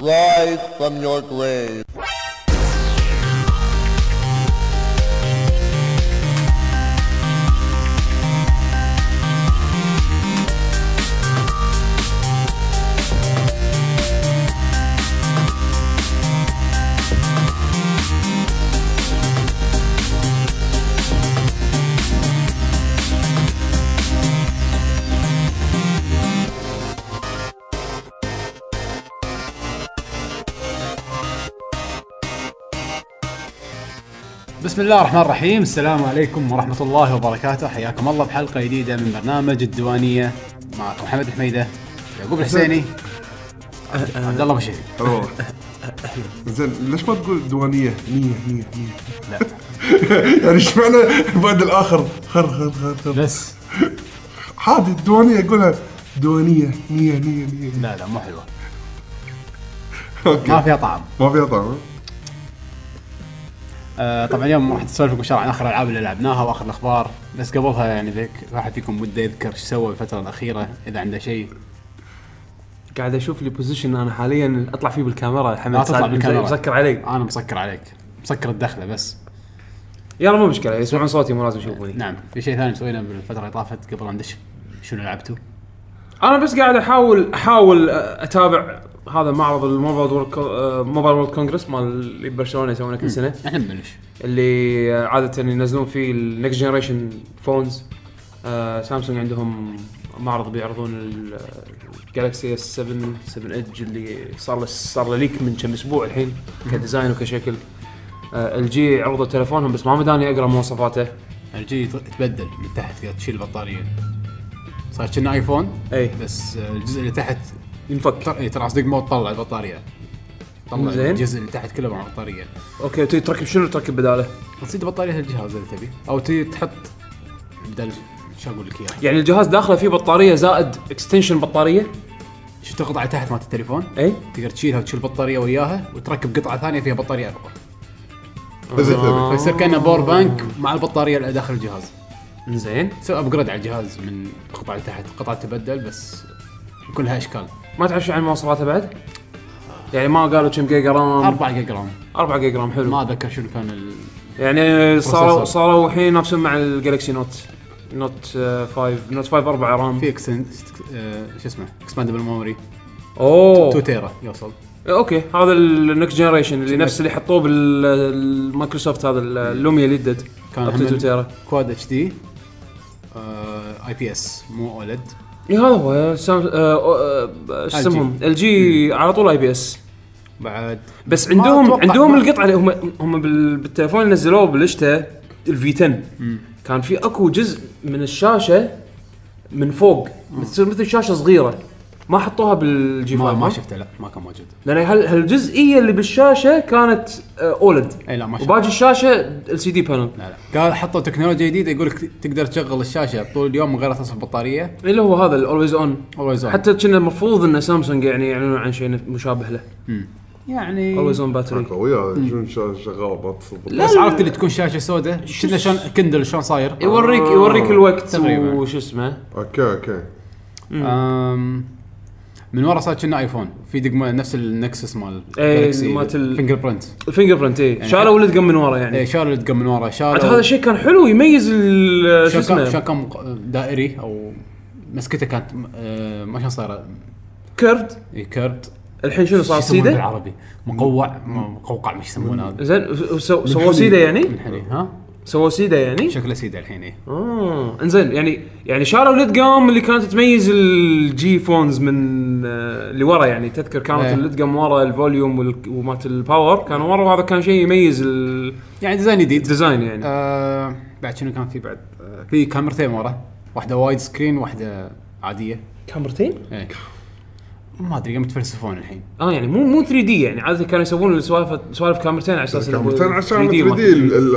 rise from your grave. بسم الله الرحمن الرحيم السلام عليكم ورحمة الله وبركاته حياكم الله بحلقة جديدة من برنامج الديوانية معكم محمد الحميدة يعقوب الحسيني عبد الله بشير اوه زين ليش ما تقول دوانيه نيه نيه نيه لا يعني ايش معنى البعد الاخر خر خر خر خر بس عادي الدوانيه قولها دوانيه نيه نيه نيه لا لا مو حلوة ما اوكي فيها طعم ما فيها طعم آه طبعا اليوم راح نسولف لكم شوي عن اخر الالعاب اللي لعبناها واخر الاخبار بس قبلها يعني ذيك واحد فيكم وده يذكر ايش سوى الفترة الأخيرة إذا عنده شيء قاعد اشوف لي بوزيشن انا حاليا اطلع فيه بالكاميرا لا حمد تطلع سعد بالكاميرا مسكر علي أنا مسكر عليك مسكر الدخلة بس يلا مو مشكله يسمعون صوتي مو لازم يشوفوني نعم في شيء ثاني مسوينه بالفترة اللي طافت قبل أن ندش شنو لعبتوا؟ انا بس قاعد احاول احاول اتابع هذا معرض الموبايل آه، وورلد موبايل وورلد كونغرس مال اللي ببرشلونه يسوونه كل سنه احنا نبلش اللي عاده ينزلون فيه النكست جنريشن فونز آه سامسونج عندهم معرض بيعرضون ال- الجالكسي اس 7 7 ايدج اللي صار له صار له ليك من كم اسبوع الحين كديزاين وكشكل آه الجي عرضوا تلفونهم بس ما مداني اقرا مواصفاته الجي تبدل من تحت كذا تشيل البطاريه صار كنا ايفون اي بس الجزء اللي تحت ينفك ترى إيه، ترى صدق ما تطلع البطاريه طلع زين. الجزء اللي تحت كله مع بطاريه اوكي تي تركب شنو تركب بداله؟ تصيد بطاريه الجهاز اللي تبي او تي تحط بدل شو اقول لك اياه يعني الجهاز داخله فيه بطاريه زائد اكستنشن بطاريه شفت القطعه تحت مالت التليفون اي تقدر تشيلها وتشيل البطاريه وياها وتركب قطعه ثانيه فيها بطاريه اكبر اذا تبي فيصير كانه باور بانك مع البطاريه اللي داخل الجهاز زين سوى ابجريد على الجهاز من القطعه اللي تحت قطعه تبدل بس كلها اشكال ما تعرف شو عن مواصفاته بعد؟ يعني ما قالوا كم جيجا رام 4 جيجا رام 4 جيجا رام حلو ما اتذكر شنو كان ال... يعني بروسيسور. صاروا صاروا الحين ينافسون مع الجالكسي نوت نوت آه، 5 نوت 5 4 رام في اكسن آه، شو اسمه اكسباندبل ميموري 2 اوه تيرا يوصل اوكي إيه، هذا النكست جنريشن اللي نفس اللي حطوه بالمايكروسوفت هذا ال- اللوميا اللي دد إيه. كان up to 2 تيرا كواد اتش دي اي بي اس مو E اولد اي إيه، هذا هو سام- آه، آه، آه، LG. شو اسمهم ال إيه. جي على طول اي بي اس بعد بس ما عندهم أتوقع عندهم ما- القطعه اللي هم هم بال- بالتليفون اللي نزلوه بالشتاء الفي 10 كان في اكو جزء من الشاشه من فوق تصير مثل شاشه صغيره ما حطوها بالجي ما, 5 ما شفته لا ما كان موجود لان هال- هالجزئيه اللي بالشاشه كانت اولد اي إيه، لا ما شفته وباقي الشاشه ال سي دي بانل لا لا قال حطوا تكنولوجيا جديده يقول لك تقدر تشغل الشاشه طول اليوم من غير تصل بطاريه اللي هو هذا الاولويز اون اولويز حتى كنا المفروض ان سامسونج يعني يعلنون عن شيء مشابه له يعني اولويز اون باتري قوية هذه شنو شا- شغالة ما تصدق بس عرفت اللي تكون شاشه سوداء شفنا شلون كندل شلون صاير يوريك آه. يوريك الوقت تقريباً. وش اسمه اوكي اوكي أم، من ورا صار كنا ايفون في دقمه نفس النكسس مال إيه، مالت ال- فينجر برنت الفينجر برنت اي شالوا إيه. ولد قم من ورا يعني ايه شالوا الدقم من ورا شالوا عاد هذا الشيء كان حلو يميز ال- شال شو كم- شال اسمه كم دائري او مسكته كانت م- آه، ما شلون صايره كرد إيه، كيرد الحين شنو صار شو يسمونه سيده بالعربي مقوع م- مقوقع مش يسمونه هذا زين ف- سو- سووا سيده يعني منحني ها سووا سيده يعني شكله سيده الحين ايه اه انزين يعني يعني شالوا ليد جام اللي كانت تميز الجي فونز من آه، اللي ورا يعني تذكر إيه. كانت الليد جام ورا الفوليوم وال- ومالت الباور كان ورا وهذا كان شيء يميز ال- يعني ديزاين جديد الديزاين يعني آه بعد شنو كان في بعد آه في كاميرتين ورا واحده وايد سكرين واحده عاديه كاميرتين؟ ايه ما ادري قام يتفلسفون الحين اه يعني مو مو 3 دي يعني عاده كانوا يسوون السوالف سوالف كاميرتين على اساس إنه كاميرتين عشان 3D 3 ما- دي ال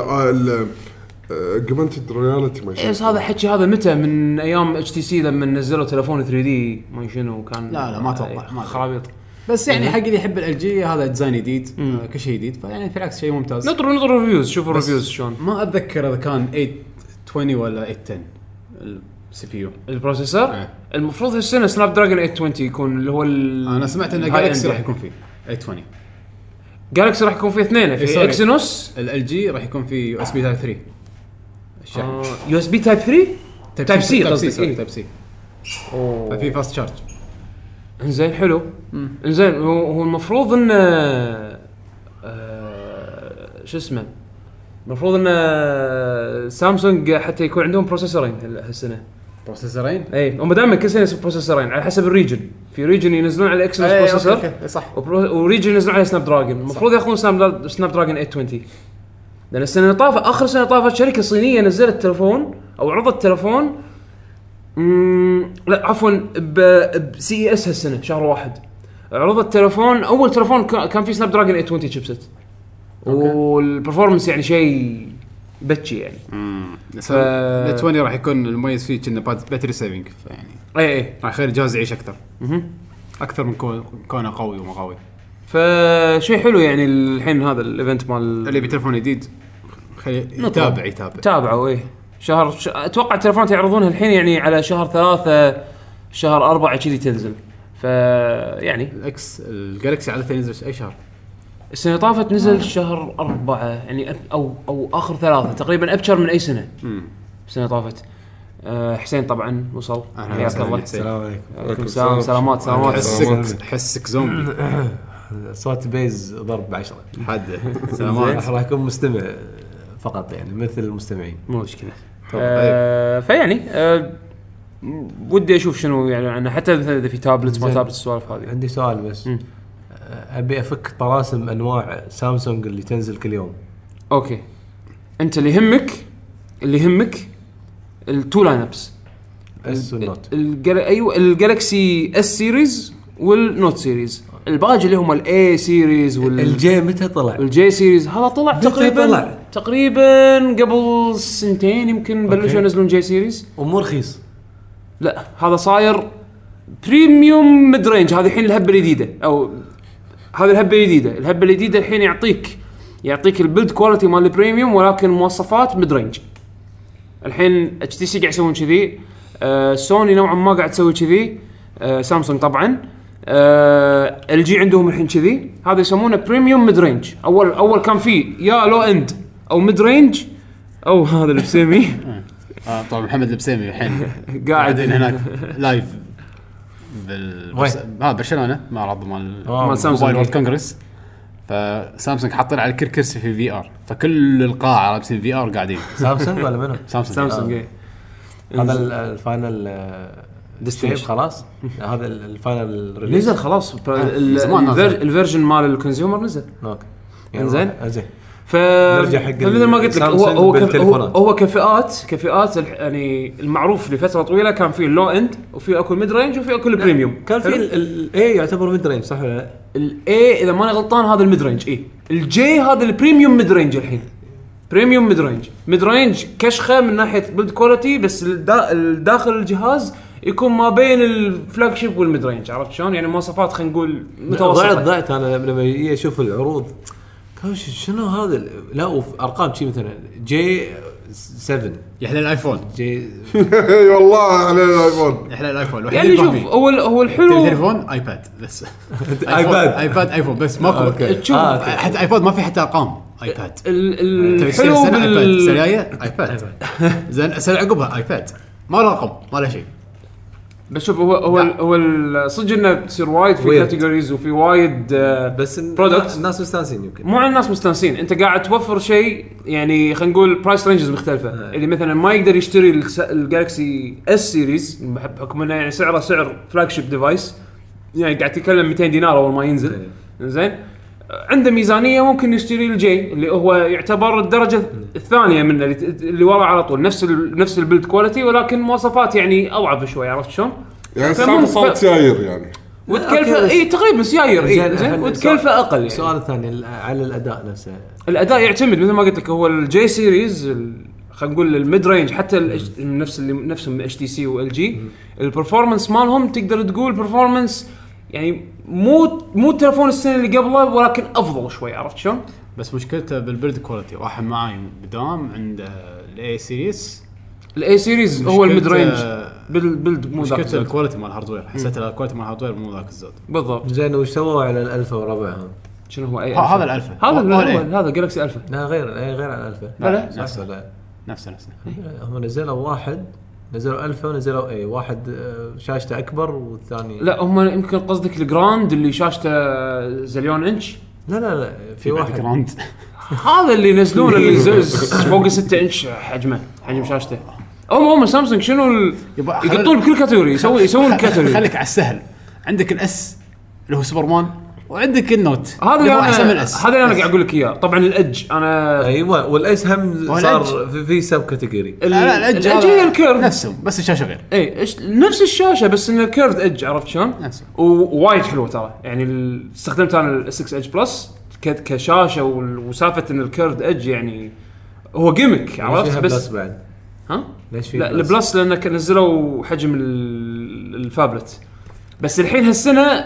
اوجمنتد رياليتي ما إيه، بس يسمونه. هذا حكي هذا متى من ايام اتش تي سي لما نزلوا تلفون 3 دي ما شنو كان آه، لا، لا، ما أتوقع، ما أدري. خرابيط بس يعني حق اللي يحب ال جي هذا ديزاين جديد آه كل شيء جديد فيعني في العكس شيء ممتاز نطروا نطروا ريفيوز شوفوا الريفيوز شلون ما اتذكر اذا كان 820 ولا 810 السي بي يو البروسيسور إيه. المفروض هالسنه سناب دراجون 820 يكون اللي هو ال انا سمعت ان الهاي جالكسي إند راح يكون فيه 820 جالكسي راح يكون فيه اثنين إيه، في سوري. اكسينوس ال جي راح يكون في يو اس بي تايب 3 الشاحن يو اس بي تايب 3 تايب سي تايب سي قصدك، سوري إيه. تايب سي أوه. ففي فاست شارج انزين حلو انزين هو هو المفروض انه آه، شو اسمه المفروض ان سامسونج حتى يكون عندهم بروسيسورين هال- هالسنه بروسيسورين اي إيه. هم دائما كل سنه يصير بروسيسورين على حسب الريجن في ريجن ينزلون على الاكسنس أي، إيه، أوكي، بروسيسور أوكي، صح وبرو- وريجن ينزلون على سناب دراجون المفروض ياخذون سناب سناب دراجون 820 لان السنه اللي طافت اخر سنه طافت شركه صينيه نزلت تلفون او عرضت تلفون مم، لا عفوا بسي اي اس هالسنه E شهر واحد عرضت تلفون اول تلفون كا- كان فيه سناب دراجون 820 شيبسيت والبرفورمنس يعني شيء بتشي يعني ف... ف- نت 20 راح يكون المميز فيه كنا بات- باتري سيفنج فيعني اي اي راح يخلي الجهاز يعيش اكثر مهم. اكثر من كون- كونه قوي وما قوي فشيء حلو يعني الحين هذا الايفنت مال اللي بتلفون جديد خلي نطلب. يتابع يتابع تابعوا ايه شهر ش... اتوقع التلفونات يعرضونها الحين يعني على شهر ثلاثة شهر أربعة كذي تنزل ف يعني الاكس الجالكسي عاده ينزل اي شهر السنة اللي طافت نزل شهر أربعة يعني أب- أو أو آخر ثلاثة تقريبا أبشر من أي سنة السنة اللي طافت أه حسين طبعا وصل أهلاً حياك وسهلاً الله حسين. السلام عليكم عليكم السلام سلامات سلامات حسك حسك زومبي صوت بيز ضرب بعشرة حد راح سلامات راح اكون مستمع فقط يعني مثل المستمعين مو مشكله طيب. آه فيعني آه ودي اشوف شنو يعني عنه حتى مثلا اذا في تابلت ما زين. تابلت السوالف هذه عندي سؤال بس مم. آه، ابي افك طلاسم انواع سامسونج اللي تنزل كل يوم اوكي انت اللي يهمك اللي يهمك التو لاين ابس اس والنوت الجل... ايوه الجالكسي اس سيريز والنوت سيريز الباقي اللي هم الاي سيريز وال الجي متى طلع؟ والجي سيريز هذا طلع متى تقريبا طلع؟ تقريبا قبل سنتين يمكن بلشوا أوكي. ينزلون جي سيريز ومو رخيص لا هذا صاير بريميوم ميد رينج هذه الحين الهبه الجديده او هذه الهبه الجديده الهبه الجديده الحين يعطيك يعطيك البيلد كواليتي مال البريميوم ولكن مواصفات ميد رينج الحين اتش تي سي قاعد يسوون كذي آه سوني نوعا ما قاعد تسوي كذي آه سامسونج طبعا آه ال جي عندهم الحين كذي هذا يسمونه بريميوم ميد رينج اول اول كان في يا لو اند او ميد رينج او هذا اللي بسميه طبعا آه، محمد البسيمي الحين قاعد قاعدين هناك لايف بال آه، وين؟ ها برشلونه معرض مال آه، مال سامسونج. موبايل وورد كونغرس فسامسونج حاطين على كل كرسي في في ار فكل القاعه لابسين في ار قاعدين سامسونج ولا منو؟ سامسونج سامسونج إيه. آه. هذا ال- الفاينل آه، Destination. شيب خلاص هذا ال- الفاينل ريليز نزل خلاص ب- آه. ال- زمان الفير- نزل. الفيرجن مال الكونسيومر نزل اوكي إنزين. آه، زين ف نرجع حق فمثل ما قلت لك هو السامسونج هو, كف... هو, بالتليفونات. هو كفئات كفئات الح- يعني المعروف لفتره طويله كان في اللو اند وفي اكو الميد رينج وفي اكو البريميوم كان في الاي إيه، يعتبر ميد رينج صح ولا لا؟ الاي اذا ماني غلطان هذا الميد رينج اي الجي هذا البريميوم ميد رينج الحين بريميوم ميد رينج ميد رينج كشخه من ناحيه بيلد كواليتي بس الدا... داخل الجهاز يكون ما بين الفلاج شيب والميد رينج عرفت شلون؟ يعني مواصفات خلينا نقول ضعت متوسطه ضعت انا لما يجي اشوف العروض كان ش- شنو هذا ال- لا وف- ارقام شي مثلا جي 7 يحلى الايفون جي اي والله على الايفون يحلى الايفون الوحيد يعني اللي شوف فاهمين. هو هو الحلو تليفون ايباد بس آيباد. ايباد ايفون بس ماكو أوكي. تشوف آه، أوكي. حتى ايباد ما في حتى ارقام ايباد تبي ال- طيب، تصير الحلو سنه ايباد السنه بال الجايه ايباد زين السنه عقبها ايباد ما له رقم ما له شيء بس شوف هو هو لا. هو ال- صدق انه بتصير وايد في Weird. كاتيجوريز وفي وايد آه، بس إن- Product. الناس مستانسين يمكن مو على الناس مستانسين انت قاعد توفر شيء يعني خلينا نقول برايس رينجز مختلفه آه. اللي مثلا ما يقدر يشتري الس- الجالكسي اس سيريز بحكم انه يعني سعره سعر فلاج شيب ديفايس يعني قاعد تتكلم 200 دينار اول ما ينزل زين عنده ميزانيه ممكن يشتري الجي اللي هو يعتبر الدرجه الثانيه منه اللي, اللي ورا على طول نفس ال نفس البيلد كواليتي ولكن مواصفات يعني اضعف شوي عرفت شلون؟ آه، يعني فمو- السالفه صارت ف- سيايير يعني وتكلفه اي تقريبا إيه، سيايير اي إيه، زين خل- وتكلفه السؤال- اقل يعني. السؤال الثاني ال- على الاداء نفسه الاداء يعتمد مثل ما قلت لك هو الجي سيريز ال- خلينا نقول الميد رينج حتى ال H- نفس اللي نفسهم اتش تي سي وال جي البرفورمانس مالهم تقدر تقول برفورمانس يعني مو مو تلفون السنه اللي قبله ولكن افضل شوي عرفت شلون؟ بس مشكلته بالبيلد كواليتي واحد معاي بدوام عنده الاي سيريس الاي سيريز هو الميد رينج بال- بلد مو ذاك مشكلة الزود. الكواليتي مال الهاردوير حسيت الكواليتي مال الهاردوير مو ذاك الزود بالضبط زين وش سووا على الالفا وربعهم؟ شنو هو اي ه- هذا ألفا؟ الالفا هذا مو الأي. الأول، هذا جالكسي الفا لا غير إيه، غير على الالفا لا، لا، صح نفس- لا نفسه نفسه هم نزلوا واحد نزلوا الفا ونزلوا اي واحد آه، شاشته اكبر والثاني لا هم يمكن قصدك الجراند اللي شاشته زليون انش لا لا, لا في في واحد واحد جراند هذا اللي ينزلون اللي ز- ز- فوق 6 انش حجمه حجم شاشته هم هم سامسونج شنو ال... يبا- يقطون بكل كاتيجوري يسوون يسوون كاتيجوري خليك على السهل عندك الاس اللي هو سوبرمان وعندك النوت هذا اللي هو احسن من انا الاس هذا اللي انا قاعد اقول لك اياه طبعا الادج انا ايوه والايس هم صار والأج. في, في سب كاتيجوري ال- لا لا الادج الادج هذا هي الكيرف نفسهم بس الشاشه غير اي إيه، إيش- نفس الشاشه بس انه كيرف ايدج عرفت شلون؟ نفسه. ووايد حلوه ترى يعني ال- استخدمت انا ال 6 ايدج بلس ك- كشاشه وال- وسالفه ان الكيرف ايدج يعني هو جيمك ليش عرفت فيها بلس بس بعد ها؟ ليش في لا البلس لان كان نزلوا حجم ال- الفابلت بس الحين هالسنه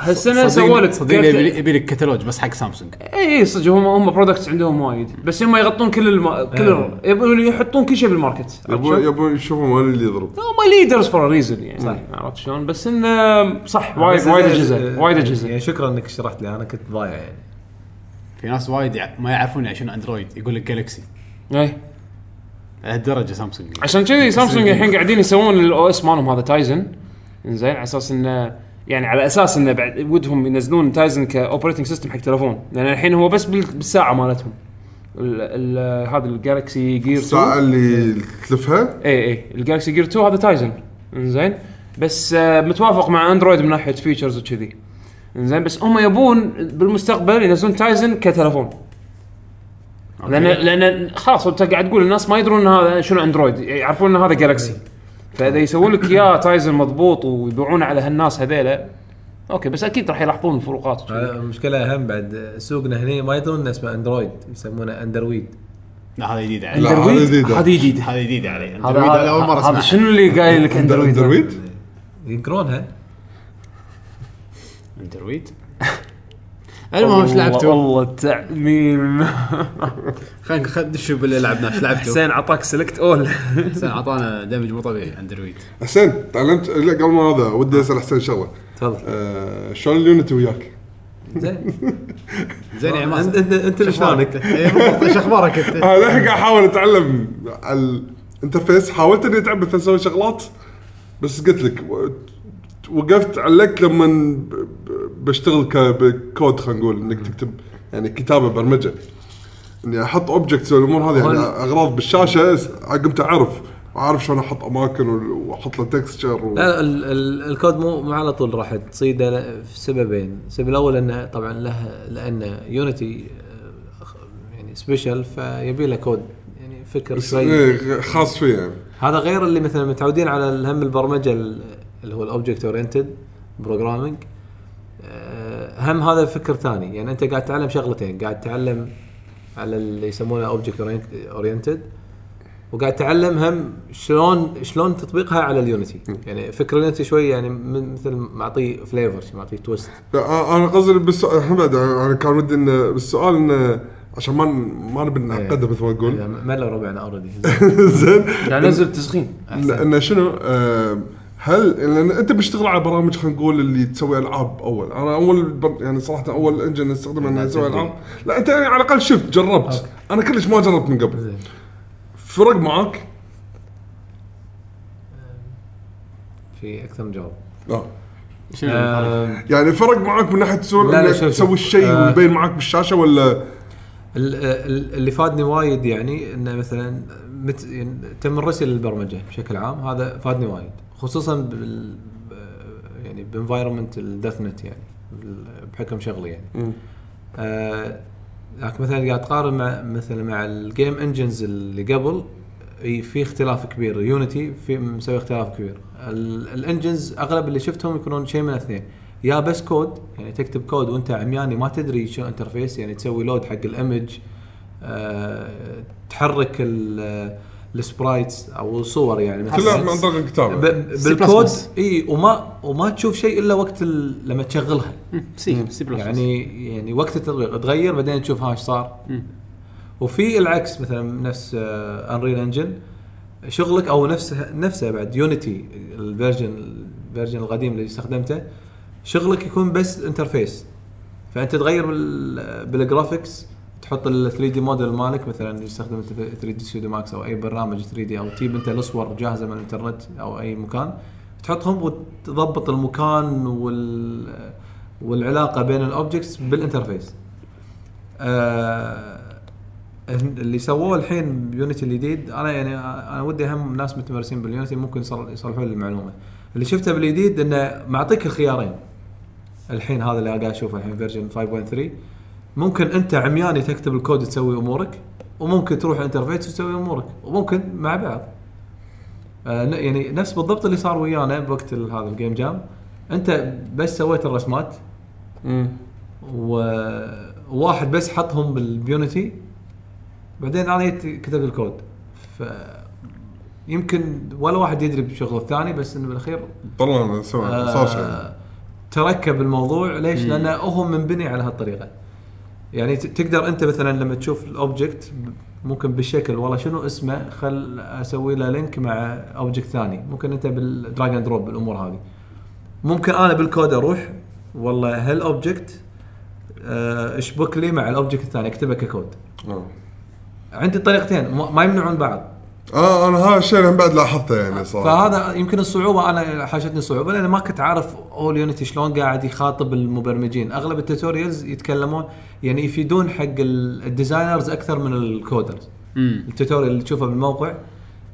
هالسنه سووا لك صدق كارت- يبي يبي لك كتالوج بس حق سامسونج اي اي إيه، صدق هم هم برودكتس عندهم وايد بس هم يغطون كل الم... كل ال- يبون يحطون كل شيء بالماركت عرفت يبون شلون؟ يبون يشوفون وين اللي يضرب هم ليدرز فور ريزن يعني صح. عرفت شلون بس انه صح وايد بس وايد أنا- اجهزه وايد اجهزه يعني شكرا انك شرحت لي انا كنت ضايع يعني في ناس وايد يع- ما يعرفون يعني شنو اندرويد يقول لك جالكسي اي لهالدرجه سامسونج عشان كذي سامسونج الحين قاعدين يسوون الاو اس مالهم هذا تايزن زين على اساس انه يعني على اساس انه بعد ودهم ينزلون تايزن كاوبريتنج سيستم حق تلفون لان الحين هو بس بال- بالساعه مالتهم ال- ال- هذا الجالكسي جير 2 الساعه اللي تلفها اي اي الجالكسي جير 2 هذا تايزن انزين بس آه، متوافق مع اندرويد من ناحيه فيتشرز وكذي انزين بس هم يبون بالمستقبل ينزلون تايزن كتلفون لان لان خلاص انت قاعد تقول الناس ما يدرون إن هذا شنو اندرويد يعرفون ان هذا جالكسي فاذا يسوون لك اياه تايزن مضبوط ويبيعونه على هالناس هذيلا اوكي بس اكيد راح يلاحظون الفروقات وشذي. هذا المشكله اهم بعد سوقنا هنا ما يدرون انه اسمه اندرويد يسمونه اندرويد لا هذا جديد علي لا هذه جديده هذه جديده هذا جديد علي هذا أندرويد أنا اول مره هذا اسمعها شنو اللي قايل لك اندرويد اندرويد ينكرونها اندرويد المهم ايش لعبتوا؟ والله تعميم خلينا خلينا ندش باللي لعبناه ايش لعبتوا؟ حسين عطاك سلكت اول حسين اعطانا دمج مو طبيعي اندرويد حسين تعلمت لا قبل ما هذا ودي اسال حسين شغله تفضل آه، شلون اليونتي وياك؟ زين زين يا عماد انت انت انت اللي شلونك إيه، بالضبط، ايش اخبارك انت؟ انا الحين قاعد احاول اتعلم على الانترفيس حاولت اني اتعب مثلا اسوي شغلات بس قلت لك و- وقفت عليك لما ب- ب- بشتغل ك- بكود خلينا نقول انك تكتب يعني كتابه برمجه اني احط اوبجكتس والامور هذه يعني اغراض بالشاشه س- قمت اعرف اعرف شلون احط اماكن وال- واحط له تكستشر و... لا ال- ال- الكود مو مو على طول راح تصيده ل- في سببين، السبب الاول انه طبعا له لان يونيتي آه، خ- يعني سبيشل فيبي له كود يعني فكر بس شوي إيه، غ- خاص فيه يعني هذا غير اللي مثلا متعودين على الهم البرمجه ال- اللي هو الاوبجكت اورينتد بروجرامينج آه، هم هذا فكر ثاني يعني انت قاعد تتعلم شغلتين قاعد تتعلم على اللي يسمونه اوبجكت اورينتد وقاعد تتعلم هم شلون شلون تطبيقها على اليونتي يعني فكر اليونتي شوي يعني من- مثل معطيه فليفر معطيه تويست لا أ- انا قصدي بس احمد انا كان ودي انه بالسؤال انه عشان ما ن- ما نبي إيه. نعقده مثل ما نقول ملا ربعنا اوريدي زين يعني نزل تسخين انه شنو آه، هل لان انت بتشتغل على برامج خلينا نقول اللي تسوي العاب اول انا اول بر... يعني صراحه اول انجن استخدمه انه يسوي العاب لا انت يعني على الاقل شفت جربت انا كلش ما جربت من قبل فرق معاك؟ في اكثر من جواب لا شنو الفرق؟ آه، يعني فرق معاك من ناحيه تسوي لا، لا، إنك شوف، شوف. تسوي الشيء آه. ويبين معاك بالشاشه ولا ال- ال- اللي فادني وايد يعني انه مثلا مت يعني تم الرسل للبرمجه بشكل عام هذا فادني وايد خصوصا بال يعني بانفايرمنت الدث نت يعني بال- بحكم شغلي يعني. آه لكن مثلا قاعد تقارن مع مثلا مع الجيم انجنز اللي قبل إي، في اختلاف كبير يونيتي في مسوي اختلاف كبير ال- الانجنز اغلب اللي شفتهم يكونون شيء من اثنين يا بس كود يعني تكتب كود وانت عمياني ما تدري شو انترفيس يعني تسوي لود حق الايمج آه، تحرك ال- السبرايتس او الصور يعني مثلاً. كلها عن طريق ب- الكتابه ب- بالكود اي وما وما تشوف شيء الا وقت ال- لما تشغلها سي سي بلس يعني يعني يعني وقت التطبيق تغير بعدين تشوف ها ايش صار وفي العكس مثلا نفس انريل انجن آه، شغلك او نفسه نفسه بعد يونيتي الفيرجن الفيرجن القديم اللي استخدمته شغلك يكون بس انترفيس فانت تغير بال- بالجرافكس تحط ال 3 دي موديل مالك مثلا يستخدم 3 دي ستوديو ماكس او اي برنامج 3 دي او تجيب انت الصور جاهزه من الانترنت او اي مكان تحطهم وتضبط المكان وال والعلاقه بين الاوبجكتس بالانترفيس. آه اللي سووه الحين بيونيتي الجديد انا يعني انا ودي هم ناس متمرسين باليونيتي ممكن يصل- يصلحون لي المعلومه. اللي شفته بالجديد انه معطيك الخيارين. الحين هذا اللي قاعد اشوفه الحين فيرجن 5.3 ممكن انت عمياني تكتب الكود تسوي امورك وممكن تروح انترفيس وتسوي امورك وممكن مع بعض. آه ن- يعني نفس بالضبط اللي صار ويانا بوقت ال- هذا الجيم جام انت بس سويت الرسمات وواحد بس حطهم بالبيونتي بعدين انا جيت كتبت الكود ف يمكن ولا واحد يدري بشغل الثاني بس انه بالاخير طلعنا سوا صار شيء آه، تركب الموضوع ليش؟ لانه هو منبني على هالطريقه. يعني ت- تقدر انت مثلا لما تشوف الاوبجكت ممكن بالشكل والله شنو اسمه خل اسوي له لينك مع اوبجكت ثاني، ممكن انت بالدراج اند دروب بالامور هذه. ممكن انا بالكود اروح والله هالاوبجكت آه، اشبك لي مع الاوبجكت الثاني اكتبه ككود. آه. عندي طريقتين ما ما يمنعون بعض. اه انا هذا الشيء أنا بعد لاحظته يعني صراحه فهذا يمكن الصعوبه انا حاشتني صعوبه لان ما كنت عارف اول يونيتي شلون قاعد يخاطب المبرمجين اغلب التوتوريالز يتكلمون يعني يفيدون حق ال- الديزاينرز اكثر من الكودرز امم التوتوريال اللي تشوفه بالموقع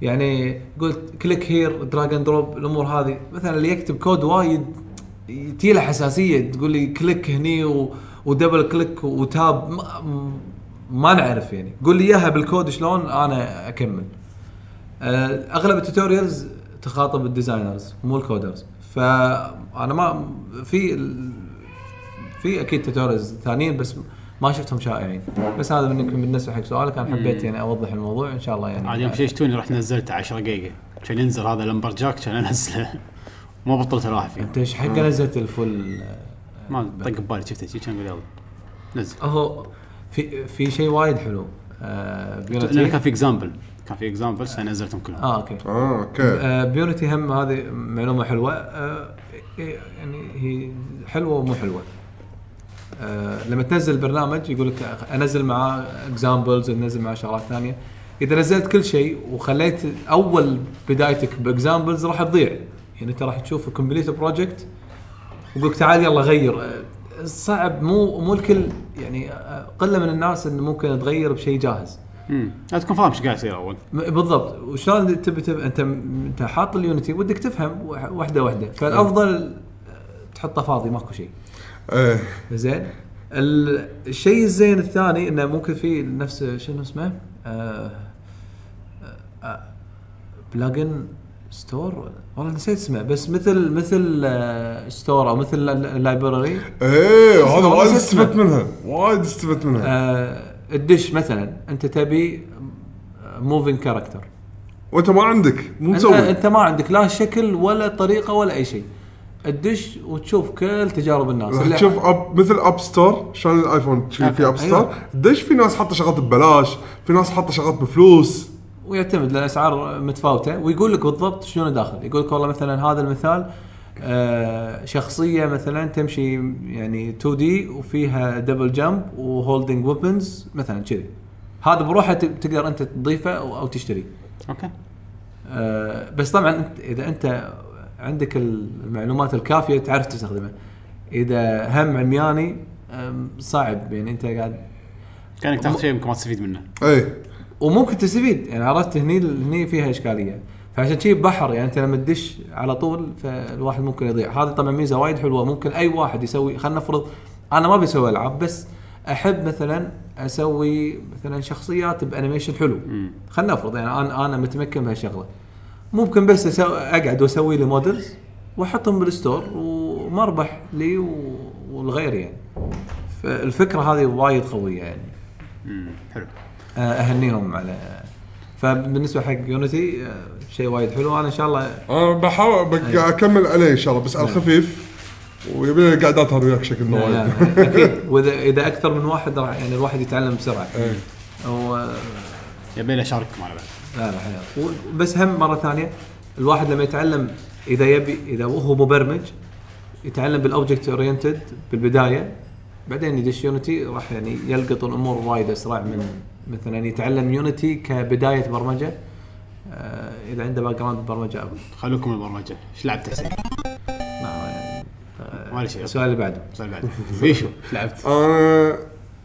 يعني قلت كليك هير دراج اند دروب الامور هذه مثلا اللي يكتب كود وايد تي له حساسيه تقول لي كليك هني و... ودبل كليك وتاب ما... ما نعرف يعني قول لي اياها بالكود شلون انا اكمل آه، اغلب التوتوريالز تخاطب الديزاينرز مو الكودرز فانا ما في ال- في اكيد توتوريالز ثانيين بس ما شفتهم شائعين بس هذا يمكن بالنسبه حق سؤالك انا حبيت يعني اوضح الموضوع ان شاء الله يعني عاد يوم شيشتوني رحت نزلته 10 جيجا كان ينزل هذا لمبرجاك كان انزله ما بطلت الواحد فيه انت ايش حق نزلت الفل ما طق ببالي شفته شي، كان يقول يلا نزل اهو في في شيء وايد حلو آه لأن كان بيونتي في اكزامبل كان في اكزامبل نزلتهم كلهم اه اوكي اه اوكي آه، بيونتي هم هذه معلومه حلوه آه، يعني هي حلوه ومو حلوه آه، لما تنزل برنامج يقول لك انزل معاه اكزامبلز انزل معاه شغلات ثانيه اذا نزلت كل شيء وخليت اول بدايتك باكزامبلز راح تضيع يعني انت راح تشوف كومبليت بروجكت ويقول لك تعال يلا غير آه، صعب مو مو الكل يعني آه، قله من الناس انه ممكن تغير بشيء جاهز امم لا تكون فاهم ايش قاعد يصير اول م- بالضبط وشلون تبي تب... انت انت حاط اليونتي ودك تفهم وح- واحده واحده فالافضل تحطه فاضي ماكو شيء ايه زين ال- الشيء الزين الثاني انه ممكن في نفس شنو اسمه آه... آه... بلجن ستور والله نسيت اسمه بس مثل مثل آه... ستور او مثل لايبراري ايه هذا اسمه، وايد اسمه. استفدت منها وايد استفدت منها آه... الدش مثلا انت تبي موفينج كاركتر وانت ما عندك مو انت مسوي انت ما عندك لا شكل ولا طريقه ولا اي شيء تدش وتشوف كل تجارب الناس راح تشوف اب مثل اب ستور شلون الايفون تشوف في اب ستور أيوة. دش في ناس حاطه شغلات ببلاش في ناس حاطه شغلات بفلوس ويعتمد لان الاسعار متفاوته ويقول لك بالضبط شنو داخل يقول لك والله مثلا هذا المثال آه، شخصيه مثلا تمشي يعني 2 دي وفيها دبل جمب وهولدنج ويبنز مثلا كذي هذا بروحه ت- تقدر انت تضيفه او أو تشتريه اوكي آه، بس طبعا أنت- اذا انت عندك المعلومات الكافيه تعرف تستخدمه اذا هم عمياني آم، صعب يعني انت قاعد كانك تاخذ شيء يمكن ما تستفيد منه ايه وممكن تستفيد يعني عرفت هني هني فيها اشكاليه فعشان شي بحر يعني انت لما تدش على طول فالواحد ممكن يضيع هذا طبعا ميزه وايد حلوه ممكن اي واحد يسوي خلينا نفرض انا ما بسوي العاب بس احب مثلا اسوي مثلا شخصيات بانيميشن حلو خلينا نفرض يعني انا انا متمكن بهالشغله ممكن بس أسو... اقعد واسوي لي مودلز واحطهم بالستور ومربح لي و... والغير يعني فالفكره هذه وايد قويه يعني امم حلو اهنيهم على فبالنسبه حق يونيتي آه، شيء وايد حلو انا ان شاء الله انا بحاول بق- اكمل أيوة. عليه ان شاء الله بس على الخفيف ويبي لنا قعدات انا وياك شكل إيه. لا، لا، وايد اكيد واذا اذا اكثر من واحد راح يعني الواحد يتعلم بسرعه و يبي له شارك معنا بعد لا لا حياة و- بس هم مره ثانيه الواحد لما يتعلم اذا يبي اذا هو مبرمج يتعلم بالاوبجكت اورينتد بالبدايه بعدين يدش يونيتي راح يعني يلقط الامور وايد اسرع من مثلا يتعلم يونيتي كبدايه برمجه آه، اذا عنده باك جراوند برمجه او خلوكم البرمجه ايش لعبت حسين؟ ما لي شيء السؤال آه، اللي بعده السؤال بعد بيشو ايش لعبت؟ انا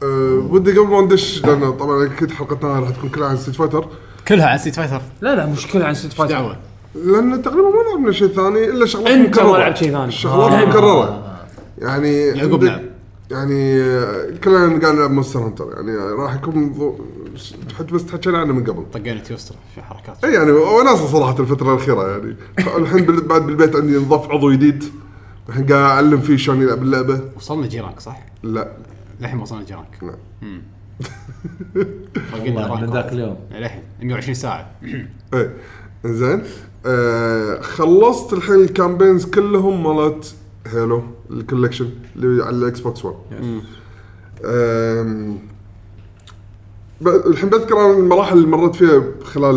آه، ودي قبل ما ندش لان طبعا اكيد حلقتنا راح تكون كلها عن ستيت فايتر كلها عن ستيت فايتر لا لا مشكله عن ستريت فايتر دعوه لان تقريبا ما لعبنا شيء ثاني الا شغلات انت ما لعبت شيء ثاني آه. شغلات مكرره يعني يعقوب عندك- لعب. يعني آه، كلنا قاعد نلعب مونستر هانتر يعني راح يكون ضو... حت- بس تحكينا عنه من قبل طقينا تيوستر في حركات اي يعني وناسه صراحه الفتره الاخيره يعني الحين بال- بعد بالبيت عندي انضاف عضو جديد الحين قاعد اعلم فيه شلون يلعب اللعبه وصلنا جيرانك صح؟ لا للحين ما وصلنا جيرانك نعم. امم. باقي والله، من لنا ذاك اليوم للحين 120 ساعه ايه زين آه خلصت الحين الكامبينز كلهم مالت هيلو الكولكشن اللي على الاكس بوكس 1 آم، ب- الحين بذكر أنا المراحل اللي مريت فيها خلال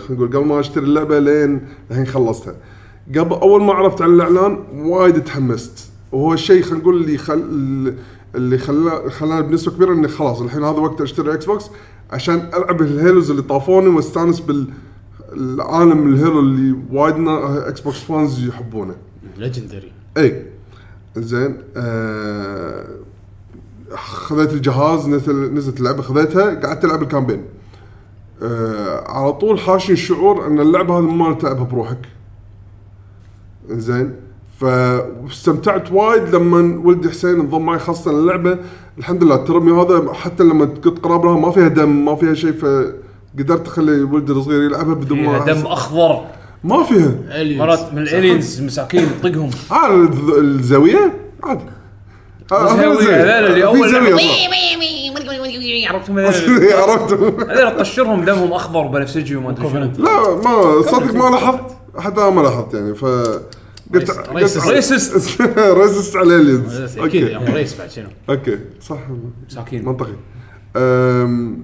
خلينا نقول قبل ما اشتري اللعبه لين الحين خلصتها. قبل اول ما عرفت عن الاعلان وايد تحمست وهو الشيء خلينا نقول اللي خل اللي خلا خلاني بنسبه كبيره اني خلاص الحين هذا وقت اشتري اكس بوكس عشان العب الهيلوز اللي طافوني واستانس بالعالم الهيلو اللي وايد نا- اكس بوكس فانز يحبونه. ليجندري اي زين آه خذيت الجهاز نزل نزلت اللعبه خذيتها قعدت العب الكامبين آه على طول حاشني الشعور ان اللعبه هذه ما تلعبها بروحك زين فاستمتعت وايد لما ولدي حسين انضم معي خاصه اللعبه الحمد لله الترمي هذا حتى لما كنت قراب لها ما فيها دم ما فيها شيء فقدرت اخلي ولدي الصغير يلعبها بدون ما فيها أحس- إيه، دم اخضر ما فيها مرات من الالينز مساكين طقهم ها الز- الزاويه عادي ها- ها الزاوية، الزاوية. لا، لا، اللي في أول زاوية لعبة. عرفتهم صح. عرفت هذول رطشرهم دمهم اخضر وبنفسجي وما ادري شنو لا ما صدق ما لاحظت حتى أنا ما لاحظت يعني ف قلت ريسست. ريسست. ريسست على اليلز اكيد يا يعني. اوكي ريس بعد شنو اوكي صح مساكين منطقي أم،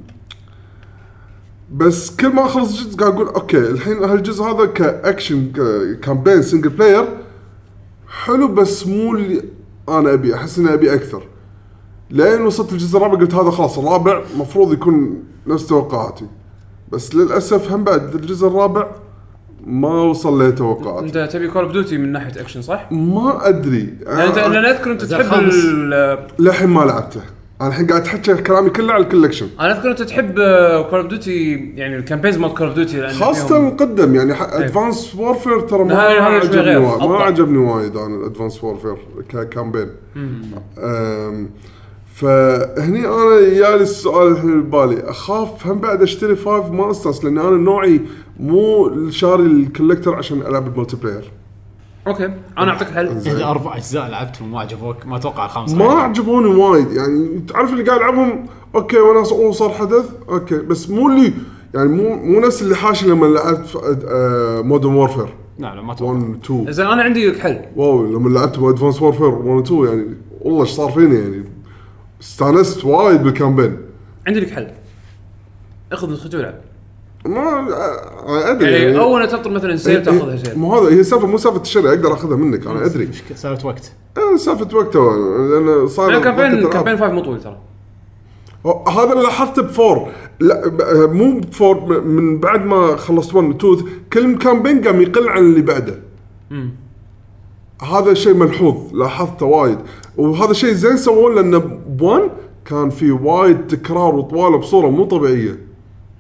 بس كل ما اخلص جزء قاعد اقول اوكي الحين هالجزء هذا كاكشن ك- كامبين سنجل بلاير حلو بس مو اللي انا ابي احس اني ابي اكثر لين وصلت الجزء الرابع قلت هذا خلاص الرابع مفروض يكون نفس توقعاتي بس للاسف هم بعد الجزء الرابع ما وصل لتوقعاتي انت تبي كول اوف ديوتي من ناحيه اكشن صح؟ آه، ما ادري لان يعني أنت- أنا- لأن اذكر انت إذا تحب خامس. ال- للحين ما لعبته انا الحين قاعد احكي كلامي كله على الكولكشن انا اذكر انت تحب كول اوف ديوتي يعني الكامبينز مال كول اوف ديوتي خاصة القدم يعني ادفانس وورفير ترى ما, إيه. لا، ما هذا شوي عجبني غير. وايد ما أبطأ. عجبني وايد انا الادفانس وورفير ككامبين أم، فهني انا يالي السؤال الحين ببالي اخاف هم بعد اشتري فايف ما استانس لان انا نوعي مو شاري الكولكتر عشان العب الملتي بلاير اوكي انا اعطيك حل اذا اربع اجزاء لعبتهم ما عجبوك ما اتوقع الخامس ما عجبك. عجبوني وايد يعني تعرف اللي قاعد العبهم اوكي وناس اوه صار حدث اوكي بس مو اللي يعني مو مو نفس اللي حاشي لما لعبت أه، مودرن وورفير لا لا ما اتوقع 1 2 زين انا عندي لك حل واو لما لعبت ادفانس وورفير 1 و 2 يعني والله ايش صار فيني يعني استانست وايد بالكامبين عندي لك حل اخذ نسختي والعب ما أ- ادري يعني اول ما تنطر مثلا سيل تاخذها إيه، إيه، سيل مو هذا هي سالفه مو سالفه شراء اقدر اخذها منك انا ادري مشكلة سالفة وقت أنا سالفه وقتها لان صار لا، كامبين وقت كامبين الألعاب. فايف مو طويل ترى هو- هذا اللي لاحظته بفور لا ب- آه، مو بفور م- من بعد ما خلصت 1 2 كل كامبين قام يقل عن اللي بعده هذا شيء ملحوظ لاحظته وايد وهذا شيء زين سووه لان بوان كان في وايد تكرار وطواله بصوره مو طبيعيه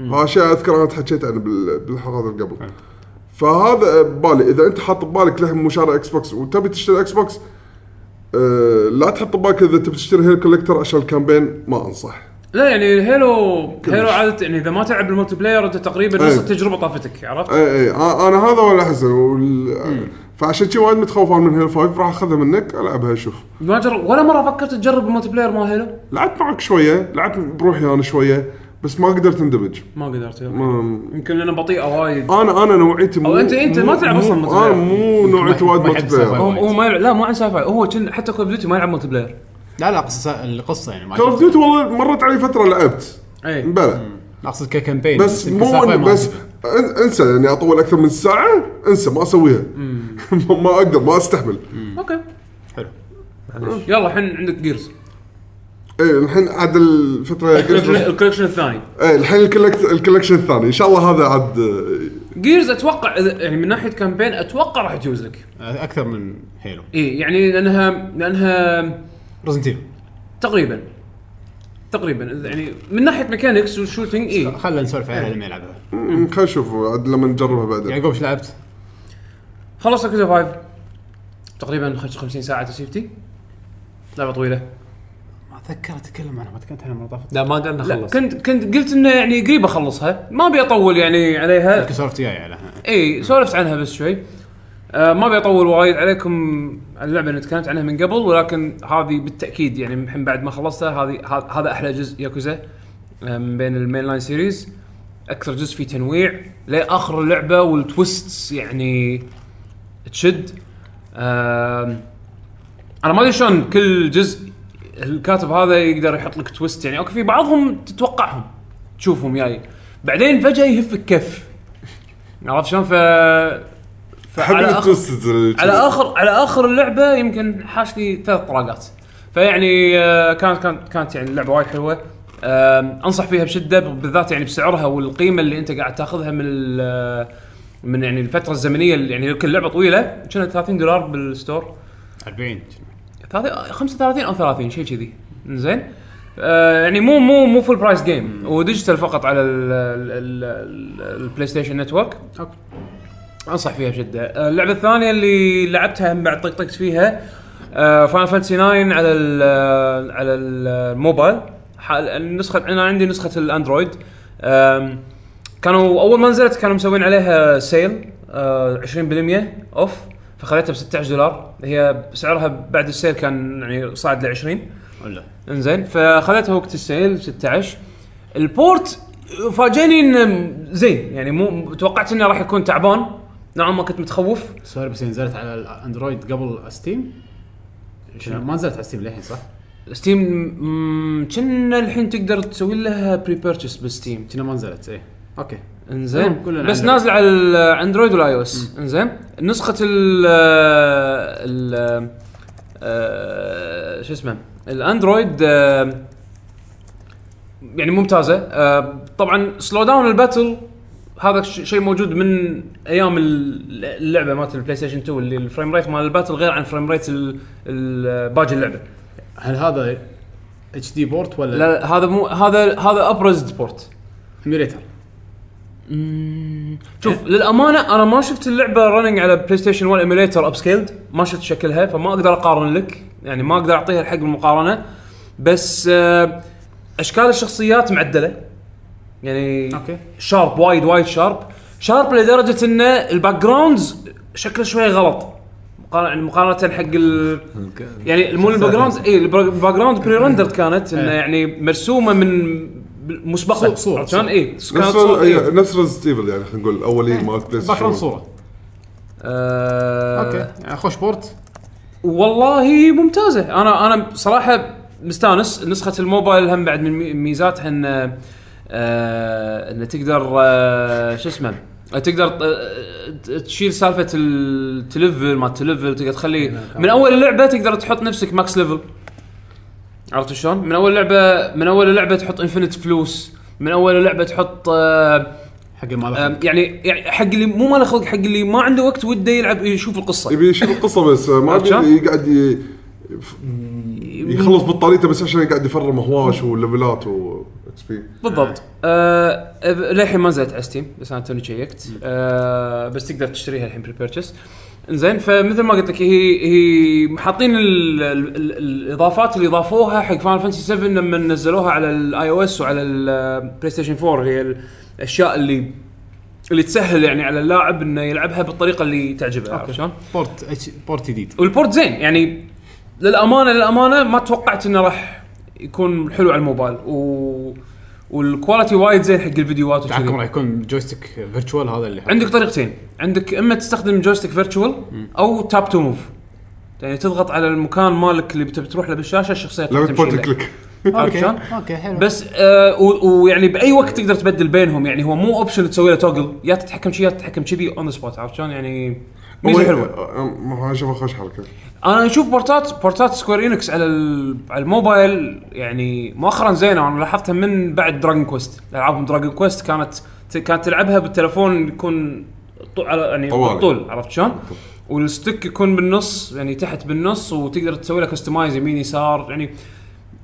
هذا شيء اذكر انا تحكيت عنه بال- بالحلقات اللي قبل فهذا آه، ببالي اذا انت حاط ببالك لحم مشارع اكس بوكس وتبي تشتري اكس بوكس أه لا تحط ببالك اذا تبي تشتري هيل كولكتر عشان الكامبين ما انصح لا يعني هيلو هيلو عاده يعني اذا ما تلعب الملتي بلاير انت تقريبا نص إيه. التجربه طافتك عرفت؟ اي اي آ- انا إيه. هذا ولا احسن وال... فعشان شي وايد متخوف أنا من هيل 5 راح اخذها منك العبها اشوف ما جرب ولا مره فكرت تجرب الملتي بلاير مال هيلو؟ لعبت معك شويه لعبت بروحي انا شويه بس ما قدرت اندمج ما قدرت يلا. ما... يمكن لان بطيئه وايد انا انا نوعيتي مو أو أنت- أنت ما مو- تلعب مو- أصلاً multiplayer. انا مو نوعيتي ما- وايد ما ملتي يحب بلاير survival. هو هو ما يلعب لا مو عن سايفاي هو كن- حتى كول اوف ديوتي ما يلعب ملتي بلاير لا لا قصة- القصة يعني ما كول اوف شفت. ديوتي والله مرت علي فتره لعبت اي بلى اقصد ككامبين بس يمكن مو سالفة إن- ما بس عجبك. أن- انسى يعني اطول اكثر من ساعه انسى ما اسويها ما اقدر ما استحمل اوكي حلو يلا الحين عندك جيرز ايه الحين عاد الفتره الكولكشن الثاني ايه الحين الكولكت- الكولكشن الثاني ان شاء الله هذا عاد آه، جيرز اتوقع إذا- يعني من ناحيه كامبين اتوقع راح تجوز لك اكثر أه، من هيلو اي يعني لانها لانها ريزنت ايفل تقريبا تقريبا يعني من ناحيه ميكانكس والشوتنج اي خلينا نسولف إيه. عليها لما يلعبها م- خلينا نشوف عاد لما نجربها يعني بعدين يعقوب ايش لعبت؟ خلصت كذا فايف تقريبا خش- 50 ساعه تسيفتي لعبه طويله ما اتذكر اتكلم عنها ما تكلمت عنها المره طافت لا ما قلنا لا خلص كنت كنت قلت انه يعني قريب اخلصها ما ابي اطول يعني عليها يمكن سولفت وياي عليها اي سولفت عنها بس شوي آه ما بيطول وايد عليكم على اللعبه اللي تكلمت عنها من قبل ولكن هذه بالتاكيد يعني الحين بعد ما خلصتها هذه ه- هذا احلى جزء ياكوزا آه، من بين المين لاين سيريز اكثر جزء فيه تنويع لاخر اللعبه والتويستس يعني تشد آم، انا ما ادري شلون كل جزء الكاتب هذا يقدر يحط لك تويست يعني اوكي في بعضهم تتوقعهم تشوفهم جاي بعدين فجاه يهفك كف عرفت شلون ف احب على آخر- التوستز ال- على اخر على اخر اللعبه يمكن حاش لي ثلاث طلاقات فيعني آه، كانت كانت كانت يعني اللعبه وايد حلوه آم، انصح فيها بشده بالذات يعني بسعرها والقيمه اللي انت قاعد تاخذها من ال- آه، من يعني الفتره الزمنيه اللي يعني كل لعبه طويله كانت 30 دولار بالستور 40 30 35 او 30 شيء كذي زين آه يعني مو مو مو فول برايس جيم وديجيتال فقط على ال- ال- ال- ال- البلاي ستيشن نتورك اوكي انصح فيها بشده آه، اللعبه الثانيه اللي لعبتها هم بعد طقطقت فيها آه، فاينل فانتسي 9 على ال آه، على الموبايل ح- النسخه انا عندي نسخه الاندرويد آم، كانوا اول ما نزلت كانوا مسوين عليها سيل آه، 20% اوف فخليتها ب 16 دولار هي سعرها بعد السيل كان يعني صعد ل 20 ولا انزين فخذتها وقت السيل 16 البورت فاجئني انه زين يعني مو توقعت انه راح يكون تعبان نوعا ما كنت متخوف سوري بس نزلت على الاندرويد قبل ستيم شنو ما نزلت على ستيم للحين صح؟ ستيم مم، كنا الحين تقدر تسوي لها بري بيرتشس بستيم كنا ما نزلت ايه اوكي انزين مم، كلنا بس Android. نازل على الاندرويد والاي او اس انزين نسخه ال ال آه، شو اسمه الاندرويد آه، يعني ممتازه آه، طبعا سلو داون الباتل هذا ش- شيء موجود من ايام ال- اللعبه مالت البلاي ستيشن 2 اللي الفريم ريت مال الباتل غير عن فريم ريت ال- ال- باقي اللعبه هل هذا اتش دي بورت ولا لا لا، هذا مو هذا هذا ابرز بورت ايميوليتر شوف للامانه انا ما شفت اللعبه رننج على بلاي ستيشن 1 ايميليتر اب سكيلد ما شفت شكلها فما اقدر اقارن لك يعني ما اقدر اعطيها الحق المقارنه بس آه، اشكال الشخصيات معدله يعني أوكي. شارب وايد وايد شارب شارب لدرجه انه الباك جراوندز شكله شوي غلط مقارنه يعني مقارنه حق ال... يعني مو الباك جراوند اي الباك جراوند بري رندرد كانت انه إيه. يعني مرسومه من مسبقا صورة- صورة- عرفت شلون؟ اي كانت نفس صورة، إي. إيه، نفس ريزنت ايفل يعني خلينا نقول إيه. الاولين مال بلاي باك جراوند ستيشن صوره آه، اوكي يعني خوش بورت والله ممتازه انا انا بصراحه مستانس نسخه الموبايل هم بعد من مي- ميزاتها ان آه، ان تقدر آه، شو اسمه تقدر آه، ت- تشيل سالفه التلفل ما التلفل تقدر تخلي من اول اللعبه تقدر تحط نفسك ماكس ليفل عرفت شلون؟ من اول لعبه من اول لعبه تحط انفنت فلوس من اول لعبه تحط آه، حق المال آه، يعني يعني حق اللي مو مال خلق حق اللي ما عنده وقت وده يلعب يشوف القصه يبي يشيل القصه بس ما عرفت ابي شلون؟ يقعد ي- يف- يخلص بطاريته بس عشان يقعد يفرم هواش وليفلات و اكس بي بالضبط آه إذ- للحين ما نزلت على ستيم بس انا توني شيكت آه بس تقدر تشتريها الحين بري بيرتشس زين فمثل ما قلت لك هي هي حاطين ال- ال- ال- الاضافات اللي ضافوها حق فان فانسي 7 لما نزلوها على الاي او اس وعلى البلاي ستيشن 4 هي الاشياء اللي اللي تسهل يعني على اللاعب انه يلعبها بالطريقه اللي تعجبه عرفت شلون؟ بورت اتش بورت جديد والبورت زين يعني للامانه للامانه ما توقعت انه راح يكون حلو على الموبايل و... والكواليتي وايد زين حق الفيديوهات وكذي. تعكم راح يكون جويستيك فيرتشوال هذا اللي عندك طريقتين عندك اما تستخدم جويستيك فيرتشوال او تاب تو موف يعني تضغط على المكان مالك اللي بتبي تروح له بالشاشه الشخصيه لعبه تمشي بوينت لك. كليك عرفت شلون؟ اوكي حلو بس آه و- ويعني باي وقت تقدر تبدل بينهم يعني هو مو اوبشن تسوي له توجل يا تتحكم شي يا تتحكم كذي اون ذا سبوت عرفت شلون يعني ميزه حلوه ما هو اشوفها خوش حركه انا اشوف بورتات بورتات سكوير انكس على ال- على الموبايل يعني مؤخرا زينه انا لاحظتها من بعد دراجون كويست العابهم دراجون كويست كانت ت- كانت تلعبها بالتلفون يكون طو- على يعني طوالي. طول عرفت شلون؟ والستيك يكون بالنص يعني تحت بالنص وتقدر تسوي له كستمايز يمين يسار يعني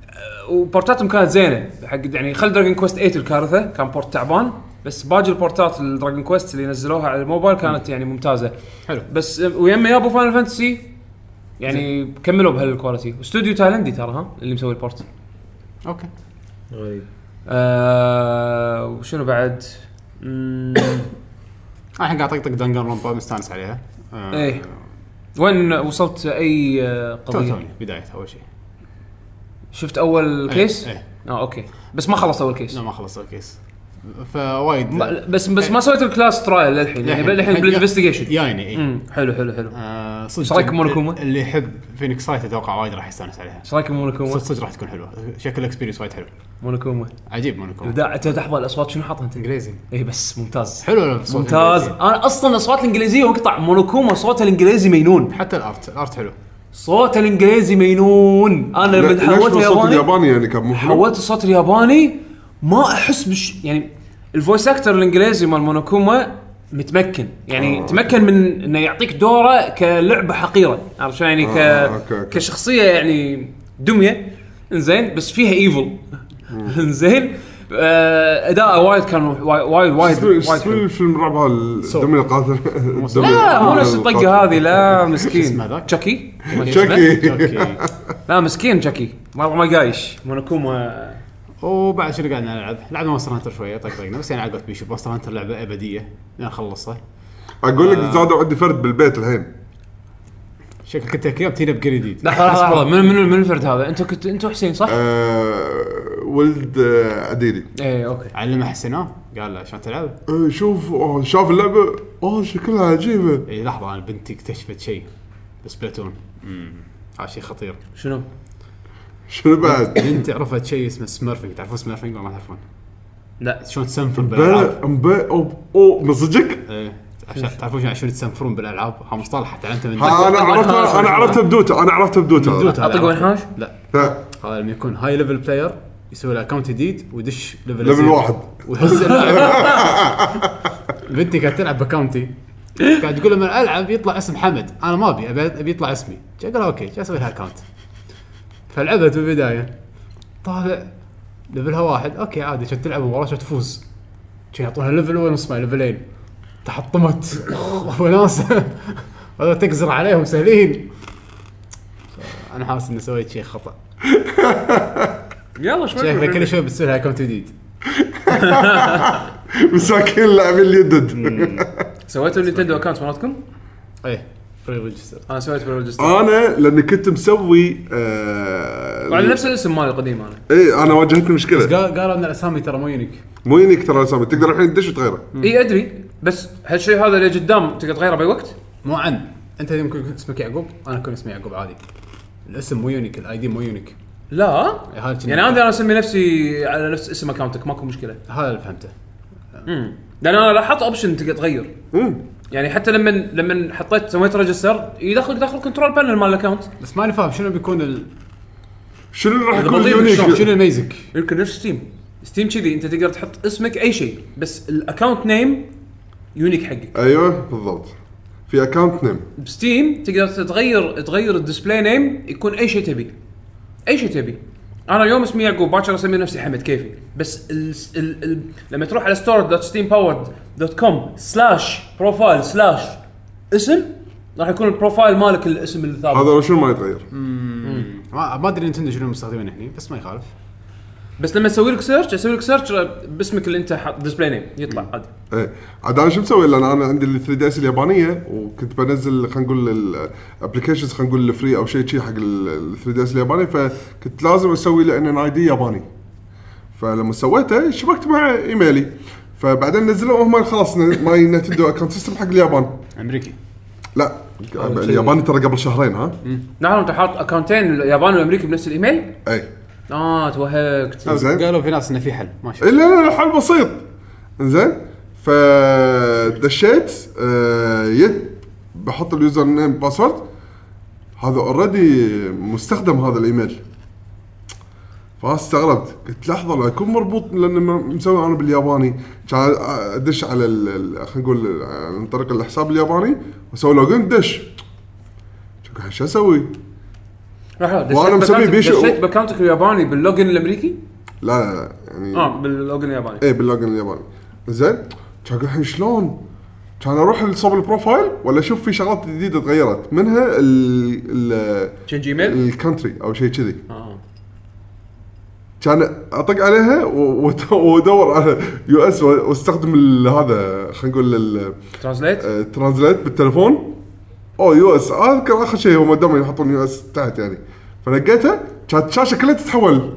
آه، وبورتاتهم كانت زينه حق يعني خل دراجون كويست 8 الكارثه كان بورت تعبان بس باقي البورتات الدراجون كويست اللي نزلوها على الموبايل كانت يعني ممتازه حلو. بس آه، ويما يابو فاينل فانتسي يعني كملوا بهالكواليتي استوديو تايلندي ترى ها اللي مسوي البورت اوكي غريب آه وشنو بعد؟ مم، أنا الحين قاعد اطقطق دنجر رومبا مستانس عليها آه، ايه وين وصلت اي آه، تو قضيه؟ توني بدايتها اول شيء شفت اول كيس؟ ايه اه اوكي بس ما خلصت اول كيس لا ما خلصت الكيس فوايد ما بس بس ما سويت الكلاس ترايل للحين يعني للحين بالانفستيجيشن جايني اي امم حلو حلو حلو إيه. يعني، آه، صدق إيش رأيك بمونوكوما؟ اللي يحب فينيكس رايت اتوقع وايد راح يستانس عليها ايش رايكم صدق مونوكوما؟ صدق راح تكون حلوه شكل الاكسبيرينس وايد حلو مونوكوما عجيب مونوكوما ابداع أنت لحظه الاصوات شنو حاطها انت؟ انجليزي اي بس ممتاز حلو الصوت ممتاز الإنجليزي. انا اصلا الاصوات الانجليزيه وقطع مونوكوما صوتها الانجليزي مينون حتى الارت الارت حلو صوت الانجليزي مينون انا لما حولته الياباني طيب، ياباني الياباني يعني كان مو حلو؟ حولت الصوت الياباني ما احس بش يعني الفويس اكتر الانجليزي مال مونوكوما متمكن آه. يعني تمكن من انه يعطيك دوره كلعبه حقيره عرفت شلون يعني ك آه، أوكي، أوكي. كشخصيه يعني دميه انزين بس فيها ايفل انزين آه، اداءه وايد كان وايد وايد وايد شو اسمه- شو وايد اسمه حلو. الفيلم الرعب هذا الدمية القاتل الدمية- لا مو نفس الطقه القاتل. هذه لا مسكين اسمه ذاك؟ تشاكي ما شو اسمه؟ شكي اوكي لا مسكين تشاكي والله ما قايش مونوكوما وبعد شنو قاعد نلعب؟ لعبنا مونستر هانتر شويه طقطقنا بس يعني عقبت بيشو مونستر هانتر لعبه ابديه لين خلصها اقول لك زادوا عندي فرد بالبيت الحين شكلك انت كذا بتجينا بقري جديد لحظه لحظه لحظه من من من الفرد هذا انتوا كنت انتوا حسين صح؟ آه، ولد آه، عديلي ايه اوكي علمه حسناه قال له شلون تلعب؟ آه، شوف آه، شاف اللعبه اوه شكلها عجيبه اي لحظه انا بنتي اكتشفت شيء بس بلاتون امم هذا شيء خطير شنو؟ شنو بعد؟ بنتي عرفت شيء اسمه سميرفنج تعرفون سميرفنج ولا ما تعرفون؟ لا شلون تسنفرون بالالعاب بلا مبا اوه أوه، من صدقك؟ ايه عشان تعرفون شلون- شلون تسنفرون بالالعاب هذا مصطلح تعلمته من ها، انا عرفتها انا عرفتها بدوتا انا عرفتها بدوتا هذا. دوتا هذا عرفته. أطق وينحاش؟ لا لا، هذا آه، لما يكون هاي ليفل بلاير يسوي له اكونت جديد ويدش ليفل ليفل زيرو. واحد. ويهز اللعبة. بنتي قاعد تلعب باكونتي قاعد تقول لما العب يطلع اسم حمد انا ما ابي ابي ابي يطلع اسمي قال اوكي جا اسوي لها اكونت فلعبت بالبدايه طالع ليفلها واحد اوكي عادي كنت تلعب مباراه عشان تفوز كان يعطونها ليفل ونص ما ليفلين تحطمت وناسه هذا تقزر عليهم سهلين انا حاسس اني سويت شيء خطا يلا شوي شكله كل شوي بتصير لها اكونت جديد مساكين اللاعبين اليدد سويتوا النينتندو اكونت مالتكم؟ ايه فري ريجستر انا سويت بالريجستر انا لاني كنت مسوي آه، على نفس الاسم مالي القديم انا ايه انا واجهتني مشكله قالوا ان الاسامي ترى مو يونيك مو ينيك ترى الاسامي تقدر الحين تدش وتغيره اي ادري بس هالشيء هذا اللي قدام تقدر تغيره باي وقت؟ مو عن انت يمكن يكون اسمك يعقوب انا اكون اسمي يعقوب عادي الاسم مو يونيك الاي دي مو يونيك لا إيه، هذا كنا- يعني انا انا اسمي نفسي على نفس اسم اكونتك ماكو مشكله هذا اللي فهمته لان انا لاحظت اوبشن تقدر تغير مم. يعني حتى لما لما حطيت سويت ريجستر يدخلك داخل كنترول بانل مال الاكونت بس ماني فاهم شنو بيكون ال... شنو اللي راح يكون بالضيف يونيك شلون؟ شنو الميزك يمكن نفس ستيم ستيم كذي انت تقدر تحط اسمك اي شيء بس الاكونت نيم يونيك حقك ايوه بالضبط في اكونت نيم بستيم تقدر تغير تغير الديسبلاي نيم يكون اي شيء تبي اي شيء تبي انا اليوم اسمي يعقوب باكر اسمي نفسي حمد كيفي بس ال ال ال لما تروح على store.steampowered.com سلاش بروفايل سلاش اسم راح يكون البروفايل مالك الاسم الثابت هذا شنو ما يتغير ما, ما ادري نتندو شنو مستخدمين هني بس ما يخالف بس لما اسوي لك سيرش اسوي لك سيرش باسمك اللي انت حاط ديسبلاي نيم يطلع عادي ايه عاد انا شو مسوي لان انا عندي ال 3 دي اس اليابانيه وكنت بنزل خلينا نقول الابلكيشنز خلينا نقول الفري او شيء شي حق ال 3 دي اس الياباني فكنت لازم اسوي له ان ان اي دي ياباني فلما سويته شبكت مع ايميلي فبعدين نزلوا هم خلاص ن- ماي نتندو اكونت سيستم حق اليابان امريكي لا الياباني ترى قبل شهرين ها نعم انت حاط اكونتين الياباني والامريكي بنفس الايميل اي اه توهقت زين قالوا في ناس انه في حل ماشي إيه، لا لا لا حل بسيط زين فدشيت آه، يد بحط اليوزر نيم باسورد هذا اوريدي مستخدم هذا الايميل فاستغربت قلت لحظه لا يكون مربوط لان ما- مسوي انا بالياباني كان ادش على ال- ال- خلينا نقول عن طريق الحساب الياباني واسوي لوجن دش شو اسوي؟ وأنا مسوي بيش- دشيت باكونتك الياباني باللوجن الامريكي لا لا لا يعني اه باللوجن الياباني ايه باللوجن الياباني زين كان أقول الحين شلون؟ كان اروح لصوب البروفايل ولا اشوف في شغلات جديده تغيرت منها ال ال كان جيميل الكنتري او شيء كذي اه كان اطق عليها و- وت- وادور على يو اس واستخدم ال- هذا خلينا نقول ال- ترانزليت آه، ترانزليت بالتليفون او يو اس اذكر اخر شيء هم دائما يحطون يو اس تحت يعني فلقيتها كانت الشاشه كلها تتحول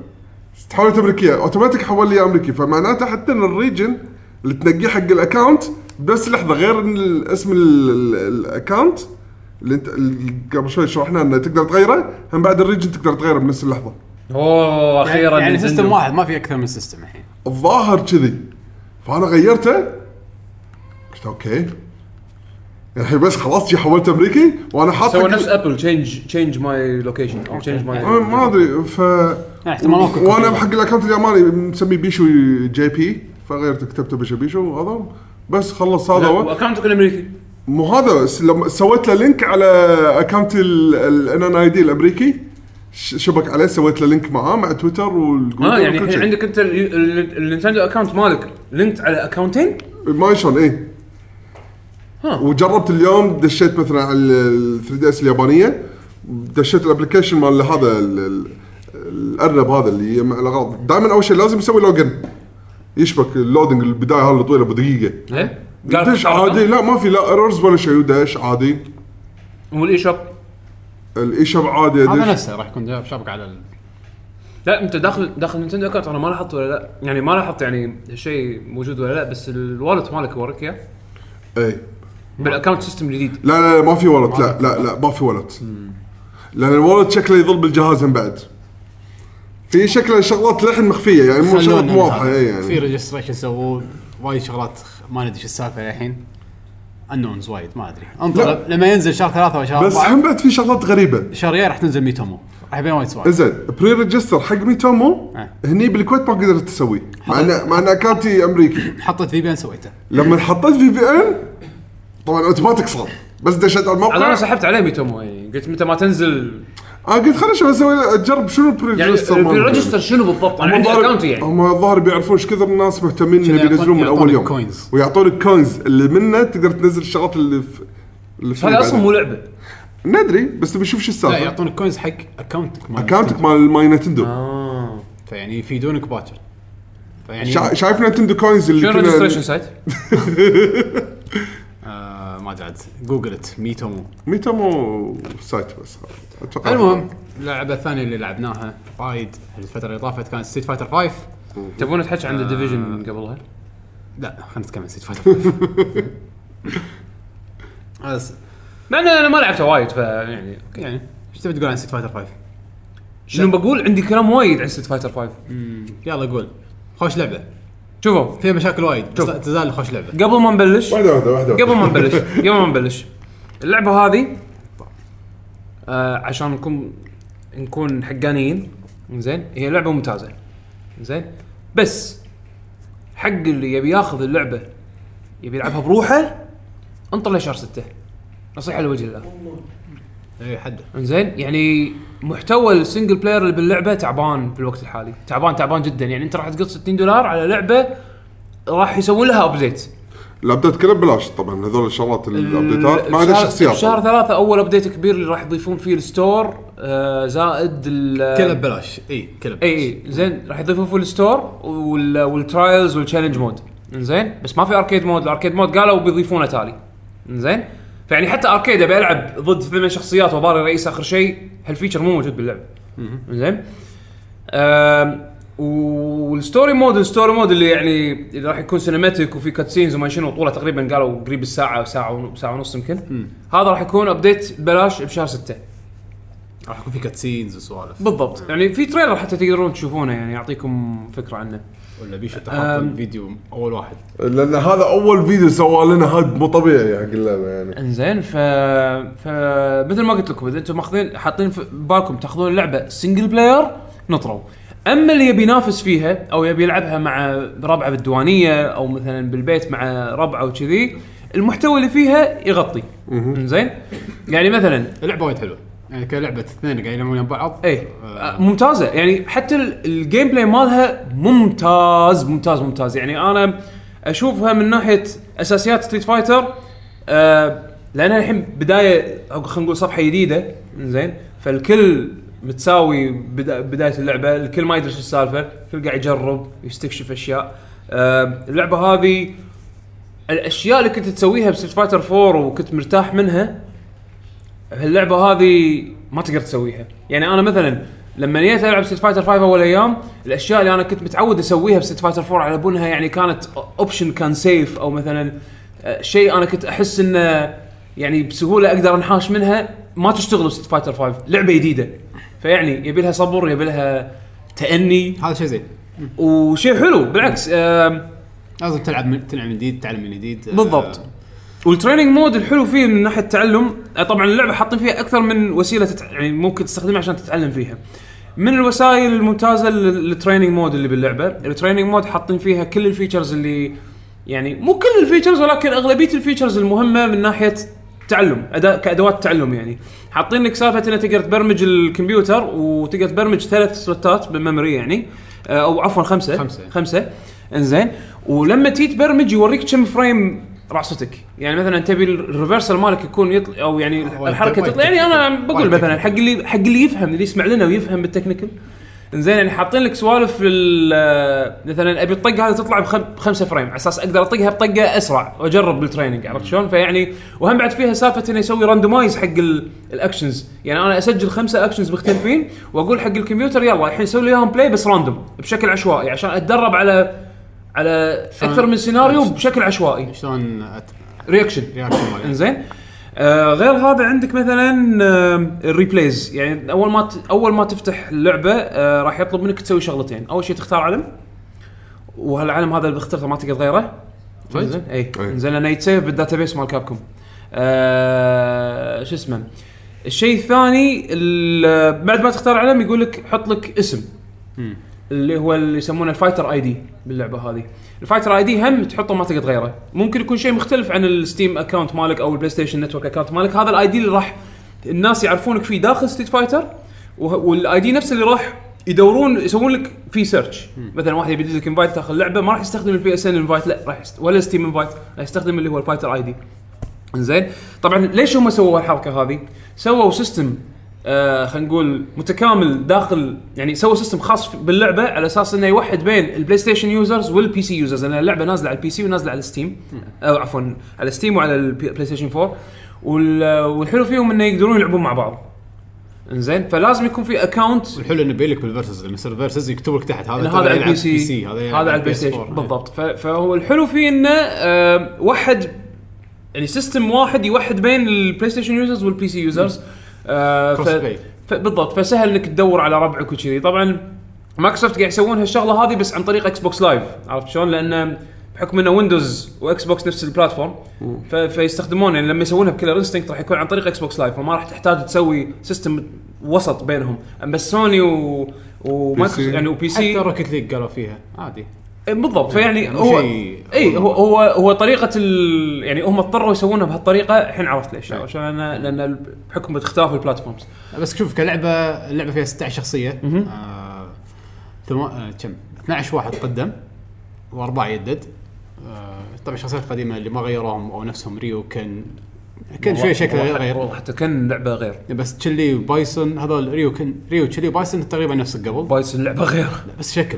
تحولت امريكيه اوتوماتيك حول لي امريكي فمعناته حتى ان الريجن اللي تنقيه حق الاكونت بنفس اللحظه غير ان ال- اسم ال- ال- الاكونت اللي انت اللي قبل شوي شرحنا انه تقدر تغيره هم بعد الريجن تقدر تغيره بنفس اللحظه اوه اخيرا يعني نينتندو. سيستم واحد ما في اكثر من سيستم الحين الظاهر كذي فانا غيرته قلت اوكي الحين بس خلاص جي حولت امريكي وانا حاط سوى حق- نفس ابل تشينج تشينج ماي لوكيشن او تشينج ماي ما ما ادري ف يعني احتمال ممكن وانا بحق الاكونت الياباني مسميه بيشو جي بي فغيرت كتبته بيشو بيشو وهذا بس خلص هذا هو اكونتك الامريكي مو هذا س- لما سويت له لينك على اكونت الان ان اي دي الامريكي ش- شبك عليه سويت له لينك معاه مع تويتر والجوجل اه يعني وكل الحين شيء. عندك انت ال- ال- النينتندو اكونت مالك لينكد على اكونتين ما شلون ايه ها. وجربت اليوم دشيت مثلا على ال 3 دي اس اليابانيه دشيت الابلكيشن مال هذا ال- ال- الارنب هذا اللي يجمع الاغراض دائما اول شيء لازم يسوي لوجن يشبك اللودنج البدايه هذه الطويله بدقيقه ليه؟ دش عادي لا ما في لا ايرورز ولا شيء ودش عادي والاي شوب الاي شب عادي هذا ادش نفسه راح يكون جاب شابك على ال- لا انت داخل داخل نينتندو اكونت انا ما لاحظت ولا لا يعني ما لاحظت يعني هالشيء موجود ولا لا بس الوالت مالك ورك نعم. اياه اي بالاكونت سيستم الجديد إيه. لا لا لا ما في ولد لا لا لا ما في ولد لان الولد شكله يظل بالجهاز من بعد في شكله شغلات للحين مخفيه يعني مو شغلات خلونا مو واضحه نلعب. اي في يعني ريجستريشن سووه وايد شغلات خ- ما ندري شو السالفه الحين انونز وايد ما ادري انطر لما ينزل شهر ثلاثه او آه، شهر بس اربعه هم بعد في شغلات غريبه شهريا راح تنزل ميتومو راح يبين وايد سوالف زين بري ريجستر حق ميتومو آه. هني بالكويت ما قدرت تسوي مع ان مع ان اكونتي امريكي حطيت في بي ان سويته لما حطيت في بي ان طبعا اوتوماتيك صار بس دشيت على الموقع على انا انا سحبت عليه ميتومو يعني قلت متى ما تنزل آه، قلت خليني شوف اسوي اجرب شنو البري يعني ريجستر الريجستر شنو بالضبط انا عندي اكونتي يعني هم الظاهر بيعرفون ايش كثر الناس مهتمين شنو انه بينزلون من يعطون- اول يوم يعطونك كوينز. ويعطونك كوينز اللي منه تقدر تنزل الشغلات اللي في اللي في هذا اصلا مو لعبه ندري بس نبي نشوف شو لا السالفه يعطونك كوينز حق اكونتك مال اكونتك مال ماي نتندو اه فيعني يفيدونك باكر فيعني شا- شايف نتندو كوينز اللي شنو كنا- الريجستريشن سايت؟ آه ما ادري عاد جوجلت ميتومو ميتامو سايت بس اتوقع المهم اللعبه الثانيه اللي لعبناها وايد الفتره اللي طافت كانت ستيت فايتر 5 تبون نتحكي عن الديفيجن قبلها؟ لا خلينا نتكلم عن ستيت فايتر 5 بس مع ان انا ما لعبتها وايد فيعني اوكي يعني ايش تبي تقول عن ستيت فايتر 5 شنو بقول عندي كلام وايد عن ست فايتر 5 يلا قول خوش لعبه شوفوا فيها مشاكل وايد بس شوف. لا تزال خوش لعبه قبل ما نبلش واحده واحده واحده قبل ما نبلش قبل ما نبلش اللعبه هذه آه عشان نكون نكون حقانيين زين هي لعبه ممتازه زين بس حق اللي يبي ياخذ اللعبه يبي يلعبها بروحه انطر لشهر ستة نصيحه لوجه الله اي حد زين يعني محتوى السنجل بلاير اللي باللعبه تعبان في الوقت الحالي تعبان تعبان جدا يعني انت راح تقط 60 دولار على لعبه راح يسوون لها ابديت الابديت كله ببلاش طبعا هذول الشغلات الابديتات ما عدا بشهر- الشخصيات بشهر ثلاثة أول أبديت كبير اللي راح يضيفون فيه الستور آه زائد ال كله ببلاش اي كله ببلاش اي اي إيه، زين راح يضيفون فيه الستور وال والترايلز والتشالنج مود زين بس ما في اركيد مود الاركيد مود قالوا بيضيفونه تالي زين فيعني حتى اركيد ابي العب ضد ثمان شخصيات وباري رئيس اخر شيء هالفيتشر مو موجود باللعب زين آم، والستوري مود الستوري مود اللي يعني اللي راح يكون سينماتيك وفي كاتسينز وما شنو طوله تقريبا قالوا قريب الساعه او ساعه ون- ساعه ونص يمكن هذا راح يكون ابديت ببلاش بشهر 6 راح يكون في كاتسينز وسوالف بالضبط يعني في تريلر حتى تقدرون تشوفونه يعني يعطيكم فكره عنه ولا بيش تحط الفيديو اول واحد لان هذا اول فيديو سوى لنا هايب مو طبيعي حق اللعبه يعني انزين ف فمثل ما قلت لكم اذا انتم ماخذين حاطين في بالكم تاخذون لعبه سنجل بلاير نطروا اما اللي يبي ينافس فيها او يبي يلعبها مع ربعه بالديوانيه او مثلا بالبيت مع ربعه وكذي المحتوى اللي فيها يغطي انزين يعني مثلا اللعبه وايد إيه. حلوه يعني كلعبه اثنين قاعدين يلعبون ويا بعض اي آه، ممتازه يعني حتى ال- الجيم بلاي مالها ممتاز ممتاز ممتاز يعني انا اشوفها من ناحيه اساسيات ستريت فايتر آه لانها الحين بدايه او خلينا نقول صفحه جديده زين فالكل متساوي بدا بدايه اللعبه الكل ما يدري شو السالفه الكل قاعد يجرب يستكشف اشياء آه اللعبه هذه الاشياء اللي كنت تسويها بستريت فايتر 4 وكنت مرتاح منها هاللعبه هذه ما تقدر تسويها يعني انا مثلا لما جيت العب ست فايتر 5 اول ايام الاشياء اللي انا كنت متعود اسويها بست فايتر 4 على بنها يعني كانت اوبشن كان سيف او مثلا آه، شيء انا كنت احس انه يعني بسهوله اقدر انحاش منها ما تشتغل بست فايتر 5 لعبه جديده فيعني يبي لها صبر يبي لها تاني هذا شيء زين وشيء حلو بالعكس آم، لازم تلعب من تلعب من جديد تتعلم من جديد آه، بالضبط والتريننج مود الحلو فيه من ناحيه التعلم آه، طبعا اللعبه حاطين فيها اكثر من وسيله تتع... يعني ممكن تستخدمها عشان تتعلم فيها من الوسائل الممتازه لل- التريننج مود اللي باللعبه التريننج مود حاطين فيها كل الفيتشرز اللي يعني مو كل الفيتشرز ولكن اغلبيه الفيتشرز المهمه من ناحيه تعلم أداء كادوات تعلم يعني حاطين لك سالفه انك تقدر تبرمج الكمبيوتر وتقدر تبرمج ثلاث سلوتات بالميموري يعني آه، او عفوا خمسه خمسة. خمسه انزين ولما تيجي تبرمج يوريك كم فريم راستك يعني مثلا تبي الريفرسال مالك يكون يطلع او يعني وايد- الحركه وايد تطلع يعني انا تكنيكال. بقول وايد مثلا حق اللي حق اللي يفهم اللي يسمع لنا ويفهم بالتكنيكال انزين يعني حاطين لك سوالف ال- مثلا ابي الطقه هذه تطلع بخم- بخمسه فريم على اساس اقدر اطقها بطقه اسرع واجرب بالتريننج عرفت شلون؟ فيعني وهم بعد فيها سالفه انه يسوي راندومايز حق ال- الاكشنز يعني انا اسجل خمسه اكشنز مختلفين واقول حق الكمبيوتر يلا الحين سوي لي اياهم بلاي بس راندوم بشكل عشوائي عشان اتدرب على على اكثر من سيناريو بشكل عشوائي شلون أت- رياكشن رياكشن مالي انزين آه غير هذا عندك مثلا آه الريبليز يعني اول ما ت... اول ما تفتح اللعبه آه راح يطلب منك تسوي شغلتين اول شيء تختار علم وهالعلم هذا اللي اخترته ما تقدر إيه. غيره انزين اي أي. انزين لانه يتسيف بالداتابيس مال كابكم آه شو اسمه الشيء الثاني ال- بعد ما تختار علم يقول لك حط لك اسم اللي هو اللي يسمونه الفايتر اي دي باللعبه هذه الفايتر اي دي هم تحطه ما تقدر تغيره ممكن يكون شيء مختلف عن الستيم اكونت مالك او البلاي ستيشن نتورك اكونت مالك هذا الاي دي اللي راح الناس يعرفونك فيه داخل ستيت فايتر والاي دي نفسه اللي راح يدورون يسوون لك فيه سيرش مثلا واحد يبي لك انفايت داخل اللعبه ما راح يستخدم البي اس ان انفايت لا راح يست... ولا ستيم انفايت راح يستخدم اللي هو الفايتر اي دي زين طبعا ليش هم سووا الحركه هذه؟ سووا سيستم آه خلينا نقول متكامل داخل يعني سووا سيستم خاص باللعبه على اساس انه يوحد بين البلاي ستيشن يوزرز والبي سي يوزرز لان اللعبه نازله على البي سي ونازله على ستيم او عفوا على ستيم وعلى البلاي ستيشن 4 وال- والحلو فيهم انه يقدرون يلعبون مع بعض انزين فلازم يكون في اكونت والحلو انه بيلك بالفيرسز لما يصير فيرسز يكتب لك تحت هذا هذا هذا تبع على يلعب البي سي, هذا يلعب هذا على البلاي PS4. ستيشن بالضبط ف- إيه. فهو الحلو فيه انه آه، وحد يعني سيستم واحد يوحد بين البلاي ستيشن يوزرز والبي سي يوزرز آه، ف- Cross play. ف- بالضبط فسهل انك تدور على ربعك وكذي طبعا مايكروسوفت قاعد يسوون هالشغله هذه بس عن طريق اكس بوكس لايف عرفت شلون لان بحكم انه ويندوز واكس بوكس نفس البلاتفورم ف- فيستخدمون يعني لما يسوونها بكلر انستنكت راح يكون عن طريق اكس بوكس لايف فما راح تحتاج تسوي سيستم وسط بينهم اما سوني و ومايكروسوفت يعني وبي سي حتى روكيت ليج قالوا فيها عادي إيه بالضبط فيعني يعني هو شيء- اي هو هو هو طريقه ال... يعني هم اضطروا يسوونها بهالطريقه الحين عرفت ليش عشان أنا- لان ال- بحكم اختلاف البلاتفورمز بس شوف كلعبه اللعبه فيها 16 شخصيه آه، ثم- آه، كم 12 واحد قدم واربعه يدد آه، طبعا الشخصيات القديمه اللي ما غيروهم او نفسهم ريو كان كان شويه شكله غير غير والله حتى كان لعبه غير بس تشيلي وبايسون هذول ريو كان ريو تشيلي وبايسون تقريبا نفس قبل بايسون لعبه غير بس شكل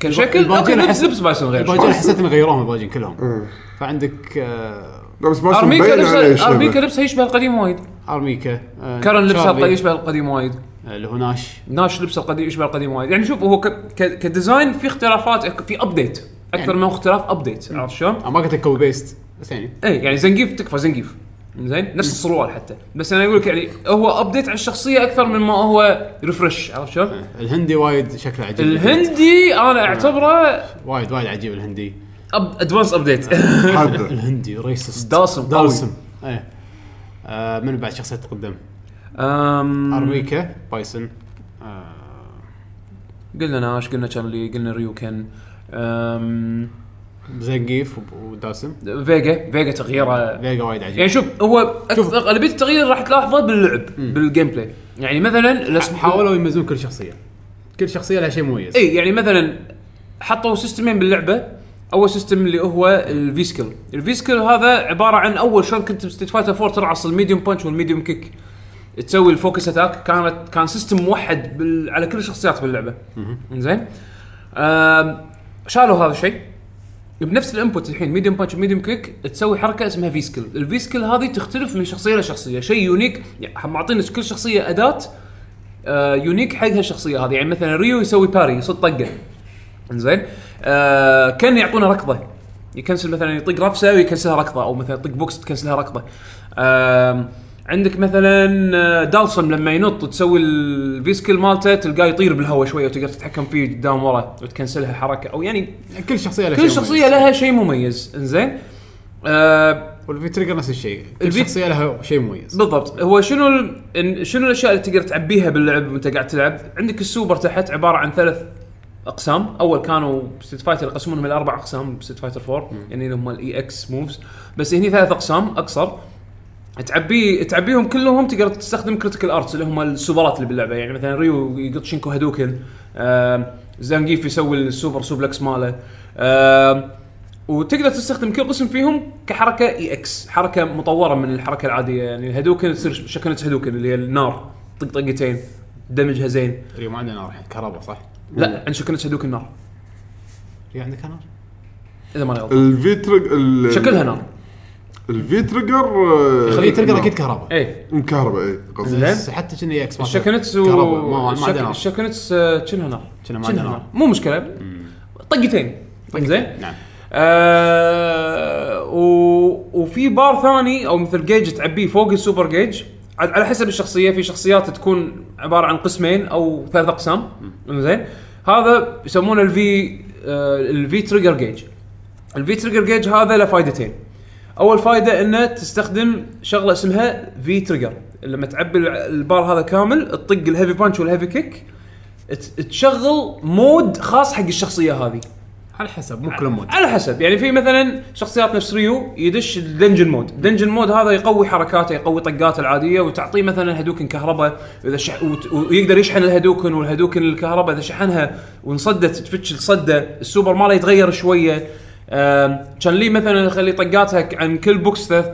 كان شكل اوكي الباجين لبس أحس- لبس بايسون غير الباجين حسيت انه غيروهم الباجين كلهم فعندك آه، لا بس ما ارميكا مبين يعني عليه لبسه ارميكا شبه. لبسها يشبه القديم وايد ارميكا آه، كارن لبسها تشارلي، يشبه القديم وايد آه، اللي هو ناش ناش لبسه القديم يشبه القديم وايد يعني شوف هو ك... ك... كديزاين في اختلافات في ابديت اكثر من اختلاف ابديت عرفت شلون؟ آه، ما قلت لك كوبي بيست بس يعني اي يعني زنقيف إيه، تكفى زنقيف زين نفس السروال حتى بس انا اقول لك يعني هو ابديت على الشخصيه اكثر من ما هو ريفرش عرفت شلون؟ الهندي وايد شكله عجيب الهندي انا اعتبره وايد وايد عجيب الهندي ادفانس ابديت حاده الهندي ريسست داسم قوي. داسم ايه آه من بعد شخصيه تقدم أم... ارميكا بايسن آه قلنا ناش قلنا تشارلي قلنا ريوكن أم... زنقيف وب- وداسم فيجا فيجا تغييره فيجا وايد يعني عجيب شوف هو اكثر اغلبيه التغيير راح تلاحظه باللعب بالجيم بلاي يعني مثلا الأسبوع- حاولوا يميزون كل شخصيه كل شخصيه لها شيء مميز اي يعني مثلا حطوا سيستمين باللعبه اول سيستم اللي هو الفيسكل الفيسكل هذا عباره عن اول شلون كنت بستيت فايتر 4 ترعص الميديوم بانش والميديوم كيك تسوي الفوكس اتاك كانت كان سيستم موحد بال... على كل الشخصيات باللعبه زين شالوا هذا الشيء بنفس الانبوت الحين ميديوم بانش وميديوم كيك تسوي حركه اسمها فيسكل الفيسكل هذه تختلف من شخصيه لشخصيه شيء يونيك يعني معطينا كل شخصيه اداه آه، يونيك حق هالشخصيه هذه يعني مثلا ريو يسوي باري يصد طقه زين آه كان يعطونا ركضه يكنسل مثلا يطق رفسه ويكنسلها ركضه او مثلا يطق بوكس تكنسلها ركضه آم، عندك مثلا آه، دالسون لما ينط تسوي الفيسكل مالته تلقاه يطير بالهواء شويه وتقدر تتحكم فيه قدام ورا وتكنسلها حركه او يعني كل شخصيه لها كل شيء مميز. شخصيه لها شيء مميز انزين آه والفي تريجر نفس الشيء كل الفي- شخصيه لها شيء مميز بالضبط هو شنو ال... إن- شنو الاشياء اللي تقدر تعبيها باللعب وانت قاعد تلعب عندك السوبر تحت عباره عن ثلاث اقسام اول كانوا ستيت فايتر يقسمونهم الى اربع اقسام بستيت فايتر 4 يعني اللي هم الاي اكس موفز بس هني ثلاث اقسام اقصر تعبي تعبيهم كلهم تقدر تستخدم كريتيكال ارتس اللي هم السوبرات اللي باللعبه يعني مثلا ريو يقط شينكو هادوكن آم، زانجيف يسوي السوبر سوبلكس ماله آم، وتقدر تستخدم كل قسم فيهم E كحركه اي اكس حركه مطوره من الحركه العاديه يعني الهادوكن تصير شكلة هادوكن اللي هي النار طق طقتين دمجها زين ريو ما عندنا نار الحين كهرباء صح؟ لا عند شكلة هادوكن نار ريو عندك نار؟ اذا ماني غلطان الفي تريجر ال- شكلها نار الفي تريجر آه، خليه تريجر اكيد كهرباء اي مكهرباء اي إيه، قصدي إيه. زين. بس حتى كنا اكس ما إيه، الشكنتس كهرباء، ما- ما و عندنا نار. الشكنتس آه، كأنها نار كأنها ما كأنها عندنا نار مو مشكله طقتين زين نعم آه و... وفي بار ثاني او مثل جيج تعبيه فوق السوبر جيج عاد على حسب الشخصيه في شخصيات تكون عباره عن قسمين او ثلاث اقسام زين هذا يسمونه الفي آه الفي تريجر جيج الفي تريجر جيج هذا له فائدتين اول فائده انه تستخدم شغله اسمها في تريجر لما تعبي الع- البار هذا كامل تطق الهيفي بانش والهيفي كيك ت- تشغل مود خاص حق الشخصيه هذه على حسب مو كل مود على حسب يعني في مثلا شخصيات نفس ريو يدش الدنجن مود الدنجن مود هذا يقوي حركاته يقوي طقاته العاديه وتعطيه مثلا هدوكن كهرباء اذا شح... وت- ويقدر يشحن الهدوكن والهدوكن الكهرباء اذا شحنها وانصدت تفتش الصده السوبر ماله يتغير شويه آم، كان لي مثلا يخلي طقاتها عن كل بوكس ثلاث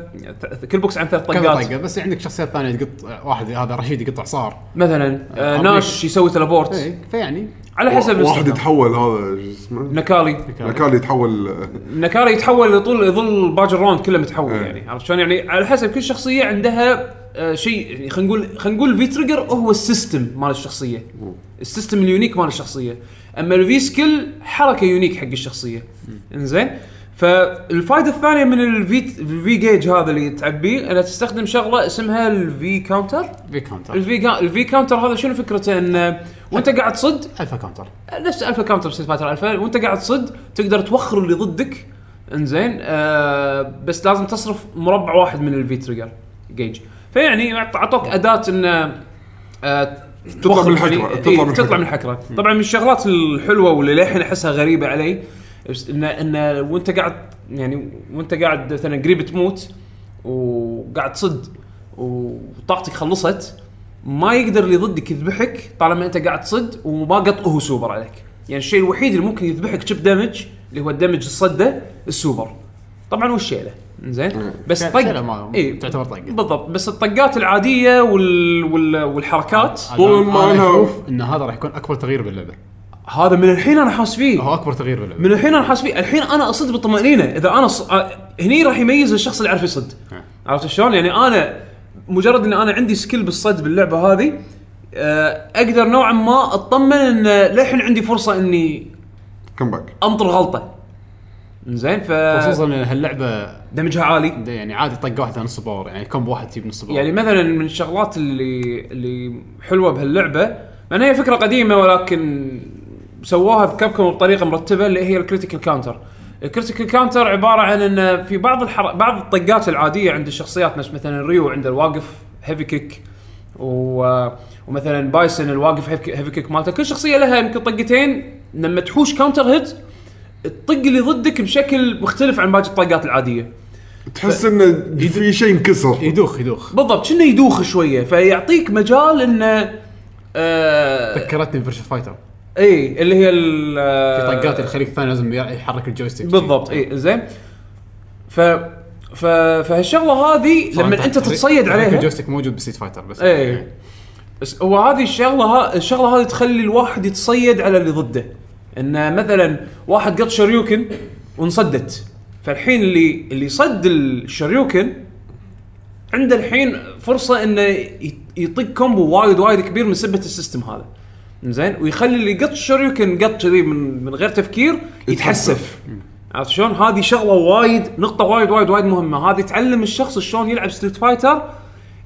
ث- كل بوكس عن ثلاث كذا طقات طقه بس عندك شخصيات ثانيه تقط واحد هذا رشيد يقط اعصار مثلا آه، أمريكا. ناش يسوي تلابورت إيه، فيعني على حسب واحد الاستخدام. يتحول هذا شو اسمه نكالي كان يتحول آه، نكاري يتحول يطول يظل باجر راوند كله متحول إيه. يعني عرفت شلون يعني على حسب كل شخصيه عندها آه، شيء يعني خلينا نقول خلينا نقول في تريجر هو السيستم مال الشخصيه السيستم اليونيك مال الشخصيه اما الفي سكيل حركه يونيك حق الشخصيه انزين فالفائده الثانيه من الفي الفي جيج هذا اللي تعبيه انها تستخدم شغله اسمها الفي كاونتر في كاونتر الفي كا- الفي كاونتر هذا شنو فكرته انه وانت قاعد تصد الفا كاونتر نفس الفا كاونتر ستيت فايتر الفا وانت قاعد تصد تقدر توخر اللي ضدك انزين آه بس لازم تصرف مربع واحد من الفي تريجر جيج فيعني أعط- اعطوك اداه ان آه توخر من الحكرة، يعني- تطلع إيه، من الحكرة. تطلع من الحكره طبعا من الشغلات الحلوه واللي للحين احسها غريبه علي بس ان ان وانت قاعد يعني وانت قاعد مثلا قريب تموت وقاعد تصد وطاقتك خلصت ما يقدر اللي ضدك يذبحك طالما انت قاعد تصد وما قط هو سوبر عليك يعني الشيء الوحيد اللي ممكن يذبحك شيب دامج اللي هو الدمج الصده السوبر طبعا والشيله زين بس شيلة- طق شيلة ما- إيه، تعتبر طقة. بالضبط بس الطقات العاديه وال... وال... والحركات آه، طول ما أنا أنا- اشوف ان هذا راح يكون اكبر تغيير باللعبه هذا من الحين انا حاس فيه هو اكبر تغيير باللعبه من الحين انا حاس فيه الحين انا اصد بالطمانينه اذا انا ص... آه، هني راح يميز الشخص اللي يعرف يصد عرفت شلون يعني انا مجرد ان انا عندي سكيل بالصد باللعبه هذه آه، اقدر نوعا ما اطمن ان للحين عندي فرصه اني كم باك انطر غلطه زين ف خصوصا ان هاللعبه دمجها عالي ده يعني عادي طقه واحده نص باور يعني كم واحد تجيب نص باور يعني مثلا من الشغلات اللي اللي حلوه بهاللعبه مع انها هي فكره قديمه ولكن سووها بكابكم بطريقه مرتبه اللي هي الكريتيكال كاونتر. الكريتيكال كاونتر عباره عن ان في بعض الحر... بعض الطقات العاديه عند الشخصيات نفس مثلا ريو عنده الواقف هيفي كيك و... ومثلا بايسن الواقف هيفي كيك مالته كل شخصيه لها يمكن طقتين لما تحوش كاونتر هيت الطق اللي ضدك بشكل مختلف عن باقي الطقات العاديه. تحس انه في شيء انكسر يدوخ يدوخ بالضبط كأنه يدوخ شويه فيعطيك مجال انه آه ذكرتني بفيرشن فايتر اي اللي هي في في طقات الخليج الثاني لازم يحرك الجويستيك بالضبط إيه. اي زين ف ف فهالشغله هذه طبعاً لما انت تحرك- تتصيد تحرك عليها إيه. الجويستيك موجود بسيت فايتر بس يعني اي بس هو هذه الشغله ها الشغله هذه تخلي الواحد يتصيد على اللي ضده ان مثلا واحد قط شريوكن وانصدت فالحين اللي اللي صد الشريوكن عنده الحين فرصه انه ي- يطق كومبو وايد وايد كبير من سبه السيستم هذا زين ويخلي اللي قط الشريوكن قط كذي من من غير تفكير يتحسف عرفت شلون؟ هذه شغله وايد نقطه وايد وايد وايد مهمه هذه تعلم الشخص شلون يلعب ستريت فايتر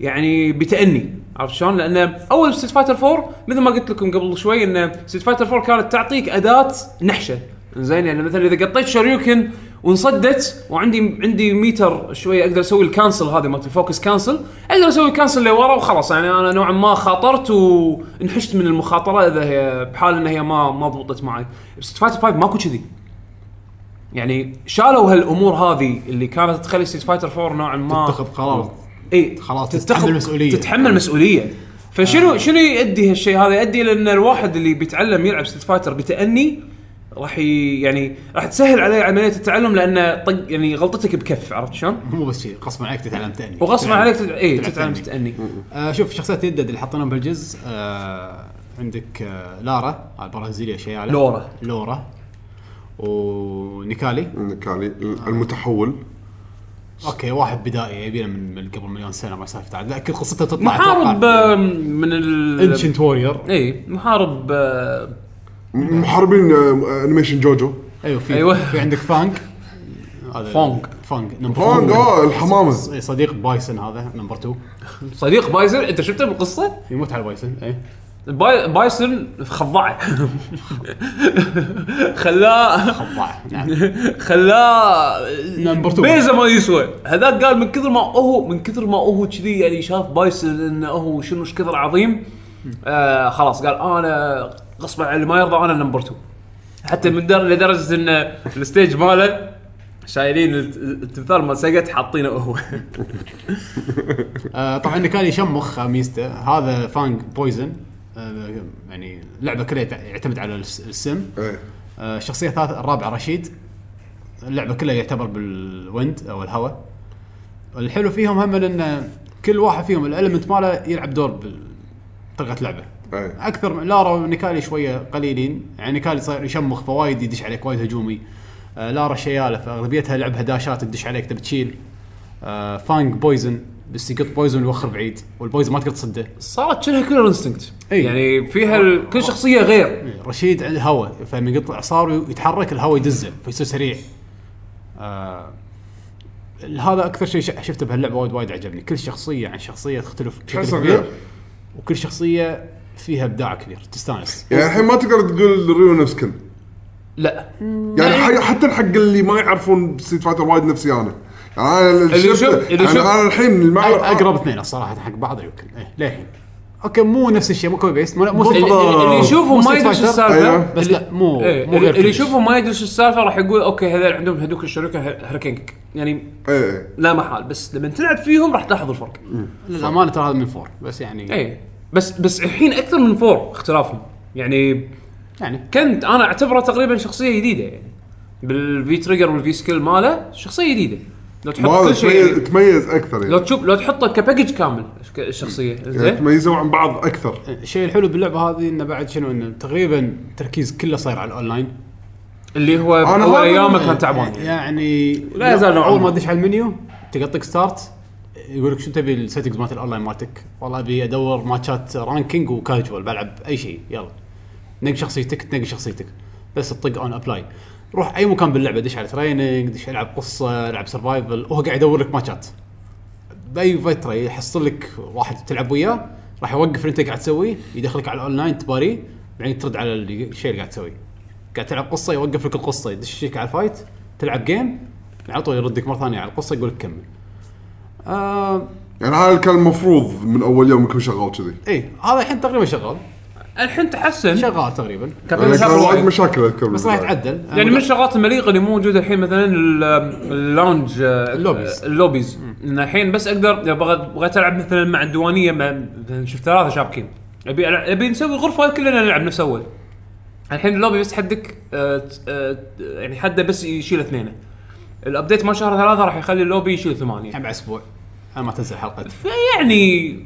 يعني بتاني عرفت شلون؟ لان اول ستريت فايتر 4 مثل ما قلت لكم قبل شوي ان ستريت فايتر 4 كانت تعطيك اداه نحشه زين يعني مثلا اذا قطيت شريوكن وانصدت وعندي عندي ميتر شوي اقدر اسوي الكانسل هذا مالت الفوكس كانسل اقدر اسوي كانسل لورا وخلاص يعني انا نوعا ما خاطرت وانحشت من المخاطره اذا هي بحال ان هي ما ما ضبطت معي ستريت فايتر 5 ماكو كذي يعني شالوا هالامور هذه اللي كانت تخلي ستريت فايتر 4 نوعا ما تتخذ قرار اي خلاص، تتحمل آه. مسؤولية. تتحمل مسؤوليه فشنو شنو يؤدي هالشيء هذا يؤدي لان الواحد اللي بيتعلم يلعب ستيت فايتر بتاني راح ي- يعني راح تسهل عليه عمليه التعلم لان طق يعني غلطتك بكف عرفت شلون؟ مو بس شيء غصبا عليك تتعلم تاني وغصبا تتعلم. عليك تت... اي تلعب تتعلم تأني. تتاني آه شوف شخصيات يدد اللي حطيناهم بالجزء آه عندك آه لارا البرازيليه شيالة لورا. يعني. لورا ونيكالي انك يعني المتحول اوكي واحد بدائي يبينا من من قبل مليون سنه ما سالفه عاد لا كل قصته تطلع محارب آه، من ال انشنت وورير اي محارب آه، محاربين آه، انيميشن جوجو ايوه في أيوة. في عندك فانك هذا- فونغ. فونغ نمبر فونغ، 2 آه، الحمامة. إي، إيه، صديق بايسن هذا نمبر 2 صديق بايسن انت شفته بالقصه؟ يموت على بايسن إيه، اي باي... بايسن خضعه خلاه خضاع نعم خلاه نمبر تو. بيزه ما يسوى هذاك قال من كثر ما هو من كثر ما هو كذي يعني شاف بايسن انه هو شنو ايش كثر عظيم آه خلاص قال انا غصبا عن اللي ما يرضى انا نمبر 2 حتى من در لدرجه انه الستيج ماله شايلين الت- التمثال مال سقط حاطينه هو آه، طبعا نيكالي شمخ ميزته هذا فانج بويزن آه، يعني لعبه كلها يتع- يعتمد على الس- السم إيه. آه، الشخصيه الثالثه الرابعه رشيد اللعبه كلها يعتبر بالويند او الهواء الحلو فيهم هم ان كل واحد فيهم الالمنت ماله يلعب دور بطريقه لعبه إيه. اكثر من لارا ونيكالي شويه قليلين يعني نيكالي صاير يشمخ فوايد يدش عليك وايد هجومي آه لارا شياله فاغلبيتها لعبها داشات تدش عليك تبي تشيل آه فانج بويزن بس يقط بويزن ويوخر بعيد والبويزن ما تقدر تصده صارت شنها كلر انستنكت إي. يعني فيها ال- كل شخصيه غير رشيد عنده هواء فلما يقطع صار يتحرك الهواء يدزه فيصير سريع آه هذا اكثر شيء ش- شفته بهاللعبه وايد وايد عجبني كل شخصيه عن شخصيه تختلف بشكل تحسها كبير غير. وكل شخصيه فيها ابداع كبير تستانس يعني الحين ما تقدر تقول ريو نفس كل لا يعني حق- حتى حق اللي ما يعرفون ستريت فايتر وايد نفسي انا يعني انا اللي شوف- شفته اللي يعني شوف- انا الحين المعرض أق- اقرب اثنين الصراحه حق بعض يمكن ايه للحين اوكي مو نفس الشيء مو كوبي بيست مو مو اللي- اللي اللي يشوفهم ما يدري شو السالفه أيوه. بس لا مو إيه، مو اللي غير اللي كل شيء. يشوفهم ما يدري شو السالفه راح يقول اوكي هذول عندهم هذوك الشركه هركنك يعني ايه لا محال بس لما تلعب فيهم راح تلاحظ الفرق للامانه ترى هذا من فور بس يعني اي بس بس الحين اكثر من فور اختلافهم يعني يعني كنت انا اعتبره تقريبا شخصيه جديده يعني بالفي تريجر والفي سكيل ماله شخصيه جديده لو تحط ما كل شيء تميز يعني تميز اكثر لو إيه؟ يعني تشوف لو تحطه كباكج كامل ك- الشخصيه يعني زين تميزوا عن بعض اكثر إيه، الشيء الحلو باللعبه هذه انه بعد شنو انه تقريبا التركيز كله صاير على الاونلاين اللي هو أنا اول هذا- ايامه كان تعبان يعني لا يزال نوعاً اول ما. ما تدش على المنيو تقطك ستارت يقول لك شو تبي السيتنجز مالت الاونلاين مالتك؟ والله ابي ادور ماتشات رانكينج وكاجوال بلعب اي شيء يلا نقي شخصيتك تنقي شخصيتك بس تطق اون ابلاي روح اي مكان باللعبه دش على تريننج دش العب قصه العب سرفايفل وهو قاعد يدور لك ماتشات باي فتره يحصل لك واحد تلعب وياه راح يوقف اللي انت قاعد تسويه يدخلك على الاونلاين تباريه بعدين ترد على اللي- الشيء اللي قاعد تسويه قاعد تلعب قصه يوقف لك القصه يدشك على الفايت تلعب جيم على طول يردك مره ثانيه على القصه يقول لك كمل آه يعني هذا كان المفروض من اول يوم يكون شغال كذي اي إيه، هذا الحين تقريبا شغال الحين تحسن شغال تقريبا لأن يعني كان وايد كان مشاكل اذكر بس راح بالبداية. يتعدل يعني من الشغلات المليقه اللي مو موجوده الحين مثلا ال- اللونج آه، اللوبيز. آه، اللوبيز ان الحين بس اقدر اذا بغيت بغيت العب مثلا مع الديوانيه مع مثلاً شفت ثلاثه شابكين ابي ألع- ابي نسوي غرفه كلنا نلعب نفس اول الحين اللوبي بس حدك آه، ت- آه، ت- يعني حده بس يشيل اثنين الابديت مال شهر ثلاثه راح يخلي اللوبي يشيل ثمانيه الحين بعد اسبوع انا ما تنزل حلقه فيعني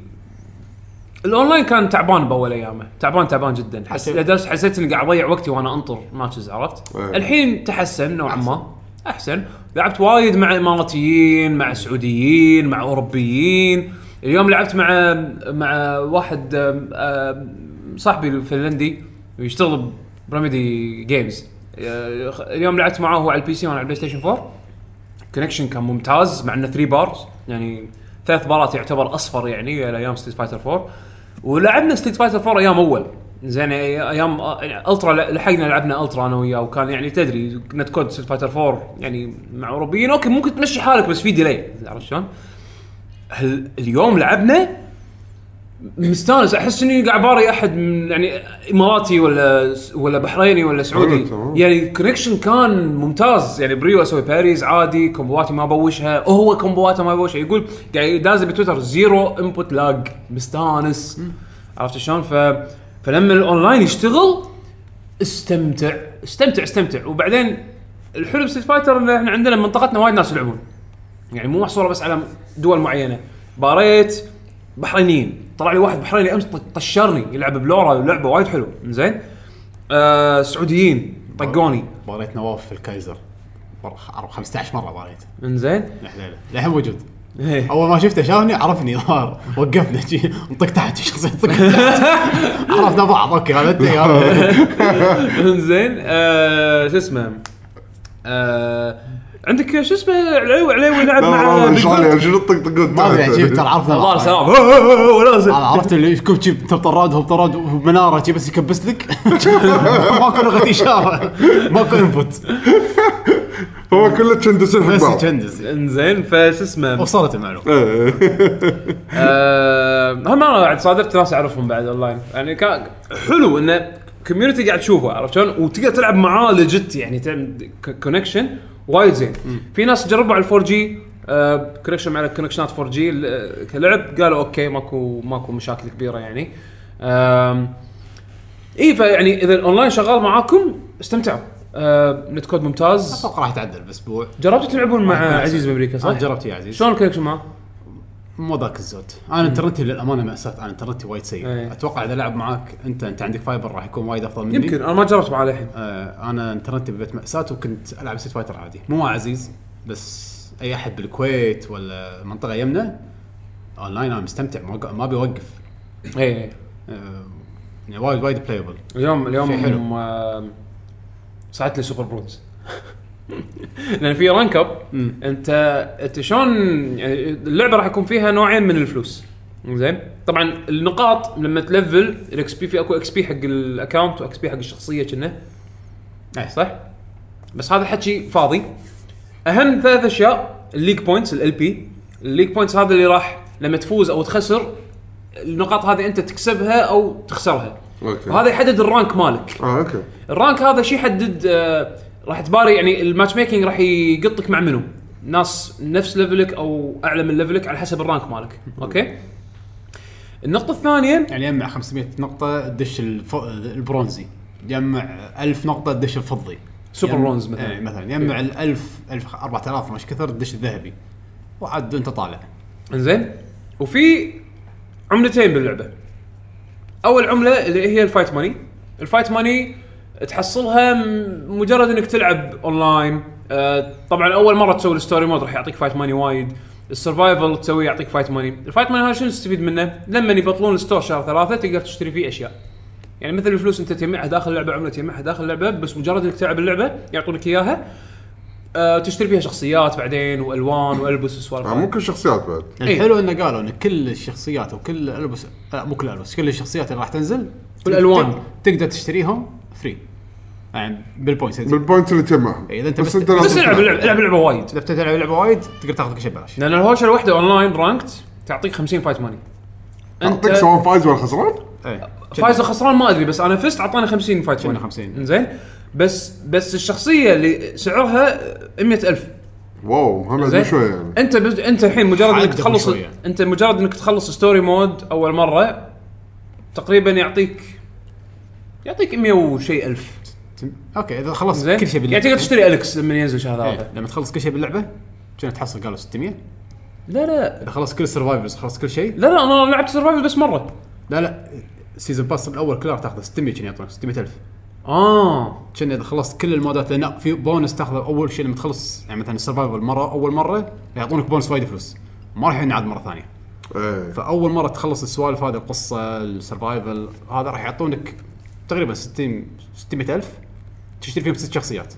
الاونلاين كان تعبان باول ايامه تعبان تعبان جدا حس... حسيت- لدرجه حسيت اني قاعد اضيع وقتي وانا انطر ماتشز عرفت إيه. الحين تحسن نوعا ما احسن لعبت وايد مع اماراتيين مع سعوديين مع اوروبيين اليوم لعبت مع مع واحد آم، آم، صاحبي الفنلندي يشتغل بريميدي جيمز اليوم لعبت معاه هو على البي سي وانا على البلاي ستيشن 4 كونكشن كان ممتاز مع انه 3 بارز يعني ثلاث بارات يعتبر اصفر يعني على ايام ستيت فايتر 4 ولعبنا ستيت فايتر 4 ايام اول زين أي- ايام يعني الترا لحقنا لعبنا الترا انا وياه وكان يعني تدري نت كود ستيت فايتر 4 يعني مع اوروبيين اوكي ممكن تمشي حالك بس في ديلي عرفت شلون؟ هل اليوم لعبنا مستانس احس اني قاعد باري احد من يعني اماراتي ولا ولا بحريني ولا سعودي حلو، تمام. يعني الكونكشن كان ممتاز يعني بريو اسوي باريز عادي كومبواتي ما بوشها هو كومبواته ما بوشها يقول قاعد يدازي بتويتر زيرو انبوت لاج مستانس عرفت شلون ف فلما الاونلاين يشتغل استمتع استمتع استمتع وبعدين الحلو بستيت فايتر ان احنا عندنا منطقتنا وايد ناس يلعبون يعني مو محصوره بس على دول معينه باريت بحرينيين طلع لي واحد بحريني امس ط- طشرني يلعب بلورا لعبه وايد حلو زين آه سعوديين طقوني باريت نواف في الكايزر مرة- 15 مره باريت انزين لحليله للحين موجود إيه. اول ما شفته شافني عرفني ظهر وقفنا شي نطق تحت شخصيه نطق تحت عرفنا بعض اوكي هذا انت يا هذا. انزين آه شو اسمه آه عندك شو اسمه عليوي عليوي لعب لا، مع لا، لا، بيج ايش بوت. عليه شنو الطقطقون ما ادري عجيب ترى عرفنا الله بعض. سلام ولا زين. انا عرفت اللي يكب شي طراد هو طراد ومناره شي بس يكبس لك ماكو لغه اشاره ماكو انبوت هو كله كان دسم حق بس بعض يجندز انزين فشو اسمه وصلت المعلومه إيه. آه، هم انا بعد صادفت ناس اعرفهم بعد اونلاين يعني كان حلو انه كوميونتي قاعد تشوفه عرفت شلون وتقدر تلعب معاه لجت يعني تعمل كونكشن وايد زين في ناس جربوا على 4 جي كونكشن مع كونكشنات 4 جي كلعب قالوا اوكي ماكو ماكو مشاكل كبيره يعني آم، اي فيعني اذا الاونلاين شغال معاكم استمتعوا آه، نت كود ممتاز اتوقع راح يتعدل باسبوع جربتوا تلعبون مع عزيز بامريكا صح؟ انا جربت يا عزيز شلون الكونكشن معاه؟ مو ذاك الزود انا انترنتي للامانه ماساه انا انترنتي وايد سيء إيه. اتوقع اذا لعب معاك انت انت عندك فايبر راح يكون وايد افضل مني يمكن انا ما جربت معاه للحين آه انا انترنتي ببيت ماساه وكنت العب ست فايتر عادي مو مع عزيز بس اي احد بالكويت ولا منطقه يمنا اونلاين انا مستمتع ما ما بيوقف اي آه يعني وايد وايد بلايبل اليوم اليوم شيء حلو. حلو صعدت لي سوبر برونز لان في رانك اب انت انت شلون يعني اللعبه راح يكون فيها نوعين من الفلوس زين طبعا النقاط لما تلفل الاكس بي في اكو اكس بي حق الاكونت واكس بي حق الشخصيه كنا إيه. صح بس هذا حكي فاضي اهم ثلاث اشياء الليك بوينتس ال بي الليك بوينتس هذا اللي راح لما تفوز او تخسر النقاط هذه انت تكسبها او تخسرها أوكي. وهذا يحدد الرانك مالك اه اوكي الرانك هذا شيء يحدد آه، راح تباري يعني الماتش ميكنج راح يقطك مع منو ناس نفس ليفلك او اعلى من ليفلك على حسب الرانك مالك اوكي النقطه الثانيه يعني يجمع 500 نقطه تدش الف... البرونزي يجمع 1000 نقطه تدش الفضي سوبر يجمع- برونز مثلاً. إيه. ايه مثلا يجمع ال 1000 1000 4000 مش كثر تدش الذهبي وعاد انت طالع انزين وفي عملتين باللعبه اول عمله اللي هي الفايت ماني الفايت ماني تحصلها م- مجرد انك تلعب اونلاين آه، طبعا اول مره تسوي الستوري مود راح يعطيك فايت ماني وايد السرفايفل تسوي يعطيك فايت ماني الفايت ماني هذا شنو تستفيد منه لما يبطلون الستور شهر ثلاثة تقدر تشتري فيه اشياء يعني مثل الفلوس انت تجمعها داخل اللعبه عمله تجمعها داخل اللعبه بس مجرد انك تلعب اللعبه يعطونك اياها آه تشتري فيها شخصيات بعدين والوان والبس وسوالف آه، ممكن شخصيات بعد إيه. الحلو انه قالوا ان كل الشخصيات وكل الالبس لا مو كل الالبس كل الشخصيات اللي راح تنزل والألوان. تقدر تشتريهم فري يعني بالبوينتس إذا بالبوينت اللي تجمعها إيه، إذا أنت بس- انت بس لازم العب اللعبه العب اللعبه وايد بتبي تلعب لعبه وايد تقدر تاخذ كل شيء ببلاش لان الهوشه الواحده اونلاين رانكت تعطيك 50 فايت ماني تعطيك سواء فايز ولا خسران إيه. فايز أو خسران ما ادري بس انا فزت اعطاني 50 فايت كنا ماني 50. زين بس بس الشخصيه اللي سعرها 100000 واو هم زين بعد شوي يعني انت بس انت الحين مجرد انك عقدهم تخلص شوية. انت مجرد انك تخلص ستوري مود اول مره تقريبا يعطيك يعطيك 100 وشيء الف اوكي اذا خلصت زين كل شيء باللعبه يعني تقدر تشتري الكس لما ينزل شهر إيه. هذا لما تخلص كل شيء باللعبه كنا تحصل قالوا 600 لا لا اذا خلصت كل السرفايفرز خلصت كل شيء لا لا انا لعبت سرفايفل بس مره لا لا السيزون باس الاول كله راح تاخذه 600 كنا يعطونك 600000 اه كنا اذا خلصت كل المودات لان في بونس تاخذه اول شيء لما تخلص يعني مثلا السرفايفل مره اول مره يعطونك بونس وايد فلوس ما راح ينعاد مره ثانيه ايه فاول مره تخلص السوالف هذه القصه السرفايفل هذا راح يعطونك تقريبا 60 600000 تشتري فيهم ست شخصيات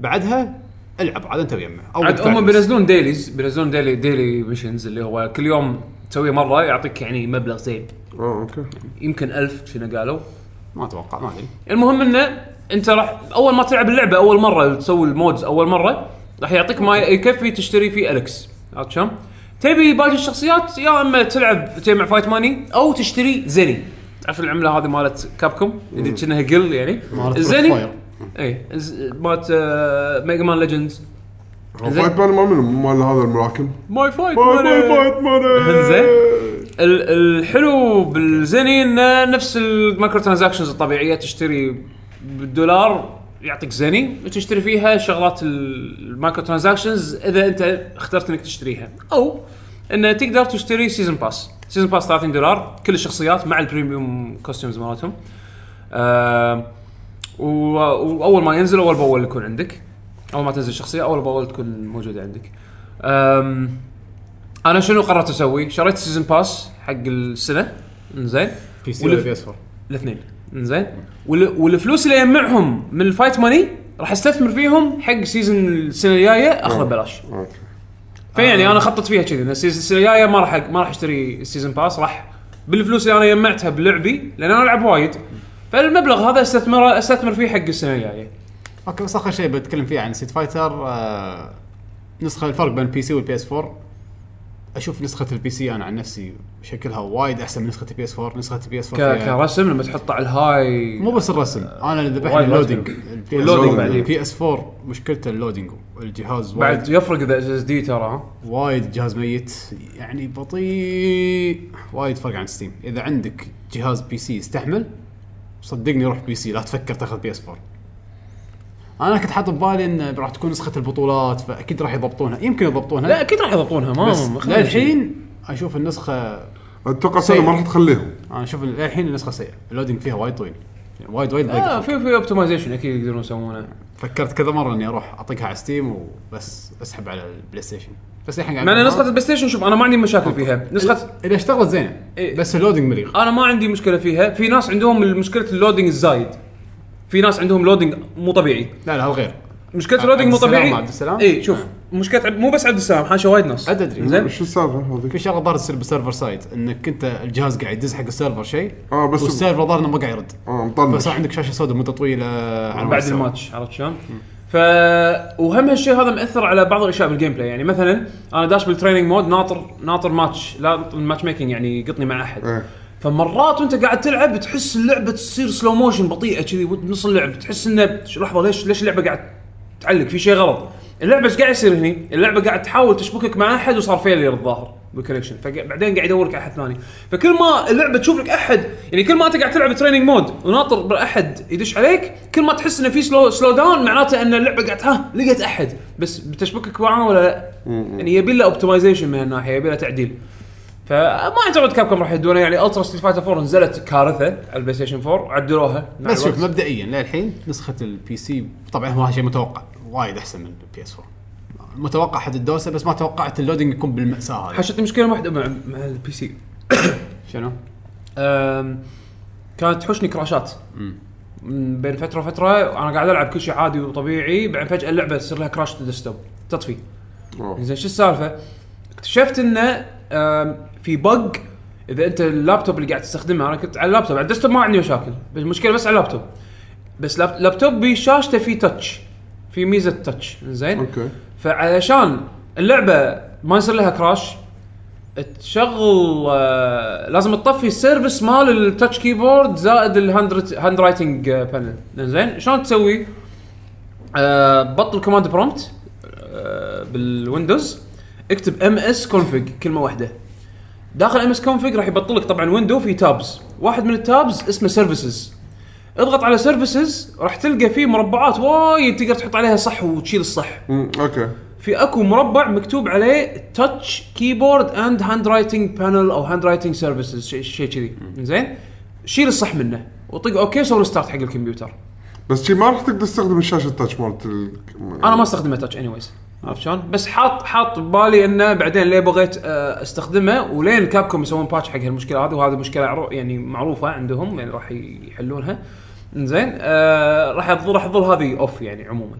بعدها العب عاد انت ويمه او عاد هم بس. بينزلون ديليز بينزلون ديلي ديلي ميشنز اللي هو كل يوم تسويه مره يعطيك يعني مبلغ زين اه اوكي يمكن ألف شنو قالوا ما اتوقع ما ادري المهم انه انت راح اول ما تلعب اللعبه اول مره تسوي المودز اول مره راح يعطيك ما يكفي تشتري فيه الكس عرفت شلون؟ تبي باقي الشخصيات يا اما تلعب تجمع فايت ماني او تشتري زني تعرف العمله هذه مالت كابكوم اللي كأنها جل يعني مالت الزني Crossfire. اي الز- مالت آه، ميجا مان ليجندز هو زين. فايت مان ما منهم مال هذا الملاكم ماي فايت فايت مان فايت مان زين. ال- الحلو بالزني انه نفس المايكرو ترانزاكشنز الطبيعيه تشتري بالدولار يعطيك زني وتشتري فيها شغلات ال- المايكرو ترانزاكشنز اذا انت اخترت انك تشتريها او انه تقدر تشتري سيزون باس سيزون باس 30 دولار كل الشخصيات مع البريميوم كوستيومز مالتهم آه و- واول ما ينزل اول باول يكون عندك اول ما تنزل شخصيه اول باول تكون موجوده عندك أم انا شنو قررت اسوي؟ شريت سيزون باس حق السنه زين في سي والف- ولا PS4 الاثنين زين وال- والفلوس اللي اجمعهم من الفايت ماني راح استثمر فيهم حق سيزون السنه الجايه اخذه ببلاش اوكي فيعني انا خطط فيها كذي ان السيزون السنه الجايه ما راح ما راح اشتري السيزون باس راح بالفلوس اللي انا جمعتها بلعبي لان انا العب وايد فالمبلغ هذا استثمره استثمر فيه حق السنه الجايه اوكي بس اخر شيء بتكلم فيه عن سيت فايتر آه نسخه الفرق بين البي سي والبي اس 4 اشوف نسخه البي سي انا عن نفسي شكلها وايد احسن من نسخه البي اس 4 نسخه البي اس 4 ك- فيها- كرسم لما تحطه على الهاي مو بس الرسم انا اللي ذبحني وايد اللودينج مشكلة. واللودينج بعدين. البي اس 4 مشكلته اللودينج الجهاز بعد وايد يفرق اذا اس اس دي ترى ها؟ وايد جهاز ميت يعني بطيء وايد فرق عن ستيم اذا عندك جهاز بي سي يستحمل صدقني روح بي سي لا تفكر تاخذ بي اس 4 انا كنت حاط ببالي ان راح تكون نسخه البطولات فاكيد راح يضبطونها يمكن يضبطونها لا اكيد راح يضبطونها ما ما بس خلينا للحين اشوف النسخه اتوقع سنه ما راح تخليهم انا اشوف للحين النسخه سيئه اللودينج فيها وايد طويل يعني وايد وايد ضيق اه في في اوبتمايزيشن اكيد يقدرون يسوونه فكرت كذا مره اني اروح اطقها على ستيم وبس اسحب على البلاي ستيشن بس الحين قاعد مع ان نسخه البلاي ستيشن شوف انا ما عندي مشاكل فيها نسخه اذا اشتغلت زينه إيه. بس اللودينج مريغ انا ما عندي مشكله فيها في ناس عندهم مشكله اللودنج الزايد في ناس عندهم لودنج مو طبيعي لا لا هو غير مشكله عبد اللودنج مو السلام، طبيعي عبد السلام؟ اي شوف مشكله عبد- مو بس عبد السلام حاشا وايد ناس عاد أدري. زين شو السالفه هذيك؟ في شغله ضار تصير بالسيرفر سايد انك انت الجهاز قاعد يدز حق السيرفر شيء آه، بس- والسيرفر ضار انه ما قاعد يرد اه مطنش فصار عندك شاشه سوداء مده طويله على بعد السيرفر. الماتش عرفت شلون؟ ف وهم هالشيء هذا مأثر على بعض الاشياء بالجيم بلاي يعني مثلا انا داش بالتريننج مود ناطر ناطر ماتش لا الماتش ميكنج يعني قطني مع احد إيه. فمرات وانت قاعد تلعب تحس اللعبه تصير سلو موشن بطيئه كذي بنص اللعب تحس انه ش- لحظه ليش ليش اللعبه قاعد تعلق في شيء غلط اللعبه ايش قاعد يصير هني؟ اللعبه قاعد تحاول تشبكك مع احد وصار فيلير الظاهر بالكونكشن فبعدين قاعد يدورك على احد ثاني فكل ما اللعبه تشوف لك احد يعني كل ما انت قاعد تلعب تريننج مود وناطر بالاحد يدش عليك كل ما تحس انه في سلو سلو داون معناته ان اللعبه قاعد ها لقت احد بس بتشبكك معاه ولا لا؟ يعني يبي له اوبتمايزيشن من هالناحيه يبي له تعديل فما اعتقد كابكم راح يدونه يعني الترا ستريت فايتر 4 نزلت كارثه على البلاي ستيشن 4 عدلوها نعم. مع بس شوف الوقت. مبدئيا للحين نسخه البي سي طبعا هو شيء متوقع وايد احسن من البي اس 4 متوقع حد الدوسه بس ما توقعت اللودينج يكون بالماساه هذه حشتني مشكله واحده مع مع البي سي شنو؟ أم، كانت تحوشني كراشات من بين فتره وفتره انا قاعد العب كل شيء عادي وطبيعي بعدين فجاه اللعبه تصير لها كراش ديسكتوب تطفي أوه. زين شو السالفه؟ اكتشفت انه آم، في بق اذا انت اللابتوب اللي قاعد تستخدمه انا كنت على اللابتوب على الديسكتوب ما عندي مشاكل بس المشكله بس على اللابتوب بس لاب- لابتوب بشاشته في تاتش في ميزه تاتش زين اوكي فعلشان اللعبه ما يصير لها كراش تشغل آه، لازم تطفي السيرفس مال التاتش كيبورد زائد الهاند هاند رايتنج بانل زين آه، شلون تسوي؟ آه، بطل كوماند برومبت آه، بالويندوز اكتب ام اس كونفج كلمه واحده داخل ام اس كونفج راح يبطل لك طبعا ويندو في تابز واحد من التابز اسمه سيرفيسز اضغط على سيرفيسز راح تلقى فيه مربعات وايد تقدر تحط عليها صح وتشيل الصح مم، اوكي في اكو مربع مكتوب عليه تاتش كيبورد اند هاند رايتنج بانل او هاند رايتنج سيرفيسز شيء كذي زين شيل الصح منه وطق اوكي سوي ستارت حق الكمبيوتر بس شي ما راح تقدر تستخدم الشاشه التاتش مالت ال... انا ما استخدمه تاتش اني ويز عرفت شلون؟ بس حاط حاط ببالي انه بعدين ليه بغيت آه، استخدمه ولين كابكم يسوون باتش حق هالمشكله هذه وهذه مشكله عرو- يعني معروفه عندهم يعني راح يحلونها زين آه راح تظل راح تظل هذه اوف يعني عموما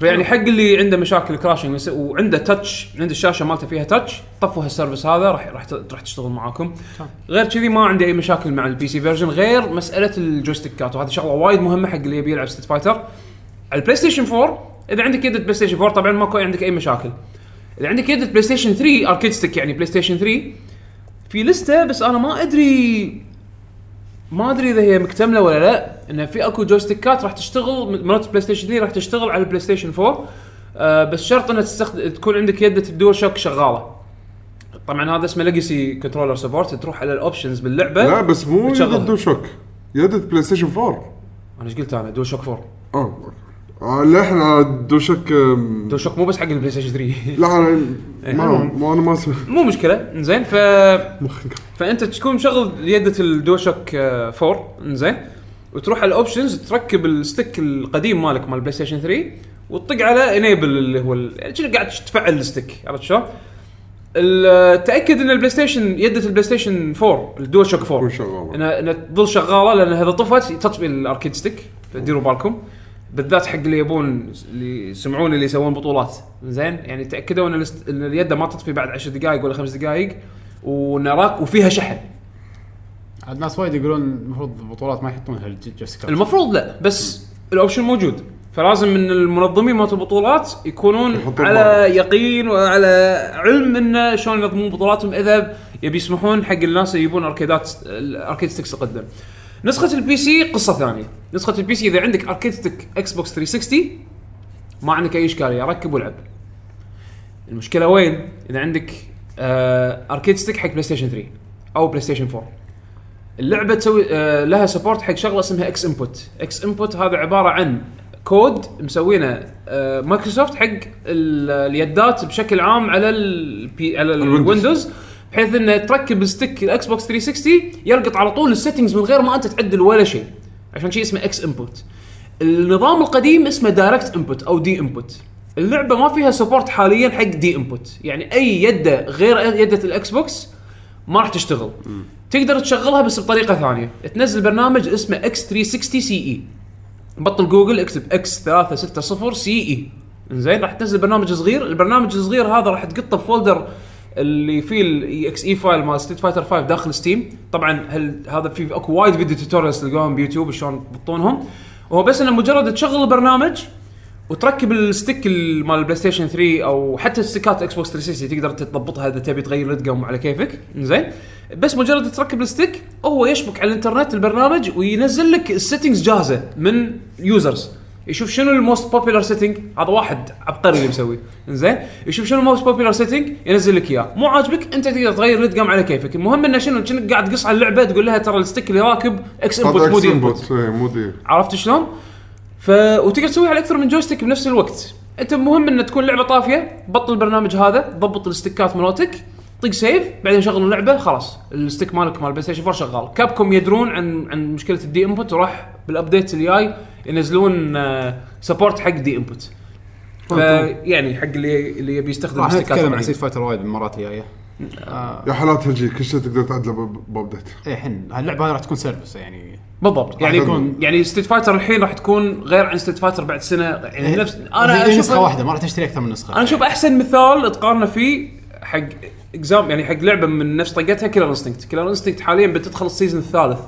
فيعني حق اللي عنده مشاكل كراشنج ويس- وعنده تاتش عنده الشاشه مالته فيها تاتش طفوا هالسيرفس هذا راح راح ت- راح تشتغل معاكم غير كذي ما عندي اي مشاكل مع البي سي فيرجن غير مساله الجويستيكات وهذه شغله وايد مهمه حق اللي يبي يلعب ستيت فايتر على البلاي ستيشن 4 اذا عندك يد بلاي ستيشن 4 طبعا ماكو عندك اي مشاكل اذا عندك يد بلاي ستيشن 3 اركيد ستيك يعني بلاي ستيشن 3 في لسته بس انا ما ادري ما ادري اذا هي مكتمله ولا لا انه في اكو جويستيكات راح تشتغل مرات بلاي ستيشن 3 راح تشتغل على البلاي ستيشن 4 آه بس شرط انها تستخدم تكون عندك يده الدول شوك شغاله طبعا هذا اسمه ليجسي كنترولر سبورت تروح على الاوبشنز آه، باللعبه لا بس مو بتشغلها. يد شوك يد بلاي ستيشن 4 انا ايش قلت انا دول شوك 4 اه أوكي. آه، لا احنا دو شك آم، دول شوك مو بس حق البلاي ستيشن 3 لا انا إيه، ما ما انا ما اسمع مو مشكله زين ف فانت تكون مشغل يده الدوشك 4 زين وتروح على الاوبشنز تركب الستيك القديم مالك مال بلاي ستيشن 3 وتطق على انيبل اللي هو ال- يعني شنو قاعد تفعل الستيك عرفت شلون؟ ال- تاكد ان البلاي ستيشن يده البلاي ستيشن 4 الدوشك 4 تكون شغالة. انها انها تظل شغاله لان اذا طفت تطفي الاركيد ستيك فديروا بالكم بالذات حق اللي يبون اللي يسمعون اللي يسوون بطولات زين يعني تاكدوا ان الست- ان اليد ما تطفي بعد 10 دقائق ولا خمس دقائق ونراك وفيها شحن عاد ناس وايد يقولون المفروض البطولات ما يحطون هالجوستيكات المفروض لا بس الاوبشن موجود فلازم من المنظمين مالت البطولات يكونون يحطون على يقين وعلى علم انه شلون ينظمون بطولاتهم اذا يبي يسمحون حق الناس اللي يبون اركيدات الاركيد ستكس القدم. نسخه البي سي قصه ثانيه، نسخه البي سي اذا عندك اركيد ستيك اكس بوكس 360 ما عندك اي اشكاليه ركب والعب. المشكله وين؟ اذا عندك آه اركيد ستيك حق بلاي ستيشن 3 او بلاي ستيشن 4 اللعبه تسوي آه لها سبورت حق شغله اسمها اكس انبوت اكس انبوت هذا عباره عن كود مسوينه آه مايكروسوفت حق ال- اليدات بشكل عام على ال على الويندوز بحيث انه تركب الستيك الاكس بوكس 360 يلقط على طول السيتنجز من غير ما انت تعدل ولا شيء عشان شيء اسمه اكس انبوت النظام القديم اسمه دايركت انبوت او دي انبوت اللعبه ما فيها سبورت حاليا حق دي انبوت يعني اي يده غير يده الاكس بوكس ما راح تشتغل تقدر تشغلها بس بطريقه ثانيه تنزل برنامج اسمه اكس 360 سي اي E. بطل جوجل اكتب اكس 360 سي اي زين E. راح تنزل برنامج صغير البرنامج الصغير هذا راح تقطه في فولدر اللي فيه E الاي اكس اي فايل مال ستيت فايتر 5 داخل ستيم طبعا هل هذا في اكو وايد فيديو توتوريالز تلقاهم بيوتيوب شلون تبطونهم وهو بس انه مجرد تشغل البرنامج وتركب الستيك ال- مال البلاي ستيشن 3 او حتى الستيكات اكس بوكس 360 تقدر تضبطها اذا تبي تغير الادقم على كيفك زين بس مجرد تركب الستيك هو يشبك على الانترنت البرنامج وينزل لك السيتنجز جاهزه من يوزرز يشوف شنو الموست بوبيلر سيتنج هذا واحد عبقري اللي مسوي زين يشوف شنو الموست بوبيلر سيتنج ينزل لك اياه مو عاجبك انت تقدر تغير الادقم على كيفك المهم انه شنو كأنك قاعد تقص على اللعبه تقول لها ترى الستيك اللي راكب اكس انبوت هذا مو اكس دي انبوت انبوت إيه، مو دي عرفت شلون؟ ف وتقدر تسويها على اكثر من جويستيك بنفس الوقت انت المهم ان تكون لعبه طافيه بطل البرنامج هذا ضبط الستيكات مالتك طق سيف بعدين شغل اللعبه خلاص الستيك مالك مال بلاي ستيشن 4 شغال كابكم يدرون عن عن مشكله الدي انبوت وراح بالابديت الجاي ينزلون سبورت حق دي انبوت فيعني حق اللي اللي يبي يستخدم راح الستيكات نتكلم عن القديمة. سيت فايتر وايد بالمرات الجايه يا حالات هالجيل كل شيء تقدر تعدله ب- بابديت إيه، الحين هاللعبه هاي راح تكون سيرفس يعني بالضبط يعني يكون يعني ستيت فايتر الحين راح تكون غير عن ستيت فايتر بعد سنه إيه. يعني نفس انا هي نسخه اشوف واحده ما راح تشتري اكثر من نسخه انا اشوف احسن مثال تقارنه فيه حق اكزام يعني حق لعبه من نفس طقتها كيلر انستنكت كيلر انستنكت حاليا بتدخل السيزون الثالث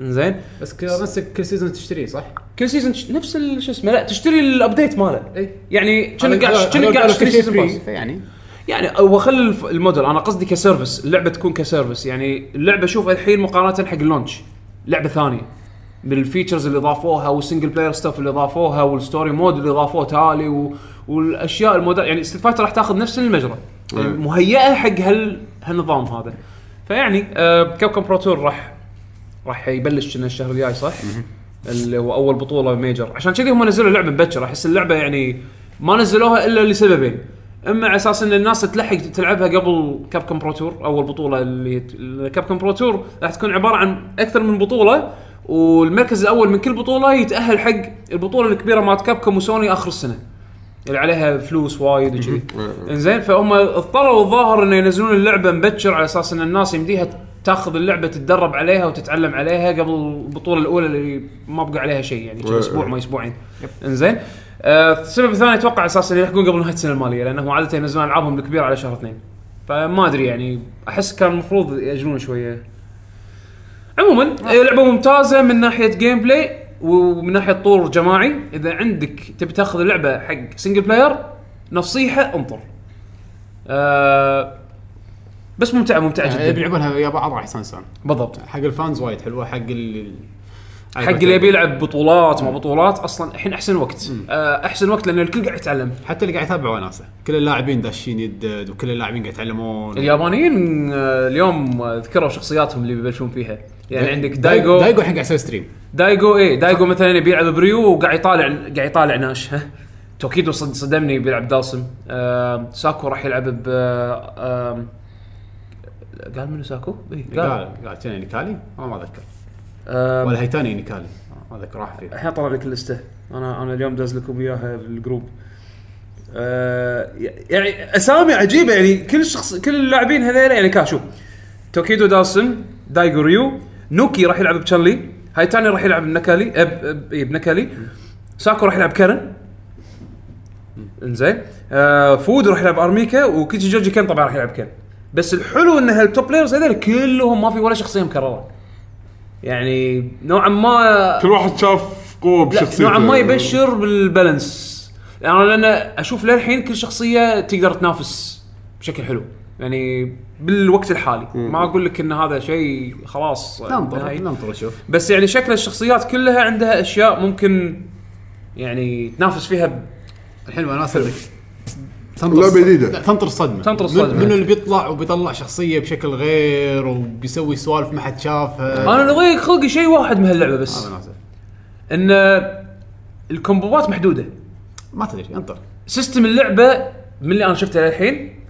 زين بس كل كل سيزون تشتريه صح؟ كل سيزون تش- نفس ال- شو اسمه لا تشتري الابديت ماله يعني كأنك قاعد كأنك قاعد تشتري سيزون باس يعني يعني هو خل الف- الموديل انا قصدي كسيرفس اللعبه تكون كسيرفس يعني اللعبه شوف الحين مقارنه حق اللونش لعبه ثانيه بالفيتشرز اللي ضافوها والسنجل بلاير ستاف اللي ضافوها والستوري مود اللي ضافوه تالي و... والاشياء الموديل يعني ستيت فايتر راح تاخذ نفس المجرى مهيئه حق هال هالنظام هذا فيعني آه كابكم برو تور راح راح يبلش إنه الشهر الجاي صح؟ اللي هو اول بطوله ميجر عشان كذي هم نزلوا اللعبه مبكر احس اللعبه يعني ما نزلوها الا لسببين اما على اساس ان الناس تلحق تلعبها قبل كاب كوم برو تور اول بطوله اللي كاب كوم برو تور راح تكون عباره عن اكثر من بطوله والمركز الاول من كل بطوله يتاهل حق البطوله الكبيره مالت كاب كوم وسوني اخر السنه اللي عليها فلوس وايد وكذي انزين فهم اضطروا الظاهر انه ينزلون اللعبه مبكر على اساس ان الناس يمديها تاخذ اللعبه تتدرب عليها وتتعلم عليها قبل البطوله الاولى اللي ما بقى عليها شيء يعني شي اسبوع ما اسبوعين انزين آه، السبب الثاني اتوقع على اساس انه يلحقون قبل نهايه السنه الماليه لانهم عاده ينزلون العابهم الكبيره على شهر اثنين فما ادري يعني احس كان المفروض ياجلون شويه عموما آه، لعبه ممتازه من ناحيه جيم بلاي ومن ناحيه طور جماعي اذا عندك تبي تاخذ اللعبه حق سنجل بلاير نصيحه انطر آه بس ممتعه ممتعه يعني جدا بيلعبونها ويا بعض راح يستانسون بالضبط حق الفانز وايد حلوه حق ال حق اللي يبي يلعب بطولات ما بطولات اصلا الحين احسن وقت آه، احسن وقت لان الكل قاعد يتعلم حتى اللي قاعد يتابع وناسه كل اللاعبين داشين يدد وكل اللاعبين قاعد يتعلمون اليابانيين آه، اليوم آه، ذكروا شخصياتهم اللي بيبلشون فيها يعني عندك دايجو دايجو الحين قاعد يسوي ستريم دايجو ايه دايجو مثلا يبي يلعب بريو وقاعد يطالع قاعد يطالع ناش ها توكيدو صد صدمني بيلعب دالسم آه ساكو راح يلعب ب آه، آم، قال منو ساكو؟ ايه قال قال قال كان نيكالي انا ما اذكر آم، ولا هيتاني نيكالي ما اذكر راح فيه الحين طلع لك اللسته انا انا اليوم داز لكم اياها بالجروب آه يعني اسامي عجيبه يعني كل شخص كل اللاعبين هذول يعني كاشو توكيدو داسن دايجو ريو نوكي راح يلعب بتشانلي هايتاني راح يلعب بنكالي آه، ب- ب- إيه، بنكالي ساكو راح يلعب كارن انزين آه فود راح يلعب ارميكا وكيتشي جوجي كان طبعا راح يلعب كان بس الحلو ان هالتوب بلايرز هذول كلهم ما في ولا شخصيه مكرره يعني نوعا ما كل واحد شاف قوه لا، بشخصيته نوعا ما يبشر بالبالانس انا لان اشوف للحين كل شخصيه تقدر تنافس بشكل حلو يعني بالوقت الحالي ما اقول لك ان هذا شيء خلاص ننطر نهائي. ننطر نشوف بس يعني شكل الشخصيات كلها عندها اشياء ممكن يعني تنافس فيها ب- الحين وناسه لك تنطر لعبة الصدمة. جديدة. لا، تنطر الصدمه تنطر الصدمة. من- منو اللي بيطلع وبيطلع شخصيه بشكل غير وبيسوي سوالف ما حد شافها انا اللي ضيق خلقي شيء واحد من هاللعبه بس هذا ناسه. ان الكومبوات محدوده ما تدري انطر سيستم اللعبه من اللي انا شفته للحين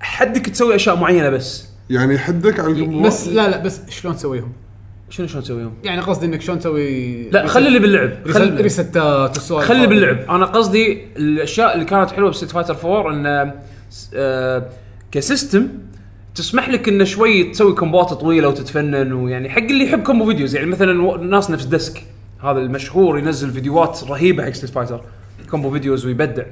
حدك تسوي اشياء معينه بس يعني يحدك على الجمهور بس لا لا بس شلون تسويهم؟ شنو شلون تسويهم؟ يعني قصدي انك شلون تسوي لا خلي اللي باللعب خلي خلي اللي ريستات والسوالف خلي هذه. باللعب انا قصدي الاشياء اللي كانت حلوه بست فايتر 4 ان آه، كسيستم تسمح لك انه شوي تسوي كومبات طويله وتتفنن ويعني حق اللي يحب كومبو فيديوز يعني مثلا و- ناس نفس ديسك هذا المشهور ينزل فيديوهات رهيبه حق ستيت فايتر كومبو فيديوز ويبدع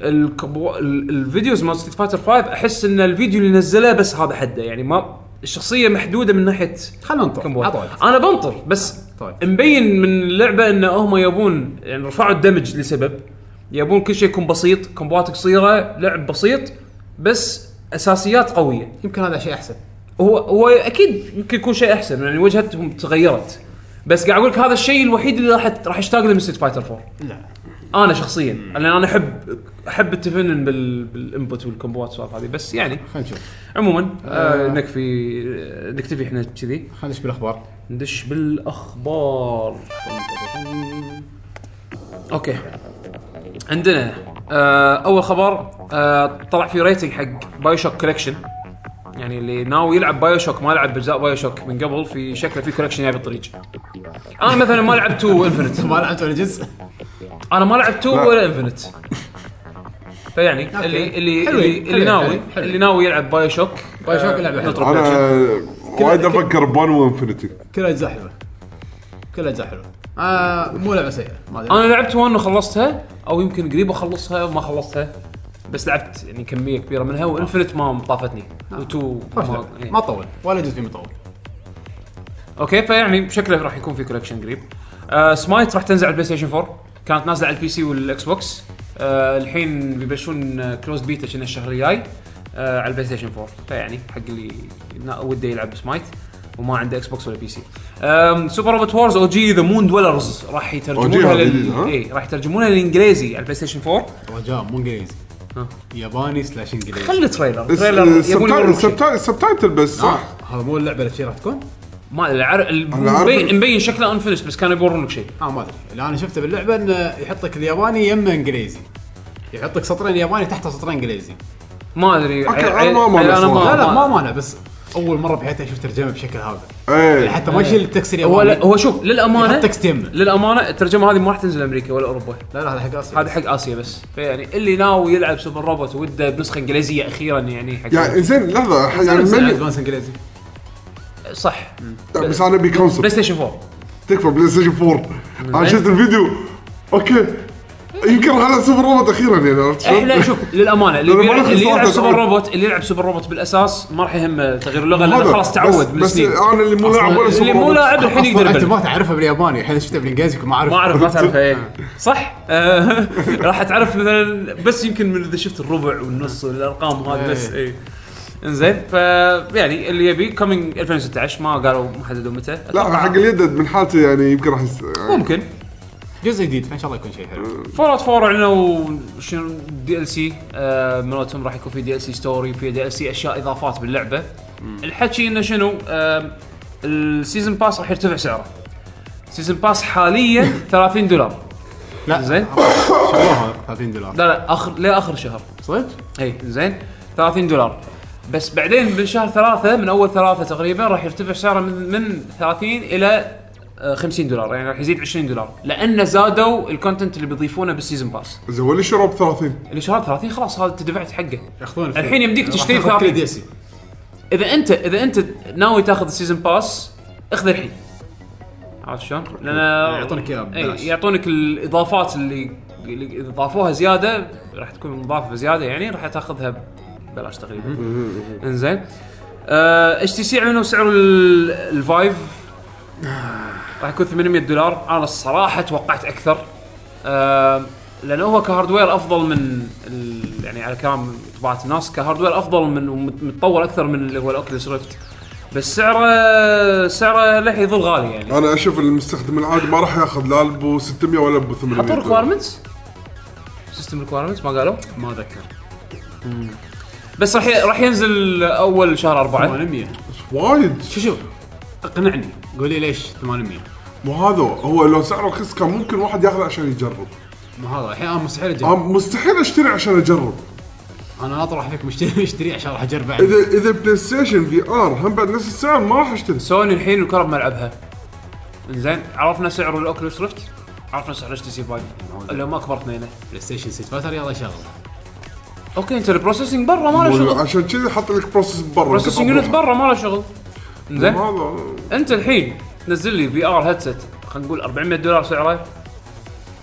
الكومبو ال- الفيديوز مال ستيت فايتر 5 احس ان الفيديو اللي نزله بس هذا حده يعني ما الشخصيه محدوده من ناحيه خلنا ننطر كم واحد. عطوا وقت. انا بنطر بس طيب. مبين من اللعبه ان هم يبون يعني رفعوا الدمج لسبب يبون كل شيء يكون بسيط كومبوات قصيره لعب بسيط بس اساسيات قويه يمكن هذا شيء احسن هو هو اكيد يمكن يكون شيء احسن يعني وجهتهم تغيرت بس قاعد اقول لك هذا الشيء الوحيد اللي راح راح اشتاق له من ستيت فايتر 4 لا انا شخصيا لان انا احب احب التفنن بال... بالانبوت والكومبوات والسوالف هذه بس يعني خلينا نشوف عموما آه نكفي آه، نكتفي احنا كذي خلينا نشوف بالاخبار ندش بالاخبار اوكي عندنا آه اول خبر آه طلع في ريتنج حق بايو شوك كولكشن يعني اللي ناوي يلعب بايو شوك ما لعب اجزاء بايو شوك من قبل في شكله في كولكشن جاي بالطريق انا مثلا ما لعبت تو انفنت آه، ما لعبت ولا جزء انا ما لعبت تو ولا انفنت فيعني اللي اللي حلوين، اللي, اللي حلوين، ناوي حلوين، حلوين. اللي ناوي يلعب آه، بايو شوك بايو شوك لعبة حلوة. نطرد انا action. وايد افكر بانو انفنتي كل اجزاء حلوه كل اجزاء حلوه آه مو لعبه سيئه ما ادري انا لعبت وان وخلصتها او يمكن قريب اخلصها وما خلصتها بس لعبت يعني كميه كبيره منها وانفنت ما طافتني وتو ما- ما إيه. ما طول ولا جزء فيه مطول اوكي فيعني شكله راح يكون في كولكشن قريب آه سمايت راح تنزل على البلاي ستيشن 4 كانت نازله على البي سي والاكس بوكس آه الحين بيبلشون كلوز بيتا كنا الشهر الجاي آه على البلاي ستيشن 4 فيعني حق اللي نا- وده يلعب سمايت وما عنده اكس بوكس ولا بي سي آم، سوبر روبوت وورز او جي ذا مون دولرز راح يترجمونها OG لل... هذه، ها؟ اي راح يترجمونها للانجليزي على البلاي ستيشن 4 رجاء مو انجليزي ها. ياباني سلاش انجليزي خلي تريلر آه، تريلر يبون يوروك شيء. نعم. السبتايتل بس صح آه، هذا مو اللعبه اللي شي راح تكون؟ ما العر... أنا عارف مبين, مبين شكله انفنش بس كانوا يبورونك شيء اه ما ادري اللي انا شفته باللعبه انه يحطك الياباني يما انجليزي يحطك سطرين ياباني تحته سطرين انجليزي ما ادري أوكي، عيل- أنا ما- ما عيل- انا بصراحة. لا ما لا ما ما- مانع بس اول مره بحياتي اشوف ترجمه بشكل هذا يعني ايه حتى ما يشيل التكسير إيه. هو ياباني لا هو شوف للامانه يحط تكست يمه للامانه الترجمه هذه ما راح تنزل امريكا ولا اوروبا لا لا هذا حق اسيا هذا حق اسيا بس يعني اللي ناوي يلعب سوبر روبوت وده بنسخه انجليزيه اخيرا يعني حق يعني زين لحظه يعني من- ادفانس انجليزي صح بس انا ابي كونسل بلاي ستيشن 4 تكفى بلاي ستيشن 4 انا شفت الفيديو اوكي يمكن راح العب سوبر روبوت اخيرا يعني عرفت شلون؟ احنا شوف للامانه اللي, لأنه ما بيلعب نخلص اللي يلعب واحدة سوبر تعود. روبوت اللي يلعب سوبر روبوت بالاساس ما راح يهمه تغيير اللغه لانه هذا. خلاص بس- تعود من بس السنين انا اللي مو لاعب ولا سوبر اللي مو روبوت لاعب الحين اصلا يقدر انت يبلع. ما تعرفها بالياباني الحين شفتها بالانجليزي كنت ما اعرف ما اعرف ما تعرفها إيه. صح آه، راح تعرف مثلا بس يمكن من اذا شفت الربع والنص والارقام هذه بس اي انزين ف يعني اللي يبي كومينج 2016 ما قالوا ما حددوا متى لا حق اليدد من حالته يعني يمكن راح يس... ممكن جزء جديد فان شاء الله يكون شيء حلو فور اوت 4 اعلنوا شنو دي ال سي آه، مالتهم راح يكون في دي ال سي ستوري في دي ال سي اشياء اضافات باللعبه الحكي انه شنو آم، السيزون باس راح يرتفع سعره سيزون باس حاليا 30 دولار لا. زين شروها 30 دولار لا لا اخر لاخر شهر صدق؟ اي إيه، زين 30 دولار بس بعدين من شهر ثلاثة من اول ثلاثة تقريبا راح يرتفع سعره من من 30 الى آه، 50 دولار يعني راح يزيد 20 دولار لانه زادوا الكونتنت اللي بيضيفونه بالسيزون باس زين ولا شرب 30 اللي شهر 30 خلاص هذا انت دفعت حقه ياخذون فيه. الحين يمديك راح تشتري تاخذ 30. كل DLC. اذا انت اذا انت ناوي تاخذ السيزون باس اخذ الحين عرفت شلون؟ لان يعطونك إياه ببلاش. إي، يعطونك الاضافات اللي اللي إذا ضافوها زياده راح تكون مضافه زياده يعني راح تاخذها ببلاش تقريبا انزين اتش تي سي اعلنوا سعر ال- الفايف راح يكون 800 دولار انا الصراحه توقعت اكثر آه، لانه هو كهاردوير افضل من ال- يعني على كلام طباعه الناس كهاردوير افضل من ومتطور اكثر من اللي هو الاوكيوليس ريفت بس سعره سعره لح يظل غالي يعني انا اشوف المستخدم العادي ما راح ياخذ لا ب 600 ولا ب 800 حطوا ريكوايرمنتس سيستم ريكوايرمنتس ما قالوا ما اذكر بس راح ي- راح ينزل اول شهر أربعة 800 وايد شو شو اقنعني قول لي ليش 800 مو هذا هو لو سعره رخيص كان ممكن واحد ياخذه عشان يجرب ما هذا الحين انا مستحيل أنا اجرب مستحيل اشتري عشان اجرب انا اطرح فيك مشتري مشتري عشان راح اجرب بعد اذا اذا بلاي ستيشن في ار هم بعد نفس السعر ما راح اشتري سوني الحين الكرب ملعبها زين عرفنا سعر الاوكيوليس ريفت عرفنا سعر اتش تي سي 5 اللي هم اكبر اثنين بلاي ستيشن 6 فاتر يلا شغل اوكي انت البروسيسنج برا ما له شغل عشان كذي حط لك بروسس برا بروسيسنج يونت برا ما له شغل زين هذا انت الحين تنزل لي في ار هيدسيت خلينا نقول 400 دولار سعره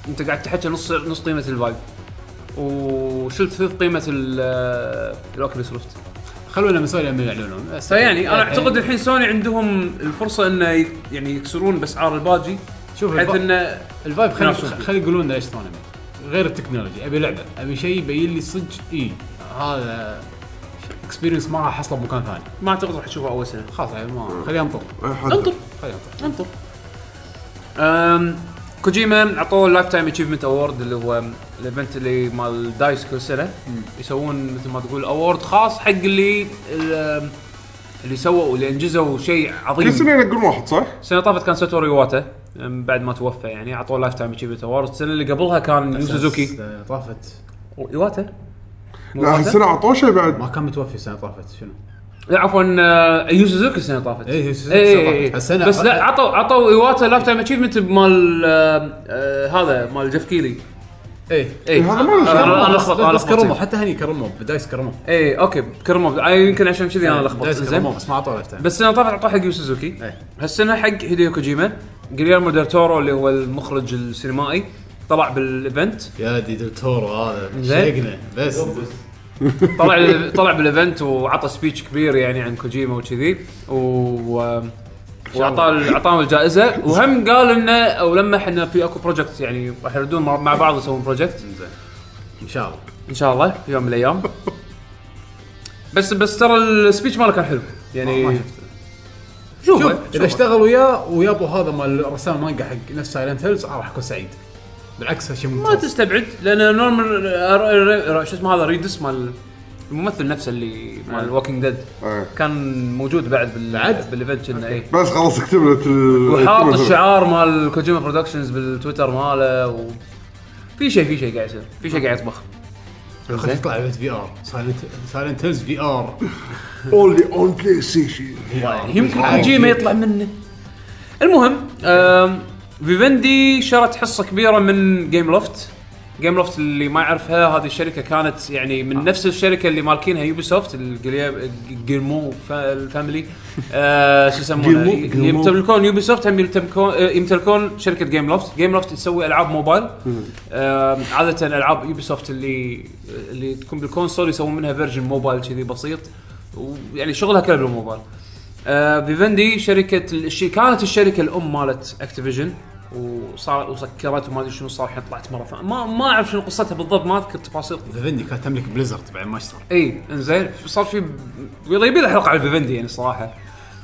انت قاعد تحكي نص نص قيمه الفايب وشلت ثلث قيمه ال- آه، الاوكيوليس ريفت خلونا من سوني لما يعلنون إيه. فيعني انا اعتقد يعني الحين سوني عندهم الفرصه انه ي- يعني يكسرون باسعار الباجي شوف بحيث الب- انه الفايب خلي ينافسون فيه. خلي يقولون لنا ليش 800 غير التكنولوجي ابي لعبه ابي شيء يبين لي صدق اي هذا اكسبيرينس ما راح احصله بمكان ثاني ما اعتقد راح تشوفها اول سنه خلاص يعني ما خليه ينطر انطر خليه ينطر انطر أم، كوجيما عطوه اللايف تايم اتشيفمنت اوورد اللي هو الايفنت اللي مال دايس كل سنه يسوون مثل ما تقول اوورد خاص حق اللي ال- اللي سووا اللي انجزوا شيء كل سنه عظيم ينقلون واحد صح؟ السنه طافت كان ساتوري واتا أم، بعد ما توفى يعني عطوه لايف تايم اتشيفمنت اوورد السنه اللي قبلها كان يو سوزوكي سنة آه، طافت ايواتا مو لا إيواتا؟ السنه عطوه شيء بعد ما كان متوفي السنه طافت شنو؟ لا عفوا آه، يو سوزوكي السنه طافت إيه، يو سوزوكي السنة اي طافت. هالسنة- بس لا عطوا عطوا ايواتا لايف تايم اتشيفمنت مال آه، آه، هذا مال جيف كيلي اي اي هذا ما له شغل. انا أنا لخبط انا إيه. بس كرموا لخبط حتى هني كرموا بدايس كرموا اي اوكي كرمو آه، يمكن عشان كذي انا لخبطت بدايس زين كرموا بس ما اعطوا لايف تايم بس السنه اللي طافت اعطاه حق يو سوزوكي إيه. هالسنه حق هيديو كوجيما جريرمو ديرتورو اللي هو المخرج السينمائي طلع بالايفنت يا دي دكتور هذا زين. شقنا بس طلع طلع بالايفنت وعطى سبيتش كبير يعني عن كوجيما وكذي و واعطاه اعطاهم الجائزه وهم قال انه او لمح انه في اكو بروجكت يعني راح يردون مع مع بعض يسوون بروجكت ان شاء الله ان شاء الله في يوم من الايام بس بس ترى السبيتش ماله كان حلو ما يعني شفته. شوفه شوف اذا اشتغل وياه ويابوا هذا مال رسام مانجا حق نفس سايلنت هيلز راح اكون سعيد بالعكس هالشيء ما ممتاز تستبعد لان نورمان شو اسمه هذا ريدس مال الممثل نفسه اللي مال ووكينج ديد إيه. كان موجود بعد بال آه. بعد؟ بالايفنت كنا اي بس خلاص اكتب له ت- آه. وحاط اكتب له- الشعار مال كوجيما برودكشنز بالتويتر ماله و... في شيء في شيء قاعد يصير في شيء قاعد يطبخ خلينا نطلع ايفنت في ار سايلنت هيلز في ار Only on PlayStation. يمكن كوجيما يطلع منه المهم آم، فيفندي شرت حصه كبيره من جيم لوفت جيم لوفت اللي ما يعرفها هذه الشركه كانت يعني من نفس الشركه اللي مالكينها يوبي سوفت جيمو الفاميلي آه، شو يسمونه جيمو- جيمو. يمتلكون يوبي سوفت هم يمتلكون آه، يمتلكون شركه جيم لوفت جيم لوفت تسوي العاب موبايل آم، عاده العاب يوبي سوفت اللي اللي تكون بالكونسول يسوون منها فيرجن موبايل كذي بسيط ويعني شغلها كله بالموبايل آه، فيفندي شركه الشي كانت الشركه الام مالت اكتيفيجن وصار وسكرت وما ادري شنو صار الحين طلعت مره ثانيه ما ما اعرف شنو قصتها بالضبط ما اذكر تفاصيل فيفندي كانت تملك بليزرد بعد ما اشتغل اي انزين صار في يلا يبي له حلقه على فيفندي يعني صراحه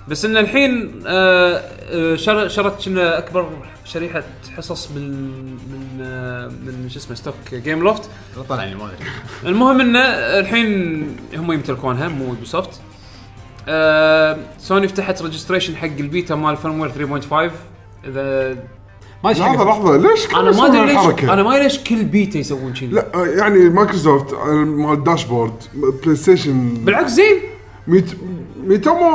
بس ان الحين آه، آه، شر- شرت كنا اكبر شريحه حصص من من آه، من شو اسمه ستوك جيم لوفت طلعني ما ادري المهم انه الحين هم يمتلكونها مو يوبي سوفت آه، سوني فتحت ريجستريشن حق البيتا مال فيرموير 3.5 اذا ما ادري لحظه شقنا. لحظه ليش كانوا انا ما يسوون ادري ليش الحركة؟ انا ما ادري ليش كل بيتا يسوون كذي لا يعني مايكروسوفت مال الداشبورد بلاي ستيشن بالعكس زين ميت ميتامو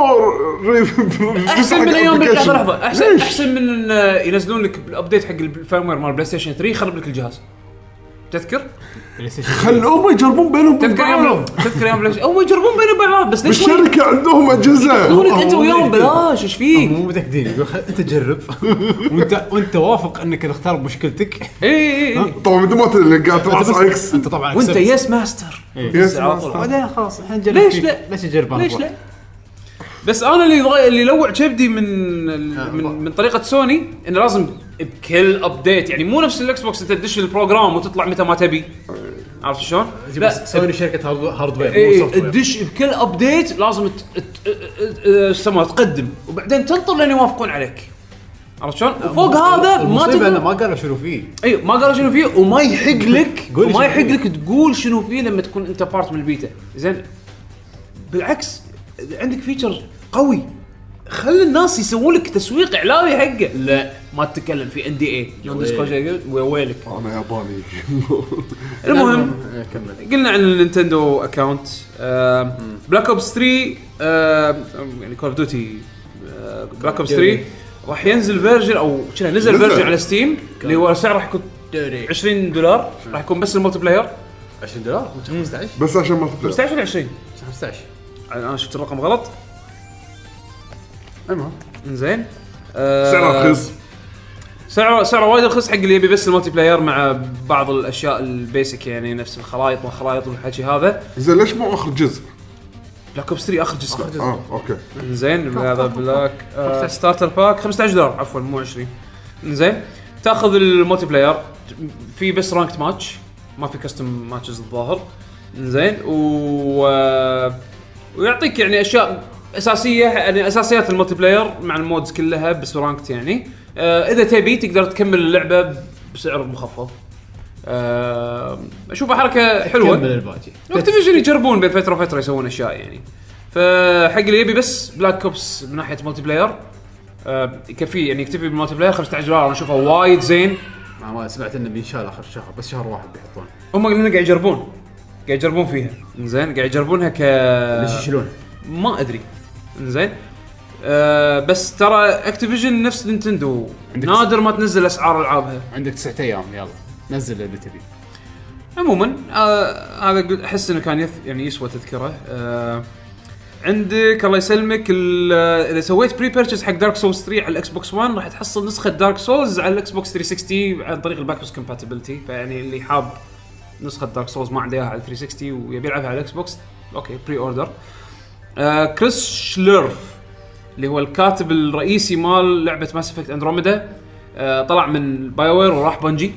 احسن من ايام لحظه لحظه احسن احسن من ان آه، ينزلون لك الابديت حق الفيرموير مال بلاي ستيشن 3 يخرب لك الجهاز تذكر؟ بلاي ستيشن خلوهم يجربون بينهم تذكر يوم بعض. لو- تذكر يوم بلاي هم يجربون بينهم بعض بس ليش ما بالشركه عندهم اجهزه يقولون لك انت وياهم بلاش ايش فيك؟ مو متاكدين يقول خل- انت جرب وانت وانت وافق انك تختار بمشكلتك اي اي اي طبعا انت ما تدري اللي قاعد انت تراس بس- اكس انت طبعا وانت accept. يس ماستر يس على طول. ماستر. بعدين خلاص الحين نجرب ليش فيك. لا؟ ليش نجرب ليش لا؟ بس انا اللي ضايق اللي لوع كبدي من ال- من, من طريقه سوني انه لازم بكل ابديت يعني مو نفس الاكس بوكس انت تدش البروجرام وتطلع متى ما تبي عرفت شلون؟ لا إيه، سوني شركه هارد- هاردوير مو ايه سوفت تدش بكل ابديت لازم ت- ت- ت- يسمونه تقدم وبعدين تنطر لين يوافقون عليك عرفت شلون؟ وفوق هذا ما المصيبه انه تقدر ما قالوا شنو فيه اي أيوة، ما قالوا شنو فيه وما يحق لك قول لي شنو وما يحق فيه. لك تقول شنو فيه لما تكون انت بارت من البيتا زين بالعكس عندك فيتشر قوي خلي الناس يسوون لك تسويق اعلامي حقه لا ما تتكلم في ان دي اي نون ديسكلوجر ويلك انا ياباني المهم إيه، كمل قلنا عن النينتندو آه، اكونت بلاك اوبس 3 آه، يعني كول اوف ديوتي بلاك اوبس 3 راح ينزل فيرجن او شنو نزل نزل. فيرجن على ستيم اللي هو سعره راح يكون 20 دولار راح يكون بس الملتي بلاير 20 دولار مش 15 بس عشان ما تطلع 15 ولا 20 15 انا شفت الرقم غلط المهم زين سعره رخيص آه، سعره سعره وايد رخيص حق اللي يبي بس الملتي بلاير مع بعض الاشياء البيسك يعني نفس الخرائط والخرائط والحكي هذا زين ليش مو اخر جزء؟ بلاك اوبس 3 اخر جزء اه اوكي زين هذا بلاك آه، ستارتر باك 15 دولار عفوا مو 20 زين تاخذ الملتي بلاير في بس رانكت ماتش ما في كاستم ماتشز الظاهر زين و آه، ويعطيك يعني اشياء اساسيه يعني اساسيات الملتي بلاير مع المودز كلها بس رانكت يعني آه، اذا تبي تقدر تكمل اللعبه بسعر مخفض آه، اشوفها حركه حلوه كمل الباقي اكتيفيجن يجربون بين فتره وفتره يسوون اشياء يعني فحق اللي يبي بس بلاك اوبس من ناحيه ملتي بلاير آه، يكفيه يعني يكتفي بالملتي بلاير 15 دولار انا اشوفه وايد زين ما- ما سمعت انه بينشال اخر شهر بس شهر واحد بيحطونه هم قلنا قاعد يجربون قاعد يجربون فيها زين قاعد يجربونها ك ليش يشيلونه؟ ما ادري زين آه بس ترى اكتيفيجن نفس نينتندو عندك- نادر ما تنزل اسعار العابها عندك تسعة ايام يلا نزل اللي تبي عموما آه، هذا قل- احس انه كان يث- يعني يسوى تذكره آه، عندك الله يسلمك ال- آه، اذا سويت بري بيرتشز حق دارك سولز 3 على الاكس بوكس 1 راح تحصل نسخه دارك سولز على الاكس بوكس 360 عن طريق الباكوس كومباتيبلتي فيعني اللي حاب نسخه دارك سولز ما عنده اياها على 360 ويبي يلعبها على الاكس بوكس اوكي بري اوردر آه، كريس شليرف اللي هو الكاتب الرئيسي مال لعبه ماس افكت اندروميدا آه، طلع من باي وير وراح بنجي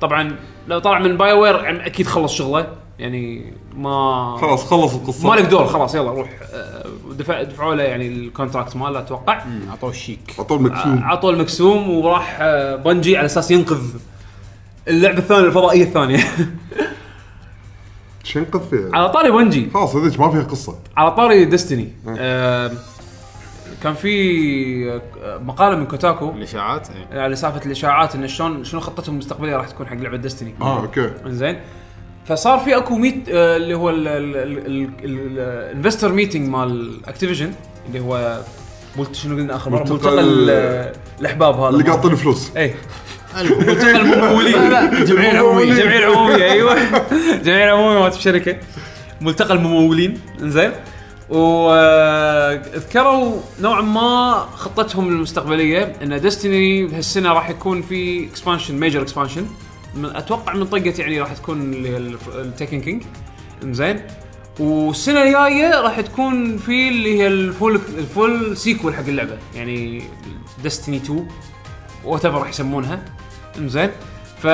طبعا لو طلع من باي وير عم- اكيد خلص شغله يعني ما خلاص خلص القصه مالك دور خلاص يلا روح آه، دفع دفعوا له يعني الكونتراكت ماله اتوقع اعطوه الشيك عطوه آه، مكسوم عطوا المكسوم وراح آه، بنجي على اساس ينقذ اللعبه الثانيه الفضائيه الثانيه شنقذ فيها على طاري بنجي خلاص هذيك ما فيها قصه على طاري ديستني آه كان في آه، مقاله من كوتاكو الاشاعات إيه. على سالفه الاشاعات انه شلون شنو خطتهم المستقبليه راح تكون حق لعبه ديستني اه اوكي انزين فصار في اكو ميت آه، اللي هو الانفستر ميتنج مال اكتيفيجن اللي هو ملت- شنو قلنا اخر مره ملتقى ملتقى ال- ال- الاحباب هذا اللي قاطين فلوس اي الملتقى إيه. المقاولين الجمعيه العموميه الجمعيه العموميه ايوه الجمعيه العموميه مالت الشركه ملتقى الممولين انزين واذكروا نوعا ما خطتهم المستقبليه ان ديستني هالسنه راح يكون في اكسبانشن ميجر اكسبانشن اتوقع من طقه يعني راح تكون اللي هي التكن كينج انزين والسنه الجايه راح تكون في اللي هي الفول الفول سيكول حق اللعبه يعني ديستني 2 وات راح يسمونها زين ف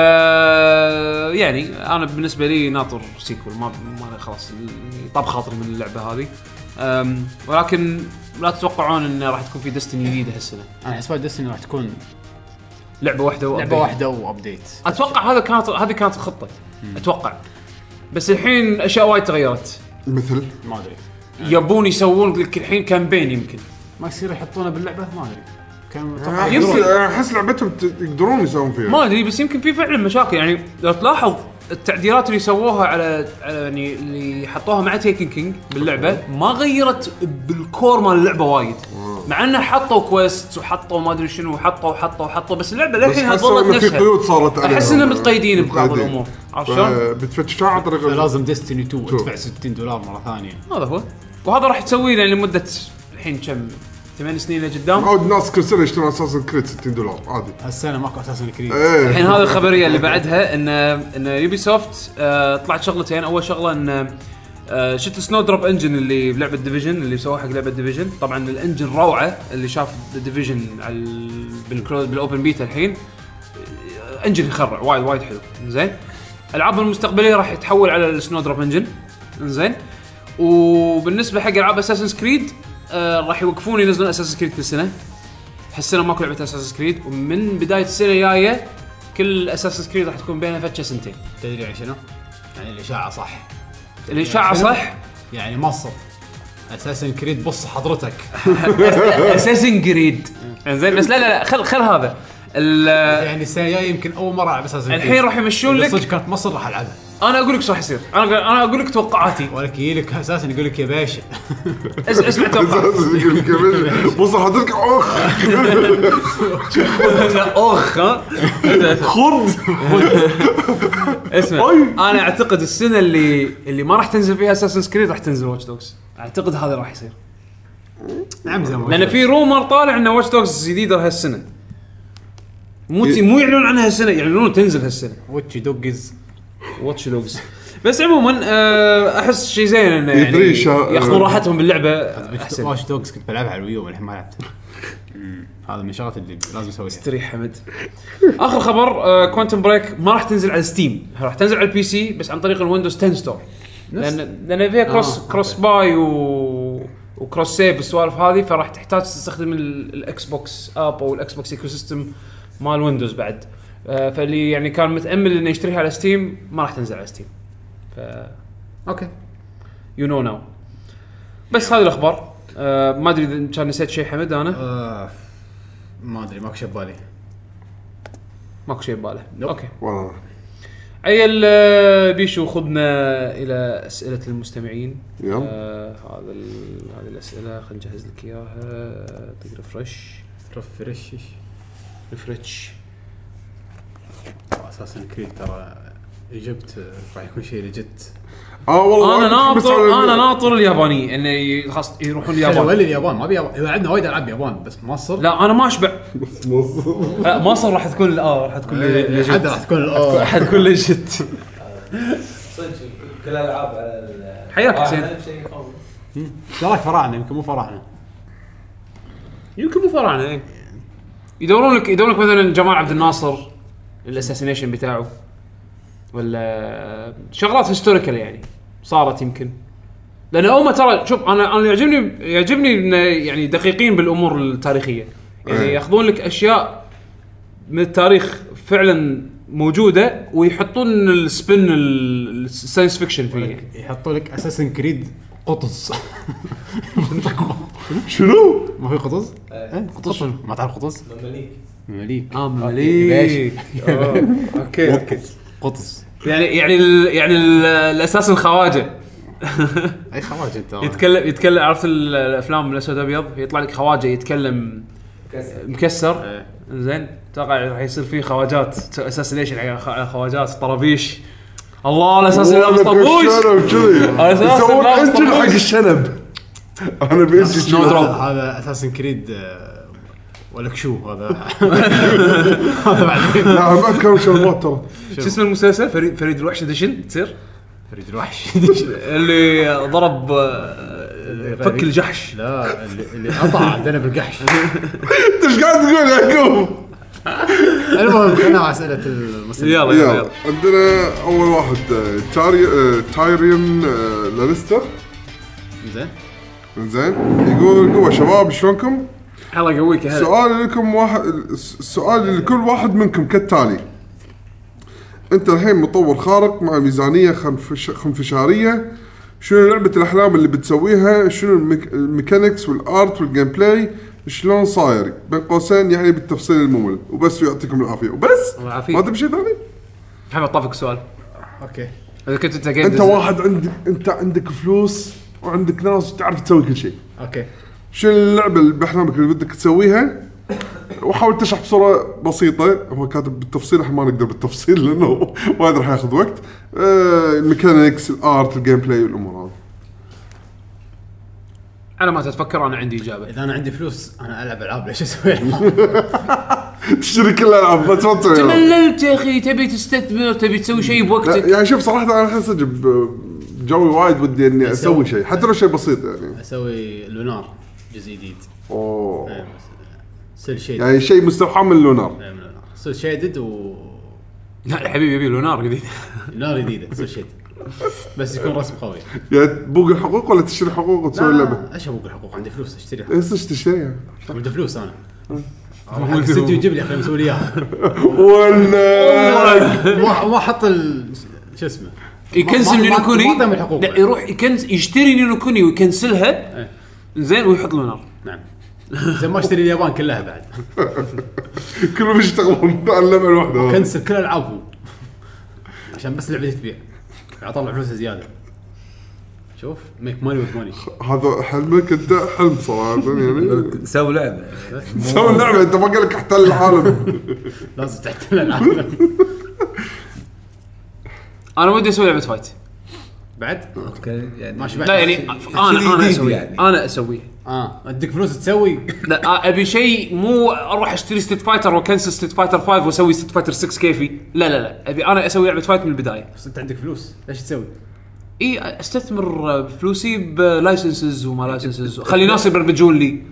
يعني انا بالنسبه لي ناطر سيكول ما ما خلاص طاب خاطري من اللعبه هذه أم، ولكن لا تتوقعون انه راح تكون في دستني جديده هالسنه انا حسبت ديستني آه، راح تكون لعبه واحده لعبه وأبديت. واحده وابديت اتوقع هذا كانت هذه كانت الخطه اتوقع بس الحين اشياء وايد تغيرت مثل ما ادري يبون يسوون لك الحين كامبين يمكن ما يصير يحطونه باللعبه ما ادري كان آه، أتوقع أحس- يمكن. احس لعبتهم ت- يقدرون يسوون فيها ما ادري بس يمكن في فعلا مشاكل يعني لو تلاحظ التعديلات اللي سووها على على يعني اللي حطوها مع تيكن كينج باللعبه ما غيرت بالكور مال اللعبه وايد مع انه حطوا كويست وحطوا ما ادري شنو وحطوا وحطوا وحطوا بس اللعبه بس للحين حسوا ظلت إنه في نفسها قيود صارت عليها احس انهم متقيدين ببعض الامور عرفت شلون؟ بتفتشها عن طريق ال- لازم ديستني 2 ادفع 60 دولار مره ثانيه هذا هو وهذا راح تسويه يعني لمده الحين كم ثمان سنين لقدام عود ناس كل سنه يشترون اساسا كريد 60 دولار عادي هالسنه ماكو اساسا آه. كريد ايه الحين هذه الخبريه اللي بعدها ان ان يوبي سوفت آه، طلعت شغلتين اول شغله ان آه، شفت سنو دروب انجن اللي بلعبه ديفيجن اللي سووها حق لعبه ديفيجن طبعا الانجن روعه اللي شاف ديفيجن بالكلوز بالاوبن بيتا الحين آه، انجن يخرع وايد وايد حلو زين العاب المستقبليه راح يتحول على السنو دروب انجن زين وبالنسبه حق العاب اساسن كريد آه، راح يوقفون ينزلون اساسن كريد كل سنه هالسنه ماكو لعبه اساسن كريد ومن بدايه السنه الجايه كل اساسن كريد راح تكون بينها فتشه سنتين تدري عن شنو؟ يعني الاشاعه صح الاشاعه صح يعني مصر اساسا كريد بص حضرتك اساسن كريد زين بس لا لا لا خل خل هذا ال- يعني السنه الجايه يمكن اول مره العب اساسا الحين راح يمشون لك صدق كانت مصر راح العبها انا اقول لك ايش راح يصير انا أقول- انا اقول لك توقعاتي ولك يجي لك اساسا يقول لك يا باشا اس- اسمع توقعاتي بص حضرتك اخ اخ ها خرد اسمع انا اعتقد السنه اللي اللي ما راح تنزل فيها اساسن كريد راح تنزل واتش دوجز اعتقد هذا راح يصير نعم زين لان في رومر طالع ان واتش دوجز جديده هالسنه مو مو يعلنون عنها هالسنه يعلنون تنزل هالسنه واتش دوجز واتش دوجز بس عموما آه، احس شيء زين انه يعني يدري شا- ياخذون راحتهم باللعبه احسن واتش دوجز كنت بلعبها على الويو والحين ما لعبتها أمم، هذا من الشغلات اللي لازم اسويها استريح حمد اخر خبر كوانتم بريك ما راح تنزل على ستيم راح تنزل على البي سي بس عن طريق الويندوز 10 ستور لان لان فيها كروس آه، كروس باي و وكروس سيف السوالف هذه فراح تحتاج تستخدم ال- الاكس بوكس اب او الاكس بوكس ايكو سيستم مال ويندوز بعد آه، فاللي يعني كان متامل انه يشتريها على ستيم ما راح تنزل على ستيم ف اوكي يو نو ناو بس هذه الاخبار آه، ما ادري اذا كان نسيت شيء حمد انا آه، ما ادري ماكو شيء ببالي ماكو شيء بباله Nope. اوكي عيل آه، بيشو خذنا الى اسئله المستمعين يلا. آه، هذا ال- هذه الاسئله خلينا نجهز لك اياها دق ريفرش رفرش ريفرش اساسا كريد ترى جبت آه، راح يكون شيء لجت اه والله انا متحمس ناطر على- انا ناطر الياباني انه ي- خلاص يروحون حلو اليابان ولا اليابان ما بيابان عندنا وايد العاب يابان بس مصر لا انا ما اشبع بس مص- لا، مصر راح تكون اه راح تكون ليجت. حد إيه، راح تكون الأول. راح تكون ليجت صدق كل الالعاب على ال- حياك حسين. أهم شيء يقوم. ايش رايك فراعنه يمكن مو فراعنه يمكن مو فراعنه إيه. يدورون لك يدورون لك مثلا جمال عبد الناصر الاساسينيشن بتاعه ولا شغلات هيستوريكال يعني صارت يمكن لان هم ترى شوف انا انا يعجبني يعجبني إنه يعني دقيقين بالامور التاريخيه يعني إيه. ياخذون لك اشياء من التاريخ فعلا موجوده ويحطون السبن ال- الساينس فيكشن فيه يحطوا لك اساسن كريد قطز شنو؟ ما في قطز؟ إيه. إيه، قطز ما تعرف قطز؟ آه، مماليك مماليك اه مماليك. آه، اوكي اوكي قطز يعني يعني ال يعني ال الاساس الخواجه اي خواج انت يتكلم يتكلم عرفت ال- الافلام الاسود ابيض يطلع لك خواجه يتكلم مكسر إيه. زين اتوقع راح يصير فيه خواجات اساس ليش على خ- على خواجات طرابيش الله الاساس Oh, اللي لابس طربوش الشنب كذي على أساس يسوون لابس انجن طربوش. حق الشنب انا بيجي سنو دروب. شنو هذا اساسن كريد آه، ولك شو هذا هذا بعدين لا بعد كم شربات ترى شو اسم المسلسل فريد فريد الوحش اديشن تصير فريد الوحش اللي ضرب آه، فك الجحش لا اللي اللي قطع عندنا بالقحش انت ايش قاعد تقول يا يعقوب؟ المهم خلينا على اسئله المسلسل يلا يلا يلا يلا عندنا اول واحد آه، تاري... آه، تايريون آه، لانستر زين زين يقول قوة شباب شلونكم؟ الله يقويك يا هلا سؤالي لكم واحد سؤالي لكل واحد منكم كالتالي انت الحين مطور خارق مع ميزانيه خنفش... خنفشاريه شنو لعبه الاحلام اللي بتسويها شنو الميك... الميكانكس والارت والجيم بلاي شلون صاير بين قوسين يعني بالتفصيل الممل وبس يعطيكم العافيه وبس الله ما يعافيك تبي شيء ثاني محمد طافك سؤال اوكي اذا كنت انت جيم انت ديزاين. واحد عندك انت عندك فلوس وعندك ناس تعرف تسوي كل شيء اوكي شنو اللعبه اللي باحلامك اللي بدك تسويها وحاول تشرح بصوره بسيطه هو كاتب بالتفصيل احنا ما نقدر بالتفصيل لانه وايد راح ياخذ وقت آه، الميكانكس الارت الجيم بلاي والامور هذه على ما تتفكر انا عندي اجابه اذا انا عندي فلوس انا العب العاب ليش اسوي تشتري كل الالعاب ما تفكر يعني. تمللت يا اخي تبي تستثمر تبي تسوي شيء لا، بوقتك يعني شوف صراحه انا خلينا صدق ب- جوي وايد ودي اني اسوي شيء حتى لو شيء بسيط يعني اسوي لونار جزء جديد إيه. اوه سيل شيدد يعني شيء مستوحى من لونار سيل نعم، شيدد و لا الحبيب يبي له نار جديد نار جديده سيل شيدد بس يكون رسم قوي يعني تبوق الحقوق ولا تشتري حقوق وتسوي اللعبه ايش ابوق الحقوق عندي فلوس اشتري حقوق. ايش تشتري عندي فلوس انا حق الاستديو يجيب لي خلينا نسوي لي اياها ولا ما ما حط ال شو اسمه يكنسل ما- ما- نينو كوني ما تعمل حقوق. لا يروح يكنس يشتري نينو كوني ويكنسلها إيه. زين ويحط له نار نعم زين ما اشتري اليابان كلها بعد كلهم يشتغلون على اللعبه الواحده كنسل كل العابهم عشان بس لعبتي تبيع اطلع فلوس زياده شوف ميك ماني وذ ماني هذا حلمك انت حلم صراحه يعني سوي لعبه سوي لعبه انت ما قال لك احتل العالم لازم تحتل العالم انا ودي اسوي لعبه فايت بعد كان يعني ما شبعت لا يعني انا انا جديد اسوي يعني. انا اسوي اه اديك فلوس تسوي لا ابي شيء مو اروح اشتري ستيت فايتر واكنسل ستيت فايتر 5 واسوي ستيت فايتر 6 كيفي لا لا لا ابي انا اسوي لعبه فايت من البدايه بس انت عندك فلوس ليش تسوي؟ اي استثمر آه، فلوسي بلايسنسز وما لايسنسز خلي ناس يبرمجون لي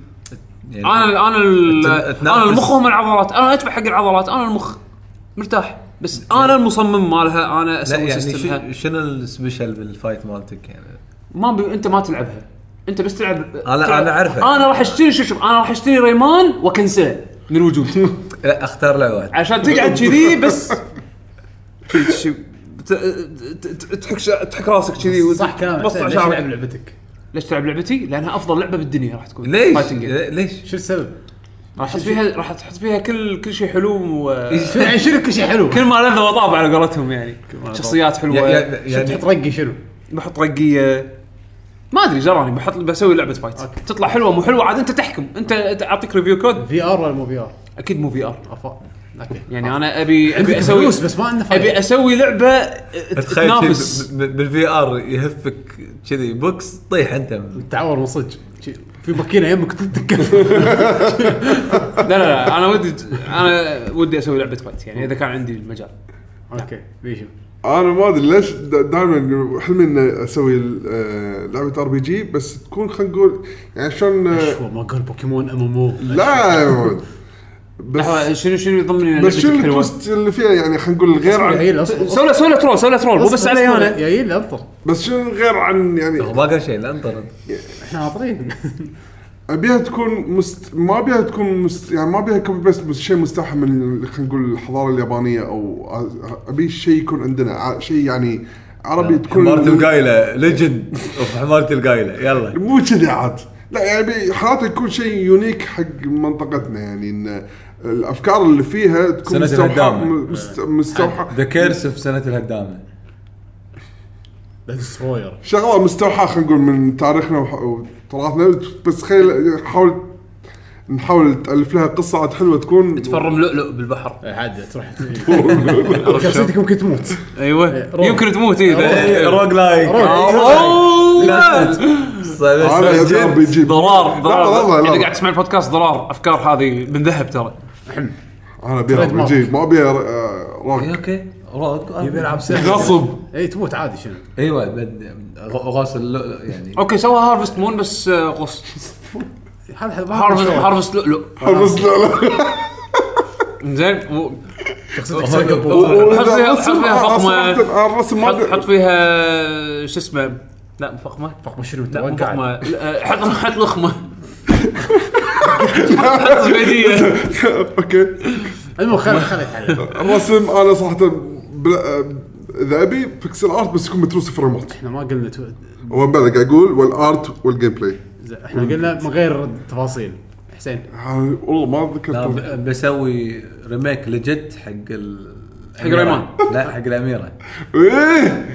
يعني انا انا ال- التنافس. انا المخ هم العضلات انا ادفع حق العضلات انا المخ مرتاح بس انا المصمم مالها انا لا اسوي يعني سيستمها شو- شنو السبيشل بالفايت مالتك يعني ما بي... انت ما تلعبها انت بس تلعب أنا- تلعب- أنا أعرفها. انا راح اشتري شوف شوف انا راح اشتري ريمان واكنسله من الوجود لا اختار لعبه واحده عشان تقعد كذي بس شي- ت- ت- ت- تحك شا- تحك راسك كذي وت- صح كلامك تبص حسين، على ليش شعرك. تلعب لعبتك؟ ليش تلعب لعبتي؟ لانها افضل لعبه بالدنيا راح تكون ليش؟ Fighting game. ليش؟ شو السبب؟ راح تحط فيها راح تحط فيها كل كل شيء حلو و... شو يعني شنو كل شيء حلو؟ كل ما لذ وطاب على قولتهم يعني شخصيات حلوه يعني- شو يعني تحط رقي شنو؟ بحط رقيه ما ادري جراني بحط بسوي لعبه فايت أوكي. تطلع حلوه مو حلوه عاد انت تحكم انت أنت اعطيك ريفيو كود في ار ولا مو في ار؟ اكيد مو في ار أفا- اوكي يعني انا ابي ابي اسوي فلوس بس ما عندنا ابي فايده اسوي لعبه ت- تخيل تنافس بالفي ار يهفك كذي بوكس طيح انت تعور من صدق شي- في ماكينه يمك تدق لا لا لا انا ودي انا ودي اسوي لعبه فايت يعني اذا كان عندي المجال اوكي بيشو انا ما ادري ليش دائما حلمي اني اسوي آه، لعبه ار بي جي بس تكون خلينا نقول يعني شلون آه، شو ما قال بوكيمون ام ام او لا يا ولد. لحظه بس شنو شنو يضمني بس شنو لعبتك حلوة؟ التوست اللي فيها يعني خلينا نقول غير إيه، عن سوي له سوي له ترول سوي له ترول مو بس علي انا يا إيه، يلا انطر بس شنو غير عن يعني ما قال شيء لا انطر احنا ناطرين ابيها تكون مست... ما ابيها تكون مست... يعني ما ابيها كوبي بيست بس شيء مستوحى من خلينا نقول الحضاره اليابانيه او أ- ابي شيء يكون عندنا ع- شيء يعني عربي تكون حمارة القايلة ليجند اوف حمارة القايلة يلا مو كذي عاد لا يعني حالات يكون شيء يونيك حق منطقتنا يعني ان الافكار اللي فيها تكون سنة مستوحاه الهدامة. مست... مستوحاه ذا كيرس في سنة الهدامة ديستروير شغله مستوحاه خلينا نقول من تاريخنا وح- وتراثنا بس خيل حاول نحاول نالف لها قصه عاد حلوه تكون تفرم لؤلؤ بالبحر عاد تروح شخصيتك ممكن تموت ايوه روح. يمكن تموت اذا روج لايك آه، هذا يبي ار بي جي ضرار لا، ضرار لا، لا. اذا قاعد تسمع البودكاست ضرار افكار هذه من ذهب ترى انا ابي ار Trademark. بي جي ما ابي ر- آه، روك اوكي روج يبي يلعب سيف غصب اي تموت عادي شنو ايوه بد- غ- غاص اللؤلؤ يعني اوكي سوى هارفست مون بس آه، غص هذا هذا هارفست هذا- هارفست لؤلؤ بس لا لا زين و- شخصيتك سيف و- قبل. حط فيها- حط الرسم- فيها فقمه صراحة الرسم حط حط ما فيها شو اسمه لا فقمه فقم شنو لا مو توقع فقمه لا، حط حط لخمه حط زبيديه اوكي المهم خلي خلي يتحلل الرسم انا صراحه بلا- آه، اذا ابي بيكسل ارت بس يكون متروس فريمات احنا ما قلنا تو- هو بلا قاعد اقول والارت والجيم بلاي زين، احنا قلنا من غير تفاصيل حسين آه، والله ما لا ذكرت ب- بسوي ريميك لجد حق ال حق ريمان. لا حق الاميره ايه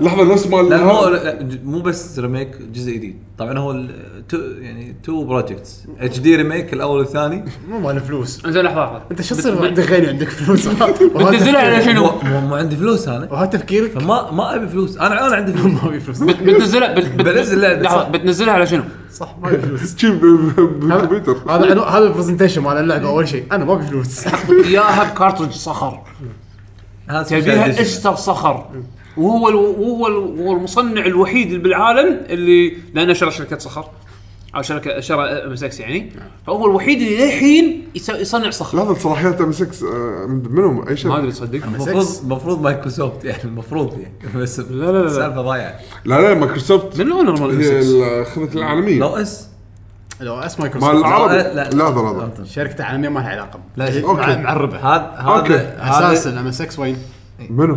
لحظه نفس مال لا مو لا، ج- مو بس ريميك جزء جديد طبعا هو ال- تو- يعني تو بروجكتس اتش دي ريميك الاول والثاني مو مال فلوس زين لحظه لحظه انت شو تصير عندك غني عندك فلوس بتنزلها على شنو؟ مو- مو مو عندي فلوس انا وهذا تفكيرك فما ما ابي فلوس انا انا عندي فلوس ما في فلوس بت- بتنزلها بت- بت- بنزل لعبة، لحظه صح. بتنزلها على شنو؟ صح ما في فلوس شي بالكمبيوتر هذا عنو- هذا البرزنتيشن مال اللعبه اول شيء انا ما في فلوس ياها بكارترج صخر هذا سبيشال تبيها إديشن. اشتر صخر وهو ال وهو ال وهو المصنع الوحيد اللي بالعالم اللي لانه شرى شركه صخر او شركه شرى ام اس اكس يعني فهو الوحيد اللي للحين يس- يصنع صخر لحظه صلاحيات آه، ام 6 منهم اي ما شركه ادري تصدق المفروض المفروض مايكروسوفت يعني المفروض يعني بس لا لا، لا. السالفه ضايعه لا لا مايكروسوفت من الاونر مال ام هي 6 الخدمه العالميه لو اس لو اس مال مايكروسوفت العرب لا، لا. لحظه لحظه أنطر. شركة عالمية ما لها علاقة لا، هي أوكي. مع مع الربح هذا أوكي. هذا اساس هذا- الام اس اكس وين؟ منو؟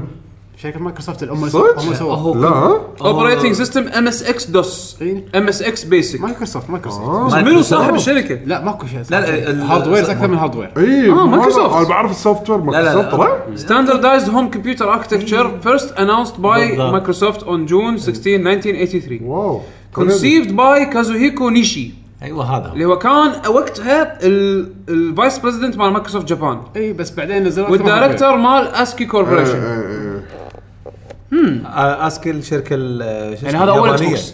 شركة مايكروسوفت الام هم صدق؟ سووا هو لا ها؟ اوبريتنج سيستم ام اس اكس دوس ام اس اكس بيسك مايكروسوفت مايكروسوفت آه. منو صاحب الشركه؟ لا ماكو شيء لا، لا، ال- هاردوير اكثر من هاردوير اي إيه، ما مايكروسوفت. انا آه، بعرف السوفت وير لا، لا. مايكروسوفت ترى Standardized home computer architecture first announced by بالضبط. Microsoft on June 16, 1983. واو Conceived by Kazuhiko Nishi ايوه هذا هو. اللي هو كان وقتها الفايس بريزدنت مال مايكروسوفت جابان اي بس بعدين نزلوا أكثر من والدايركتور مال اسكي إيه، كوربوريشن إيه، إيه. آه، اسكي الشركه ال- شو يعني اسمه هذا أول إكس اليابانية. بوكس.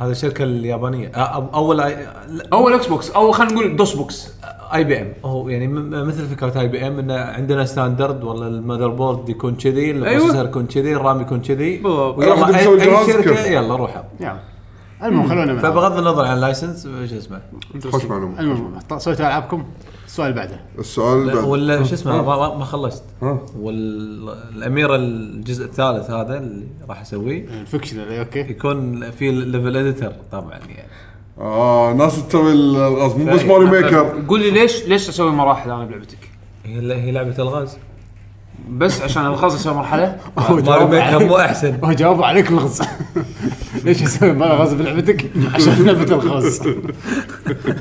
هذا الشركه اليابانيه آه، أب- اول آي- لا، اول اكس بوكس او خلينا نقول دوس بوكس اي بي ام هو يعني م- مثل فكره اي بي ام انه عندنا ستاندرد والله المذر بورد يكون كذي البروسيسور يكون كذي الرام يكون كذي بالضبط. ويلا راح أي- نسوي اي جهاز شركه كذا. يلا روحوا يلا المهم خلونا من هذا. فبغض النظر عن اللايسنس شو اسمه خوش معلومه المهم ط- سويتوا العابكم السؤال اللي بعده السؤال بعد. ولا شو اسمه ما- ما- ما خلصت ها. والاميره الجزء الثالث هذا اللي راح اسويه أه. الفكشنال اوكي يكون في ليفل اديتر طبعا يعني اه ناس تسوي الغاز مو بس ماري ميكر قول لي ليش ليش اسوي مراحل انا بلعبتك؟ هي هي لعبه الغاز بس عشان الغاز اسوي مرحله؟ ماري ميكر مو احسن هو جاوب عليك الغز ليش يسوي مال غاز بلعبتك؟ عشان لعبة الغاز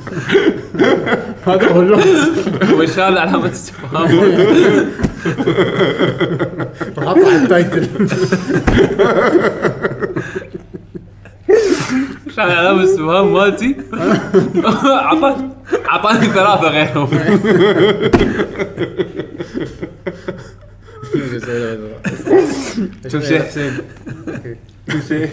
هذا هو اللغز وشال علامه استفهام حطها على التايتل شال علامه استفهام مالتي عطت اعطاني ثلاثه غيرهم كم شيء حسين كم شيء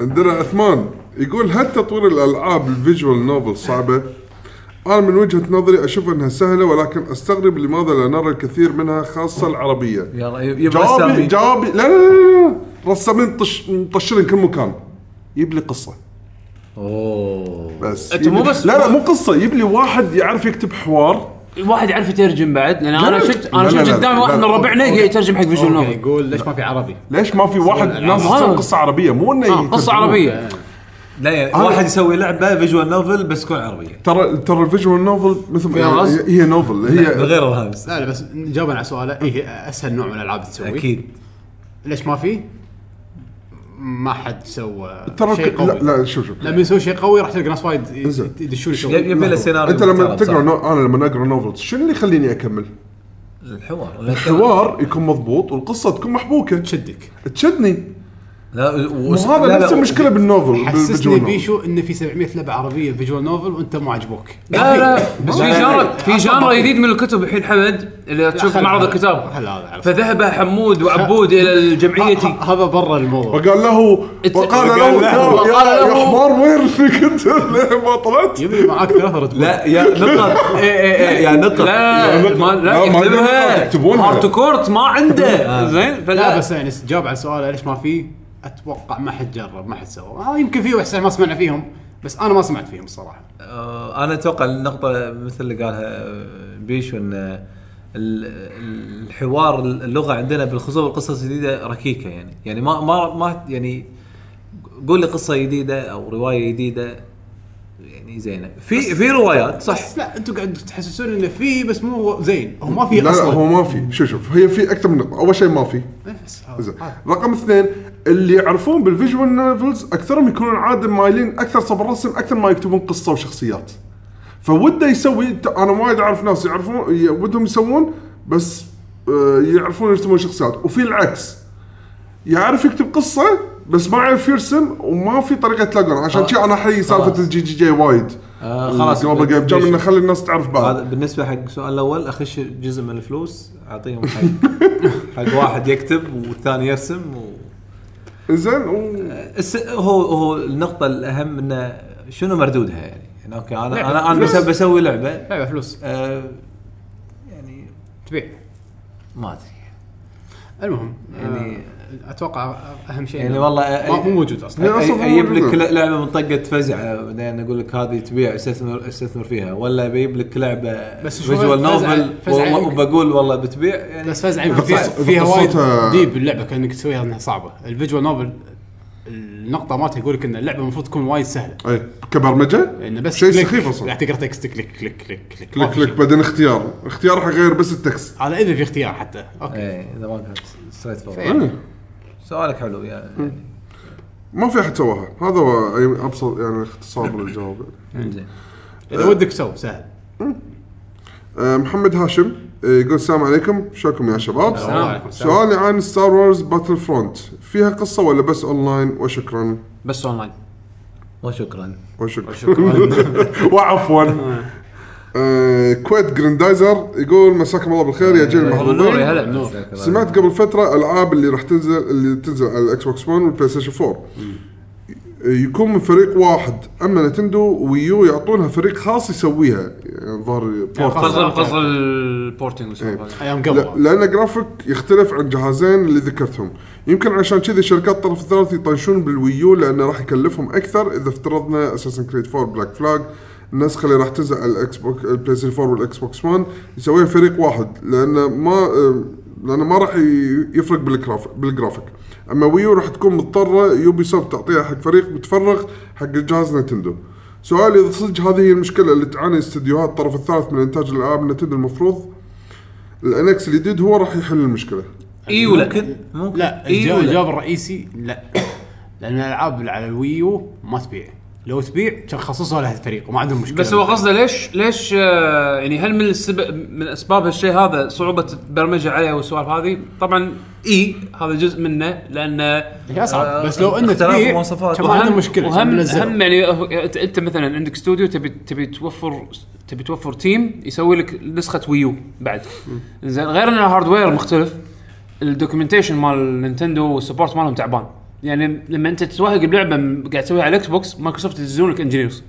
عندنا عثمان يقول هل تطوير الالعاب الفيجوال نوفل صعبه؟ انا من وجهه نظري اشوف انها سهله ولكن استغرب لماذا لا نرى الكثير منها خاصه العربيه. يلا يبغى جوابي السامي جوابي لا لا لا لا رسامين طش مطشرين كل مكان يجيب لي قصه اوه بس أنت مو يجيب لي- بس- لا لا مو قصه يجيب لي واحد يعرف يكتب حوار واحد يعرف يترجم بعد لان انا لا. شفت لا، انا لا، شفت لا، قدامي لا. واحد من ربعنا قاعد يترجم حق فيجوال اوكي نوفل يقول ليش ما في عربي؟ ليش ما في واحد ناس الألعاب. تسوي قصه عربيه مو انه آه، قصه يترجمون. عربيه لا يعني واحد يسوي لعبه فيجوال نوفل بس تكون عربيه ترى ترى الفيجوال نوفل مثل فيها ما غصب؟ هي- هي نوفل من هي غير الهامس لا لا بس جاوبا على سؤاله اي هي اسهل نوع من الالعاب تسوي اكيد ليش ما في؟ ما حد سوى ترى شيء لا قوي لا شوف شوف لما يسوي شيء قوي راح تلقى ناس وايد ي- انزين. يدشون يبي يسوون يعني؟ يبي له سيناريو انت لما محترم، تقرا صح. نو... انا لما اقرا نوفل شنو اللي يخليني اكمل؟ الحوار الحوار يكون مضبوط والقصه تكون محبوكه تشدك تشدني لا و- وهذا لا، نفس لا، المشكله بالنوفل حسسني بالفيجوال نوفل. بيشو ان في 700 لعبه عربيه فيجوال نوفل وانت مو عجبوك لا لا بس في لا، لا، جانرا في جانرا جديد من الكتب الحين حمد اللي تشوف خل- معرض خل- الكتاب خل هذا على صوت. فذهب حمود وعبود الى الجمعيه ه- ه- هذا برا الموضوع وقال له It's- وقال وقال له يا- له- يا- وقال يا له- حمار وين كنت ليه ما طلعت؟ يبي معاك ثلاثه تقول لا يا نقط اي اي اي يا نقط لا لا، ما- لا لا، ما يقدر يكتبها يكتبونها. هارت كورت ما عنده زين لا فلا بس يعني جاوب على سؤاله ليش ما في اتوقع ما حد جرب ما حد سوى آه يمكن في واحد ما سمعنا فيهم بس انا ما سمعت فيهم الصراحه آه، انا اتوقع النقطه مثل اللي قالها آه، بيشو ان آه، ال- ال- الحوار اللغه عندنا بالخصوص بالقصص الجديده ركيكه يعني يعني ما ما ما يعني قول لي قصه جديده او روايه جديده يعني زينه في في روايات صح بس لا انتم قاعد تحسسون انه في بس مو زين هو ما في لا لا اصلا هو ما في شوف شوف هي في اكثر من نقطه اول شيء ما في بس هذا. زين رقم اثنين اللي يعرفون بالفيجوال نوفلز اكثرهم يكونون عاده مايلين اكثر صبر الرسم اكثر ما يكتبون قصه وشخصيات فوده يسوي ت- انا وايد اعرف ناس يعرفون ي- ودهم يسوون بس آه، يعرفون يرسمون شخصيات وفي العكس يعرف يكتب قصه بس ما يعرف يرسم وما في طريقه تلاقون عشان كذا انا احيي سالفه الجي جي جي وايد آه، خلاص. جلوبال جيم جام انه خلي الناس تعرف آه. بعض هذا بالنسبه حق السؤال الاول اخش جزء من الفلوس اعطيهم حق حق واحد يكتب والثاني يرسم و... زين و- الس... هو هو النقطه الاهم انه شنو مردودها يعني, يعني اوكي انا انا انا فلوس. بس بسوي لعبه لعبه أيوة، فلوس آه، يعني تبيع ما ادري المهم يعني يعني- اتوقع اهم شيء يعني إنه والله ما- مو موجود أي- اصلا لا، أصلاً أي- مو اجيب لك موجود. لعبه من طقه فزعه بعدين اقول لك هذه تبيع استثمر استثمر فيها ولا بجيب لك لعبه بس بس شوي فيجوال فزعة- نوفل فزعة و- يمكن. وبقول والله بتبيع يعني بس فزعه يمكن فيها, قصة- فيها وايد قصتها- ديب اللعبه كانك تسويها انها صعبه الفيجوال نوفل النقطه مالته يقول لك ان اللعبه المفروض تكون وايد سهله اي كبرمجه إيه، لان بس إيه، شيء كليك، يعني سخيف اصلا راح تقرا تكست كليك كليك كليك كليك ما كليك في كليك شيء. بعدين اختيار اختيار حق غير بس التكست هذا اذا في اختيار حتى اوكي ايه اذا ما كان ستريت فورورد إيه. سؤالك حلو يعني ما في احد سواها هذا هو أي- ابسط يعني اختصار للجواب زين اذا ودك سو سهل أه، محمد هاشم أه، يقول السلام عليكم شلونكم يا شباب السلام عليكم سؤالي عن ستار وورز باتل فرونت فيها قصه ولا بس اونلاين وشكرا بس اونلاين وشكرا وشكرا وعفوا أه، كويت جريندايزر يقول مساكم الله بالخير يا جيل نور يا المحظوظين هلا نور سمعت قبل فتره العاب اللي راح تنزل اللي تنزل على الاكس بوكس 1 والبلاي ستيشن 4 يكون من فريق واحد اما نتندو ويو يعطونها فريق خاص يسويها يعني ظهر قصر قصر البورتنج ايام لا- قبل لان جرافيك يختلف عن جهازين اللي ذكرتهم يمكن عشان كذي شركات الطرف الثالث يطنشون بالويو لانه راح يكلفهم اكثر اذا افترضنا اساسن كريد 4 بلاك فلاج النسخه اللي راح تنزل على آه، الاكس بوكس البلاي ستيشن 4 والاكس بوكس 1 يسويها فريق واحد لانه ما لانه ما راح ي- يفرق بالجرافيك بالجرافيك اما ويو راح تكون مضطره يوبي سوفت تعطيها حق فريق متفرغ حق الجهاز نتندو سؤالي اذا صدق هذه هي المشكله اللي تعاني استديوهات الطرف الثالث من انتاج الالعاب نتندو المفروض الانكس الجديد هو راح يحل المشكله اي ولا ممكن ممكن لا اي إيه الجواب ولا الجواب الرئيسي لا لان الالعاب اللي على الويو ما تبيع لو تبيع كان خصصوا لها الفريق وما عندهم مشكله بس هو قصده ليش ليش آه، يعني هل من السبب من اسباب هالشيء هذا صعوبه البرمجه عليه والسوالف هذه؟ طبعا اي هذا جزء منه لان هي آه، اصعب بس لو انه اختلاف تبيع المواصفات. كان ما عندهم مشكله كان وهم منزلوا. هم يعني هو- انت انت مثلا عندك استوديو تبي تبي توفر تبي توفر تيم يسوي لك نسخه ويو بعد زين غير ان الهاردوير مختلف الدوكيومنتيشن مال نينتندو والسبورت مالهم تعبان يعني لما انت تتوهق بلعبه م- قاعد تسويها على الاكس بوكس مايكروسوفت يدزون لك انجينيرز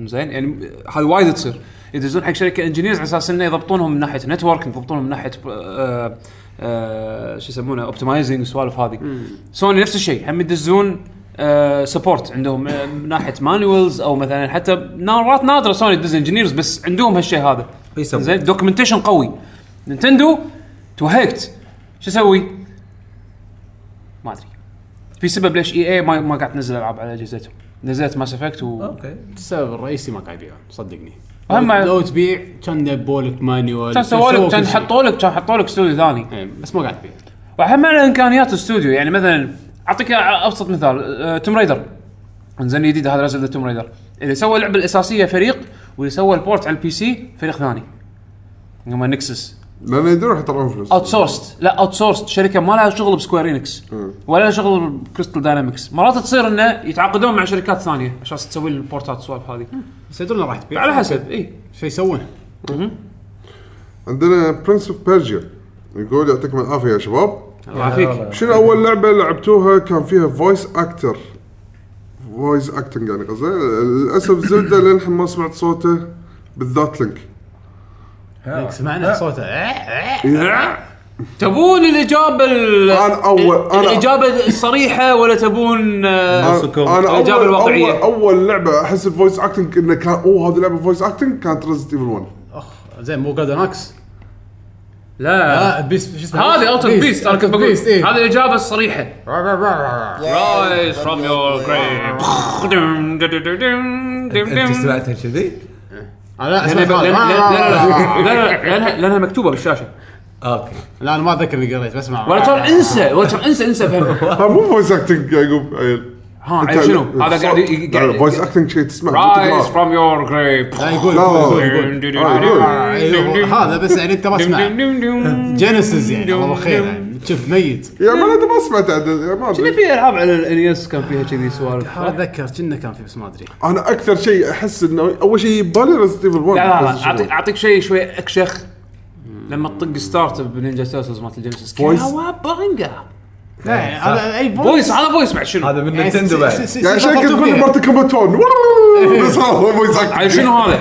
زين يعني هذه وايد تصير يدزون حق شركه انجينيرز على اساس انه يضبطونهم من ناحيه نتورك يضبطونهم من ناحيه آه، آه، شو يسمونه اوبتمايزنج والسوالف هذه سوني نفس الشيء هم يدزون سبورت عندهم آه، من ناحيه مانوالز او مثلا حتى مرات نادره سوني تدز انجينيرز بس عندهم هالشيء هذا يسوون. زين دوكيومنتيشن قوي نينتندو توهقت شو اسوي؟ ما ادري في سبب ليش اي اي ما ما قاعد تنزل العاب على اجهزتهم نزلت ماس افكت و اوكي السبب الرئيسي ما قاعد يبيعون صدقني هم- لو تبيع كان دبولك مانيوال كان سووا لك كان كل شيء. حطوا لك كان حطوا لك استوديو ثاني إيه، بس ما قاعد تبيع وهم على امكانيات الاستوديو يعني مثلا اعطيك ابسط مثال آه، توم رايدر انزين جديد هذا نزل توم رايدر اللي سوى اللعبه الاساسيه فريق واللي سوى البورت على البي سي فريق ثاني هم نكسس لان يدرون راح يطلعون فلوس اوت سورست لا اوت سورست شركه ما لها شغل بسكوير انكس ولا لها شغل بكريستال داينامكس مرات تصير انه يتعاقدون مع شركات ثانيه عشان تسوي البورتات والسوالف هذه بس يدرون راح تبيع على حسب إيه. اي شو يسوون عندنا برنس اوف بيرجيا يقول يعطيكم العافيه يا شباب الله آه، يعافيك شنو اول لعبه لعبتوها كان فيها فويس اكتر فويس اكتنج يعني قصدي للاسف زلده للحين ما سمعت صوته بالذات لينك آه. لك سمعنا صوته تبون الاجابه ال- أنا أول- أنا- الاجابه الصريحه ولا تبون آه، انا انا الإجابة اول اول, الواقعية. أول لعبه احس الفويس اكتنج انه كان اوه هذه لعبه فويس اكتنج كانت ريزنت ايفل 1 اخ زين مو جولدن اكس لا لا بيس شو اسمه آه. إيه. هذه اوت بيست انا كنت بقول بيست اي هذه الاجابه الصريحه Rise from your grave دم- دم- دم- دم- دم- انت دم. سمعتها كذي؟ لا لأن- لأن- اسمع لأن- لا لأن- لأن- لأنها- لانها مكتوبه بالشاشه اوكي لا انا ما اتذكر اللي قريت بسمع ولا ترى انسى ولا ترى انسى انسى فهمها ها مو فويس اكتنج يا يعقوب عيل ها عيل شنو هذا قاعد ي- فويس قاعد اكتنج شيء تسمع رايز فروم يور جريب لا يقول لا، يقول- لا، يقول. آه، أيوه، هذا بس يعني انت ما سمعت جينيسيس يعني والله خير يعني شوف ميت يا ما ما سمعت عدل يا ما ادري في العاب على الانيس كان فيها كذي سوالف اتذكر كنا كان في بس ما ادري انا اكثر شيء احس انه اول شيء يبالي ريزنت ايفل 1 لا لا لا بس شنو. أعطي- اعطيك شيء شوي اكشخ لما تطق ستارت بنينجا تيرتلز مالت الجيمس Voice. كاوابانجا إيه، هذا اي فويس على فويس بعد شنو؟ هذا من إيه، نينتندو بعد يعني عشان كذا تقول مارتن كومبات 1 بس هذا فويس على اكتنج شنو هذا؟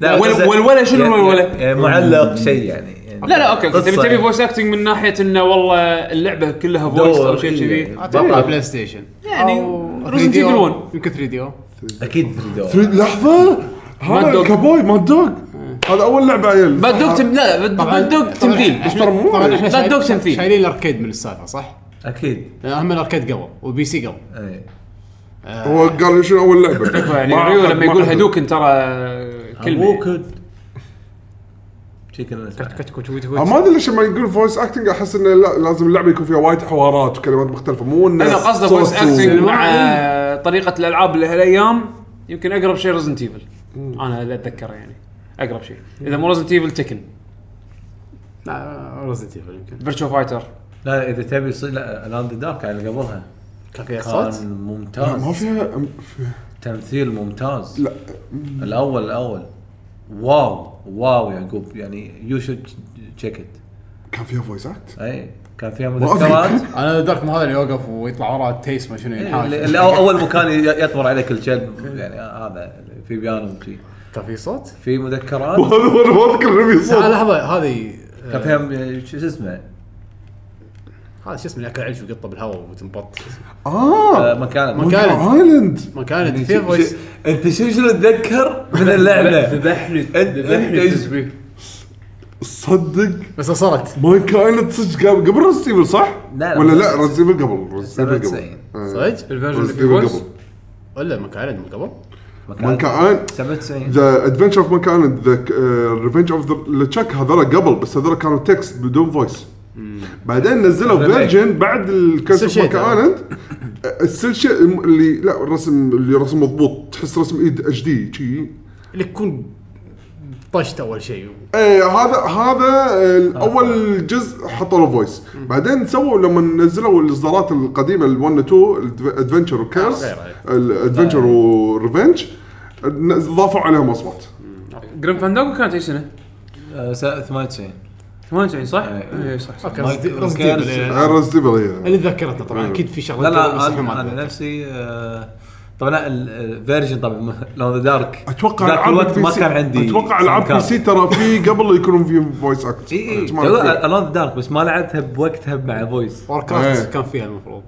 لا، وال- بس- والولا شنو يعني- الولوله؟ يعني معلق شيء يعني يعني لا لا اوكي اوكي تبي قصة تبي يعني. فويس اكتنج من ناحيه انه والله اللعبه كلها فويس او دور، شيء إيه. كذي اتوقع بلاي ستيشن يعني أو Resident 3DO. Evil 1. يمكن 3 دي او اكيد 3 دور لحظه Mad هذا Dog. الكابوي ماد دوغ هذا اول لعبه عيل بدوك تم لا بدوك تمثيل طبعا احنا لا شايل- تدوق تمثيل. شايلين الاركيد من السالفه صح؟ اكيد لأن هم الاركيد قبل والبي سي قبل إيه. هو قال شنو اول لعبه يعني ما ريو أخذ- لما ما يقول أخذ. هدوكن ترى كلمه أبوكد. شي كنا نسمع. أنا أه، ما ادري ليش لما يقول فويس اكتنج احس انه لا لازم اللعبه يكون فيها وايد حوارات وكلمات مختلفه مو انه انا قصده صوت فويس و- اكتنج مع طريقه الالعاب لهالايام يمكن اقرب شيء ريزنت ايفل انا اللي اتذكره يعني اقرب شيء اذا مو ريزنت ايفل تكن رزنت ايفل يمكن فيرتشو فايتر لا اذا تبي يصير لا لاند دارك على اللي قبلها كان فيها صوت كان ما ممتاز فيها تمثيل ممتاز لا. الاول الاول واو واو يعقوب يعني يو شود تشيك ات كان فيها فويس اكت اي كان فيها وأفريقيا. مذكرات انا ذاك مو هذا اللي يوقف ويطلع وراه التيس ما شنو ينحاش إيه، اللي اللي أو- اول مكان ي- يطمر عليه كل كلب يعني هذا في بيانو وشي كان في صوت؟ في مذكرات وهذا هو ما اذكر انه في لا صوت لحظه هذه كان فيها م- شو اسمه هذا شو اسمه اللي ياكل عيش ويقطه بالهواء وتنبط اه آه، مكان مكان. كانت. ايلاند ما كانت يعني في شو- فويس شو- انت شو شنو تتذكر من اللعبه؟ ذبحني ذبحني التسبيح. صدق بس صارت مايك ايلاند صدق قبل- قبل ريزنت ايفل صح؟ لا، لا. ولا لا ريزنت ايفل قبل ريزنت ايفل 97. قبل صدق؟ الفيرجن اللي ريزنت فيه ايفل فويس قبل ولا ما كانت من قبل؟ مايك ايلاند 97 ذا ادفنشر uh, اوف مايك ايلاند ذا ريفنج اوف ذا تشاك هذول قبل بس هذول كانوا تكست بدون فويس بعدين نزلوا Remake. فيرجن بعد الكونسبت Cell shaded. مالك آه. ايلاند السلشة اللي لا الرسم اللي رسم مضبوط تحس رسم ايد اتش دي شي اللي تكون طشت اول شيء ايه هذا هذا اول جزء حطوا له فويس بعدين سووا لما نزلوا الاصدارات القديمه ال 1 و 2 ادفنشر وكيرس غيرها. الادفنشر وريفنج ضافوا عليهم اصوات جريم فانداجو كانت اي سنه؟ آه، سا- 98 98 صح؟ إيه. اي صح صح اوكي مايك- Resident Evil كيرس. يعني. غير ريزنتبل هي اللي تذكرتنا طبعا اكيد في شغلات لا لا مسحوا انا معنا. أنا نفسي آه، طبعا لا، ال- الفيرجن طبعا لون ذا دارك اتوقع ذاك العاب الوقت البي ما سي- كان عندي إيه، اتوقع العاب بي ساوند سي كارد. ترى في قبل يكونون في فويس اكت اي اي الون ذا دارك بس ما لعبتها بوقتها مع فويس واركرافت إيه. كان فيها المفروض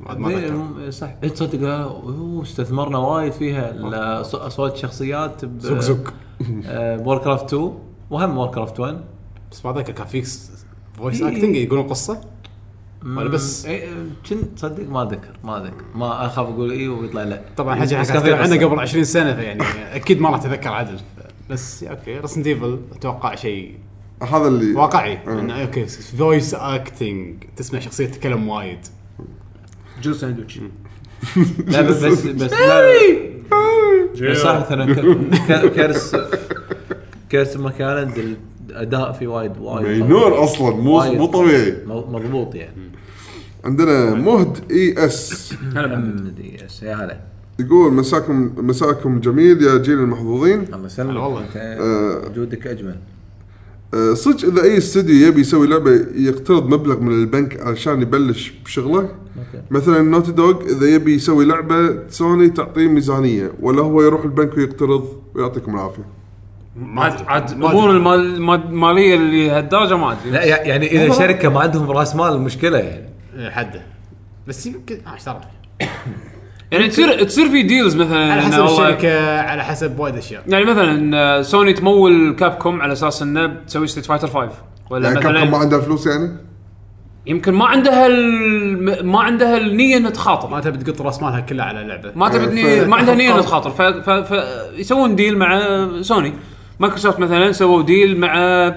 بعد ما إيه، أتذكر. م- صح إيه، تصدق آه، أوه، استثمرنا وايد فيها ال- أص- اصوات شخصيات ب- زق زق آه، بور كرافت 2 وهم وور كرافت 1 بس بعدك كان فيك فويس إيه. اكتنج يقولون قصه ولا بس؟ مم، إيه، كنت تصدق ما ذكر ما ذكر ما اخاف اقول اي ويطلع لا طبعا حاجه بس احنا كان قاعد في عنها قصة. قبل 20 سنه فيعني اكيد ما راح اتذكر عدل بس اوكي رسن ديفل اتوقع شيء هذا اللي واقعي انه اوكي فويس اكتنج تسمع شخصيه تتكلم وايد جل ساندويتش لا بس بس بس لا بس صح مثلا ك- ك- كرس كرس مكان الاداء فيه وايد وايد مينور اصلا مو وايد. مو طبيعي مو- مضبوط يعني عندنا مهد اي اس هلا محمد. مدري ايش أمم، يا هلا يقول مساكم مساكم جميل يا جيل المحظوظين الله يسلمك هلا والله. آه، والله وجودك اجمل أه، صدق اذا اي استوديو يبي يسوي لعبه يقترض مبلغ من البنك علشان يبلش بشغله أوكي. مثلا نوتي دوغ اذا يبي يسوي لعبه سوني تعطيه ميزانيه ولا هو يروح البنك ويقترض ويعطيكم العافيه ما عاد أدري. عاد ما الامور أدري. المال- المال- الماليه اللي هالدرجه ما ادري لا بس- يع- يعني اذا شركه ما عندهم راس مال مشكله يعني إيه، حده بس يمكن آه، ايش تعرف يعني تصير تصير في ديلز مثلا على إنه حسب والله- الشركه على حسب وايد اشياء يعني مثلا آه، سوني تمول كاب كوم على اساس انه بتسوي ستريت فايتر 5 ولا يعني كم ما مثلا عندها فلوس يعني؟ يمكن ما عندها ال- ما عندها النيه انها تخاطر ما تبي تقط راس مالها كلها على لعبه ما تبي ف- ما عندها نيه انها إيه، تخاطر. تخاطر ف- ف- فيسوون ديل مع سوني مايكروسوفت مثلا سووا ديل مع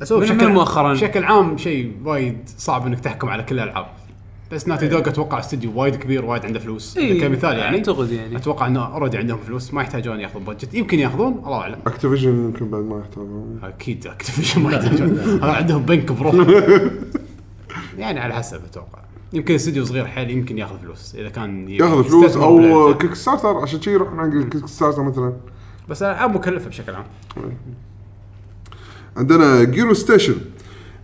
بس هو من- بشكل من مؤخراً؟ بشكل عام شيء وايد صعب انك تحكم على كل الالعاب بس ناتي دوغ اتوقع استوديو وايد كبير وايد عنده فلوس إيه، كمثال يعني أعتقد يعني. اتوقع انه اوريدي عندهم فلوس ما يحتاجون ياخذون بادجت يمكن ياخذون الله اعلم اكتيفيجن يمكن بعد ما يحتاجون اكيد اكتيفيشن ما يحتاجون هذا عندهم بنك بروح يعني على حسب اتوقع يمكن استوديو صغير حيل يمكن ياخذ فلوس اذا كان يبي ياخذ فلوس يستثمر او بلعبته. كيك ستارتر عشان شي يروح حق الكيك ستارتر مثلا بس الالعاب مكلفه بشكل عام عندنا جيرو ستيشن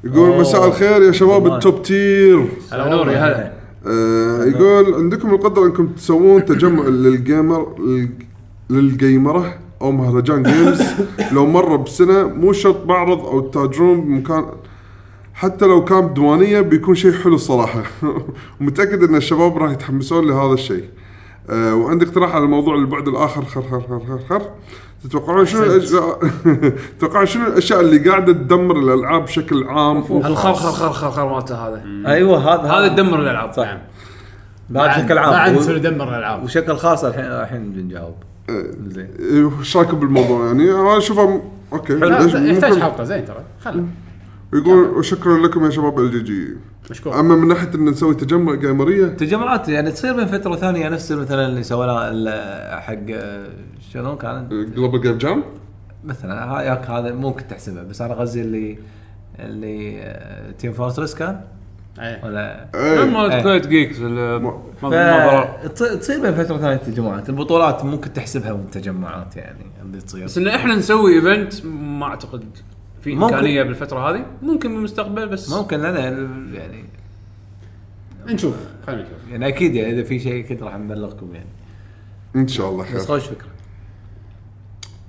يقول مساء الخير يا شباب طبعاً. التوب تير هلا نوري هلا آه، يقول عندكم القدره انكم تسوون تجمع للجيمر للج- للجيمره او مهرجان جيمز لو مره بسنه مو شرط معرض او تتاجرون بمكان حتى لو كان بديوانيه بيكون شيء حلو الصراحه ومتاكد ان الشباب راح يتحمسون لهذا الشيء آه، وعندي اقتراح على الموضوع البعد الاخر خر خر خر خر, خر. تتوقعون شنو الاجزاء تتوقعون شنو الاشياء اللي قاعده تدمر الالعاب بشكل عام الخرخر خرخر خر مالته هذا ايوه هذا هذا يعني تدمر الالعاب صح لا بشكل ما عاد عام تسوي و- دمر الالعاب وشكل خاص الحين الحين بنجاوب زين ايش رايكم بالموضوع يعني انا اشوفها م- اوكي لا، ليش- يحتاج ممكن- حلقه زين ترى خله يقول وشكرا لكم يا شباب ال جي جي مشكور اما من ناحيه ان نسوي تجمع جيمريه تجمعات يعني تصير من فتره ثانيه نفس مثلا اللي سويناه ال- حق آه، شنو كان جلوبال جيم جام مثلا ها- ياك هذا ممكن تحسبه بس انا قصدي اللي اللي آه، تيم فورترس كان إيه. ولا آه. مال إيه. كويت جيكس ولا- ما- ما ضرر. فتصير من فتره ثانيه التجمعات البطولات ممكن تحسبها من تجمعات يعني اللي تصير بس ان احنا نسوي ايفنت ما اعتقد في ممكن. امكانيه بالفتره هذه ممكن بالمستقبل بس ممكن لنا يعني نشوف خلينا نشوف يعني اكيد يعني اذا في شيء كذا راح نبلغكم يعني ان شاء الله بس خير خوش فكره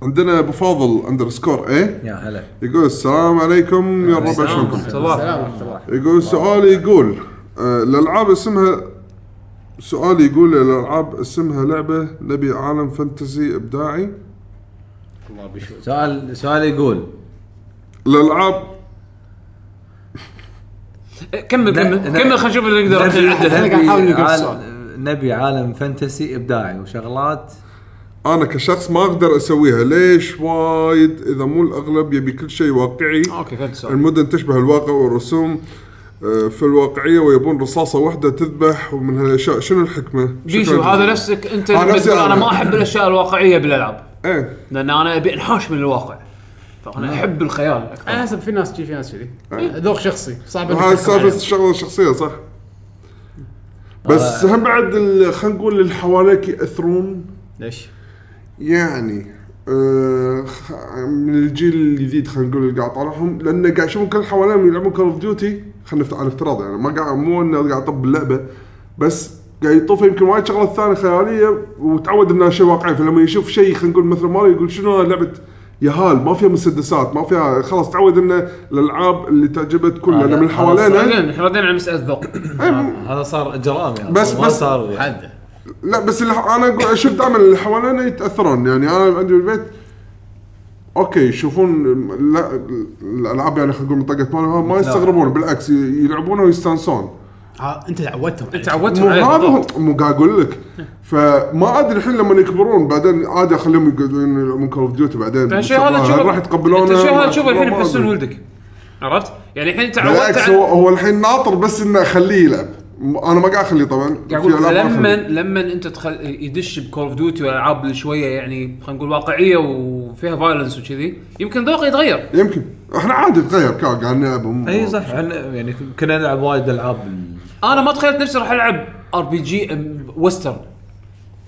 عندنا ابو فاضل اندرسكور ايه يا هلا يقول السلام عليكم يا ربع السلام شلونكم ورحمة الله سلام ورحمه الله يقول سؤالي يقول آه، الالعاب اسمها سؤالي يقول الالعاب اسمها لعبه نبي عالم فانتسي ابداعي الله بيشوف سؤال سؤال يقول الالعاب إيه، كمل لا- كمل لا. كمل خلينا نشوف اللي نقدر نبي- نعدله. إحنا قاعد نحاول نقول عال- السؤال. نبي عالم فانتسي ابداعي وشغلات انا كشخص ما اقدر اسويها ليش وايد اذا مو الاغلب يبي كل شيء واقعي اوكي فهمت السؤال المدن تشبه الواقع والرسوم آه، في الواقعيه ويبون رصاصه واحده تذبح ومن هالاشياء شنو الحكمه؟ بيشو شكراً. هذا نفسك انت هذا لما نفسي تقول انا أنا. ما احب الاشياء الواقعيه بالالعاب ايه لان انا ابي انحاش من الواقع فانا احب الخيال على آه. اكثر حسب في ناس كذي في ناس كذي إيه. ذوق شخصي صعب إنك هاي تحكم عليهم. السالفه شغله شخصيه صح بس هم بعد ال- خلينا نقول اللي حواليك ياثرون ليش؟ يعني آه، خ- من الجيل الجديد خلينا نقول اللي قاعد طالعهم لان قاعد اشوفهم كل حواليهم يلعبون كول اوف ديوتي خلينا نفت- على افتراض يعني ما قاعد مو انه قاعد اطب اللعبه بس قاعد يطوف يمكن وايد شغلات ثانيه خياليه وتعود انها شيء واقعي فلما يشوف شيء خلينا نقول مثل ماريو يقول شنو هاي لعبه يهال ما فيها مسدسات ما فيها خلاص تعود انه الالعاب اللي تعجبه تكون لان من حوالينا إيه، بعدين احنا ردينا على مساله ذوق هذا صار اجرام يعني بس- ما بس- صار حده لا بس اللي ح- انا أقول- اشوف دائما اللي حوالينا يتاثرون يعني انا عندي بالبيت اوكي يشوفون م- لا الالعاب يعني خلينا نقول منطقه مالهم ما يستغربون بالعكس ي- يلعبونه ويستانسون ها انت تعودتهم عليه. انت عودتهم مو عليه هذا بالضبط. هو- مو قاعد اقول لك فما ادري الحين لما يكبرون بعدين عادي اخليهم يقعدون يلعبون كول اوف ديوتي بعدين فالشيء هذا بالمستقبل. تشوفه هل راح يتقبلونه انت الشيء هذا ما- تشوفه الحين ما يحسون أدري. ولدك عرفت؟ يعني الحين انت عودت بالعكس على- هو هو الحين ناطر بس انه اخليه يلعب م- انا ما قاعد اخليه طبعا قاعد في اقول ألعاب ما لما أخليه. لما انت تخل... يدش بكول اوف ديوتي والالعاب اللي شويه يعني خلينا نقول واقعيه وفيها فايلنس وكذي يمكن ذوقه يتغير يمكن احنا عادي نتغير كا- قاعد نلعب مو- اي صح عن- يعني كنا نلعب وايد العاب انا ما تخيلت نفسي راح العب ار بي جي ويسترن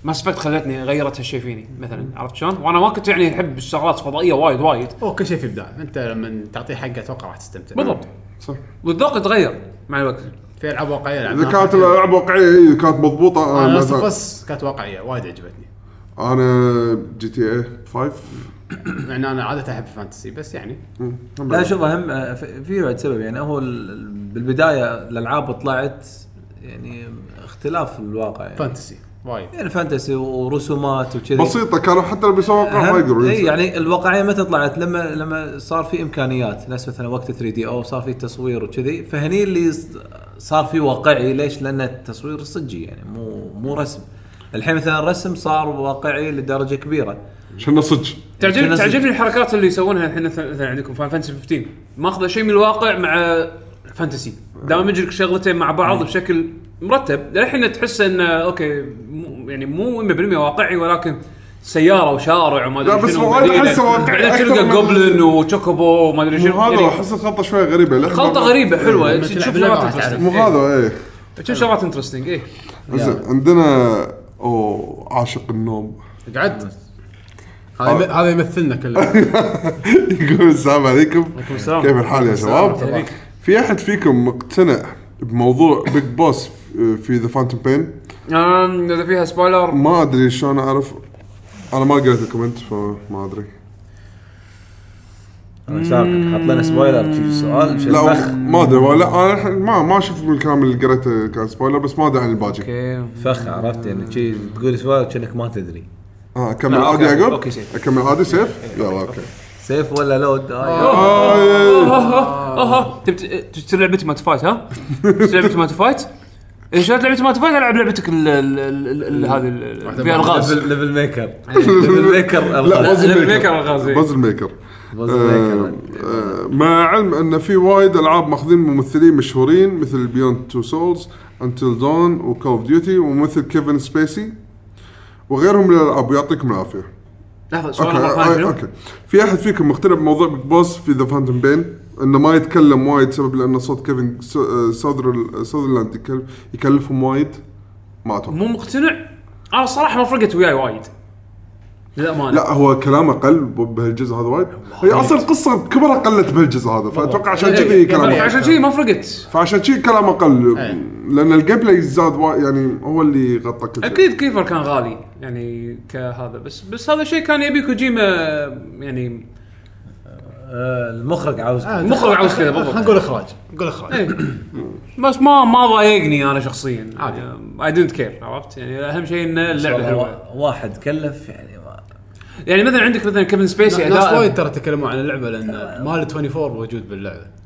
ماس افكت خلتني غيرت هالشيء فيني مثلا عرفت شلون؟ وانا ما كنت يعني احب الشغلات الفضائيه وايد وايد هو كل شيء في ابداع انت لما تعطيه حقه اتوقع راح تستمتع بالضبط صح والذوق يتغير مع الوقت في العاب واقعيه العاب اذا كانت الالعاب واقعيه اي كانت آه، مضبوطه انا انا لاست مثلا بس كانت واقعيه وايد عجبتني انا جي تي إيه اي 5 مع ان انا عاده احب الفانتسي بس يعني لا شوف اهم آه، في- في بعد سبب يعني هو ال- ال- بالبدايه الالعاب طلعت يعني اختلاف الواقع يعني, فانتسي وايد يعني فانتسي ورسومات وكذي بسيطه كانوا حتى اللي بيسووا واقع ما يقدروا اي ينسوا. يعني الواقعيه متى طلعت لما لما صار في امكانيات ناس مثلا وقت 3 دي او صار في تصوير وكذي فهني اللي ص- صار في واقعي ليش؟ لان التصوير صجي يعني مو مو رسم الحين مثلا الرسم صار واقعي لدرجه كبيره شنو صدق تعجبني نزل. تعجبني الحركات اللي يسوونها الحين مثلا مثلاً عندكم فان فانتسي 15 ماخذه شيء من الواقع مع فانتسي دامج لك شغلتين مع بعض بشكل مرتب للحين تحس انه اوكي مو يعني مو 100% واقعي ولكن سياره وشارع وما لا، ادري بس شنو وايد ومدينة. أحسه واقعي بعدين أكثر تلقى من- جوبلن وتشوكوبو وما ادري مو شنو هذا يعني احس الخلطه شويه غريبه لحظة. إيه، خلطه غريبه حلوه لما تلعب تشوف لعبة شغلات راح تعرف. مو انترستنج هذا اي تشوف شغلات إيه. انترستنج اي زين عندنا اوه عاشق النوم قعد هذا هذا يمثلنا كلنا يقول السلام عليكم السلام. كيف الحال يا شباب؟ عليك. في احد فيكم مقتنع بموضوع بيج بوس في ذا فانتوم بين؟ أم، اذا فيها سبويلر ما ادري شلون اعرف انا ما قريت الكومنت فما ادري انا شاركك حط لنا سبويلر شي سؤال شي لا ما ادري ولا انا الحين ما ما شفت من الكلام اللي قريته كان سبويلر بس ما ادري عن الباقي اوكي فخ عرفت يعني شي تقول سؤال كأنك ما تدري اه اكمل لا، عادي أوكي. يعقوب؟ أوكي، سيف. اكمل عادي سيف؟ يلا اوكي سيف ولا لود آه، يا- آه، اها تبت تشتري لعبه مات فايت ها؟ تشتري لعبه مات فايت؟ اذا شريت لعبه مات فايت العب لعبتك ال- ال- ال- ال- هذه ال- ال- فيها الغاز ليفل ليفل ميكر ليفل ميكر لا الغاز. بازل ليفل ميكر ميكر الغاز، إيه. بازل ميكر بازل ميكر. آه، آه، مع علم ان في وايد العاب ماخذين ممثلين مشهورين مثل بيوند تو سولز انتل دون وكول اوف ديوتي وممثل كيفن سبيسي وغيرهم من الالعاب ويعطيكم العافيه لحظه سؤال اوكي مرة ثانية آه، شنو؟ اوكي في احد فيكم مقتنع بموضوع بيج بوس في ذا فانتوم بين انه ما يتكلم وايد سبب لان صوت كيفن س- آه، ساذر- ساذرلاند يكل- يكلفهم وايد ما اتوقع مو مقتنع انا الصراحه ما فرقت وياي وايد للامانه لا هو كلامه قل بهالجزء هذا وايد هي اصلا القصه كبرها قلت بهالجزء هذا فاتوقع عشان إيه، كذي يعني كلامه عشان كذي ما فرقت فعشان كذي كلامه قل إيه. لان الجيم بلاي زاد وايد يعني هو اللي غطى كل شيء. اكيد كيفر كان غالي يعني كهذا بس بس هذا الشيء كان يبي كوجيما يعني آه، المخرج عاوز مخرج عاوز كذا بالضبط. خلينا نقول اخراج نقول اخراج إيه. بس ما ما ضايقني انا شخصيا اي دونت كير عرفت يعني اهم شيء ان اللعبه حلوه وا- واحد كلف يعني ما- يعني مثلا عندك مثلا كيفن سبيسي ناس اداء وايد ترى تكلموا عن اللعبه لان مال 24 موجود باللعبه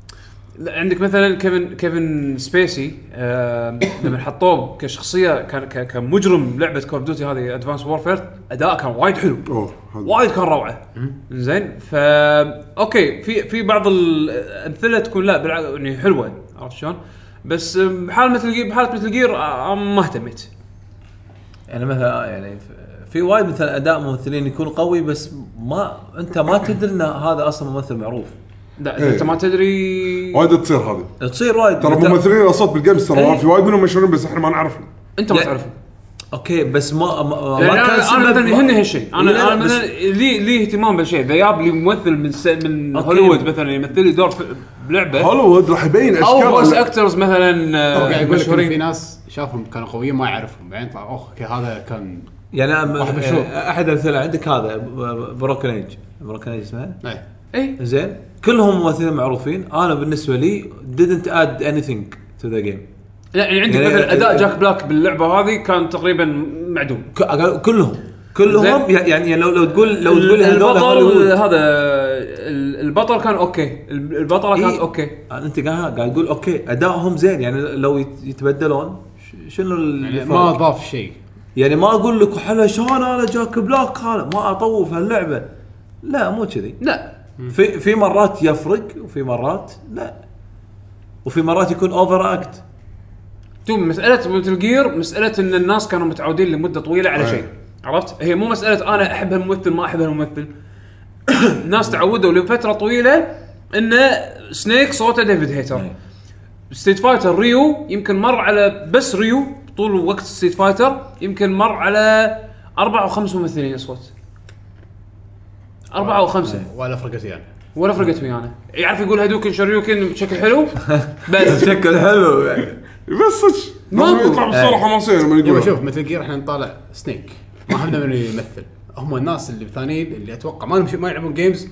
لا، عندك مثلا كيفن كيفن سبيسي آه لما حطوه كشخصيه كان ك- كمجرم لعبه كول اوف ديوتي هذه ادفانس وورفير اداءه كان وايد حلو أوه، هذا. وايد كان روعه زين فا اوكي في في بعض الامثله تكون لا بالع- يعني حلوه عرفت شلون؟ بس آم، بحاله مثل جير بحاله مثل جير آه، ما اهتميت يعني مثلا يعني ف- في وايد مثلا اداء ممثلين يكون قوي بس ما انت ما تدري ان هذا اصلا ممثل معروف لا إيه. انت ما تدري وايد تصير هذه تصير وايد ترى مثلاً- ممثلين الاصوات بالجيمز إيه. ترى في وايد منهم مشهورين بس احنا ما نعرفهم انت ما لا. تعرفه اوكي بس ما ما, يعني ما كان انا سبب- انا مثلا يهمني هالشيء لا، لا، انا انا بس- مثلا لي لي اهتمام بهالشيء اذا جاب لي ممثل من س- من أوكي. هوليوود مثلا يمثل لي دور في- بلعبه هوليوود راح يبين او فويس اشكال اكترز مثلا قاعد يقول آه، لك إن في مشهورين ناس شافهم كانوا قويين ما يعرفهم بعدين طلع اوه أوكي، هذا كان يعني أنا- واحد مشهور. احد الامثله عندك هذا بروكن ايج بروكن ايج اسمها ايه اي زين كلهم ممثلين معروفين انا بالنسبه لي didn't add anything to the game لا يعني عندك يعني- مثلا اداء جاك بلاك باللعبه هذه كان تقريبا معدوم ك- أقل- كلهم كلهم زين. يعني يعني لو لو تقول لو تقول هذول البطل هوليوود. هذا ال- البطل كان اوكي الب- البطله كانت إيه. اوكي انت قاعد قاعد تقول اوكي ادائهم زين يعني لو يت- يتبدلون ش- شنو يعني اللي ما ما اضاف شيء يعني ما اقول لك حلو شلون انا جاك بلاك هذا ما اطوف هاللعبه لا مو كذي لا في في مرات يفرق وفي مرات لا وفي مرات يكون اوفر اكت تو مساله مثل جير مساله ان الناس كانوا متعودين لمده طويله على شيء عرفت هي مو مساله انا احب هالممثل ما احب هالممثل الناس تعودوا لفتره طويله ان سنيك صوته ديفيد هيتر إيه. ستيت فايتر ريو يمكن مر على بس ريو طول وقت ستيت فايتر يمكن مر على اربع او خمس ممثلين اصوات اربعه او خمسه ولا فرقت ويانا ولا فرقت ويانا يعرف يقول هدوكن شريوكن بشكل حلو بس شكل حلو بس صدق ما لازم أقول. يطلع بصوره حماسيه لما يبا يقول شوف مثل جير احنا نطالع سنيك ما همنا من يمثل هم الناس اللي الثانيين اللي اتوقع ما لهم- ما يلعبون جيمز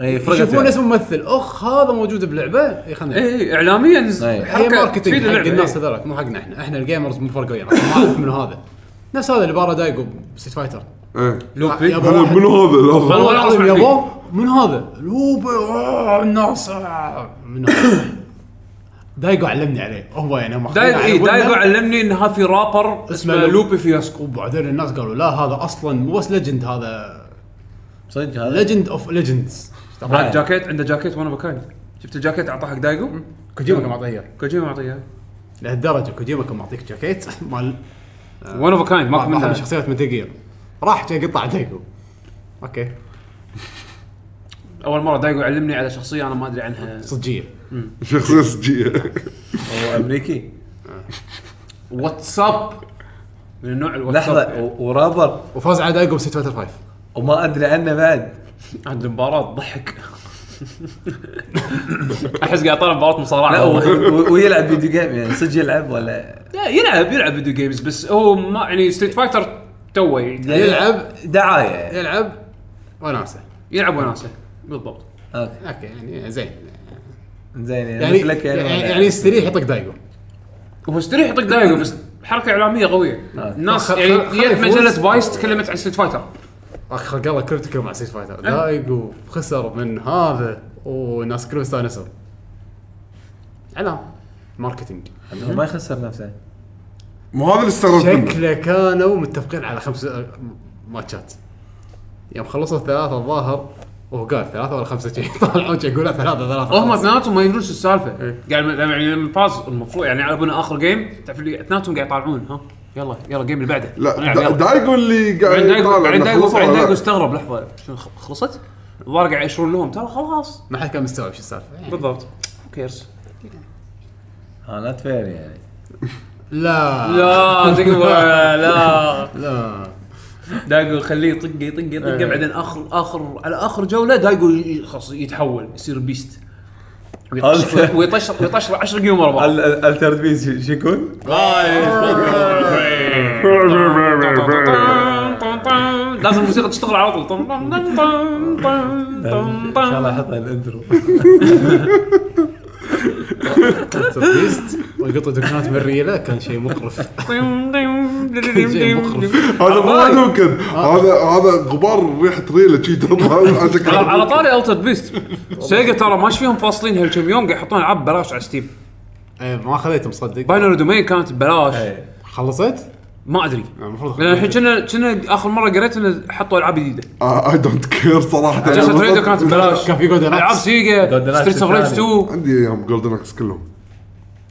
اي فرقت يشوفون يعني. اسم ممثل اخ هذا موجود بلعبه اي خلنا اي إي، اعلاميا إي. هي حركه ماركتنج إيه، تفيد إيه، حق اللعبة. الناس إي. هذولك مو حقنا احنا احنا الجيمرز مو فرقوا ويانا ما نعرف منو هذا نفس هذا اللي بارا دايجو بستيت فايتر إيه. لوبي. يا أبو هلا واحد. منو هذا والله لحظه والله العظيم أسمع يا فيه. بو من هذا؟ لوبي آه، الناس آه، من هذا دايجو علمني عليه هو يعني هم دايجو أخذنا على اي دايجو ودنا. إيه، علمني ان هذا في رابر اسمه لوبي فياسكو وبعدين الناس قالوا لا هذا اصلا مو بس ليجند هذا صدق هذا ليجند اوف ليجندز طبعا جاكيت عنده جاكيت وانا مكاني شفت الجاكيت اعطاه حق دايجو كوجيما كان معطيه كوجيما معطيه لهالدرجه كوجيما كان معطيك جاكيت مال آه، وان اوف كايند ماكو واحد من منها شخصيات متل جير راح جاي قطع دايجو اوكي اول مره دايجو علمني على شخصيه انا ما ادري عنها صجيه شخصيه صجيه هو امريكي واتساب من النوع لحظه الواتساب و- ورابر وفاز على دايجو بست فايتر 5 وما ادري عنه بعد عند المباراة ضحك احس قاعد طالع مباراة لا مصارعة و- هو. و- ويلعب فيديو جيم يعني صدق يلعب ولا لا، يلعب يلعب فيديو جيمز بس هو ما يعني ستريت فايتر توه يعني يلعب. دعايه يعني. يلعب وناسه يلعب وناسه بالضبط اوكي اوكي يعني زين زين يعني يعني مثلك يعني, يعني, ولا- يعني يستريح يطق دايجو هو استريح يطق دايجو بس حركة اعلامية قوية الناس آه. خ- خ- يعني خ- جت خلي مجلة فوز. فايس تكلمت عن ستريت فايتر اخ خلق الله كريتيكال مع سيت فايتر دايجو خسر من هذا والناس كلهم استانسوا علام ماركتينج هو ما يخسر نفسه مو هذا اللي استغربت منه شكله كانوا متفقين على خمس آه، ماتشات يوم خلصوا الثلاثة الظاهر وهو قال ثلاثة ولا خمسة شيء طلعوا شي يقولوا ثلاثة ثلاثة هم خمسة. اثنيناتهم ما يدرون شو السالفة إيه. قاعد يعني لما فاز المفروض يعني يلعبون اخر جيم تعرف اللي اثنيناتهم قاعد يطالعون ها يلا يلا الجيم اللي بعده لا نلعب، دا- يعني يلا. دايجو اللي قاعد بعدين دايجو يطالع بعدين إنه دايجو خلصوا بعدين ولا دايجو لا. استغرب لحظه شنو خ- خلصت؟ الظاهر قاعد يشرون لهم ترى خلاص ما حد كان مستوعب شو السالفة يعني. بالضبط كيرس ها نوت فير يعني لا لا تقبل لا لا دايجو خليه يطق يطق يطق إيه. بعدين اخر اخر على اخر جوله دايجو ي- خلاص يتحول يصير بيست ويطشر ويطشر ويطشر 10 جيم ورا بعض الالترد بيس شو يكون؟ لازم الموسيقى تشتغل على طول طن- طن- طن- طن- طن- ان طن. شاء الله احطها الانترو بيست ويقطع دكانات من ريله كان شيء مقرف طن- طن- كل شيء مقرف. هذا آه. مو ممكن آه. هذا هذا غبار ريحه ريله شي تطلع على شكل على على طاري التر بيست سيجا ترى ما إيش فيهم فاصلين هالكم يوم قاعد يحطون العاب ببلاش على ستيم إيه، ما خذيته مصدق باينر دومين كانت ببلاش إيه. خلصت؟ ما ادري المفروض لان الحين كنا كنا اخر مره قريت انه حطوا العاب جديده اي دونت كير صراحه جلسة يعني راديو كانت ببلاش كان في جولدن العاب اكس سيجا Golden Axe ستريت اوف ريج الثاني. 2 عندي اياهم جولدن اكس كلهم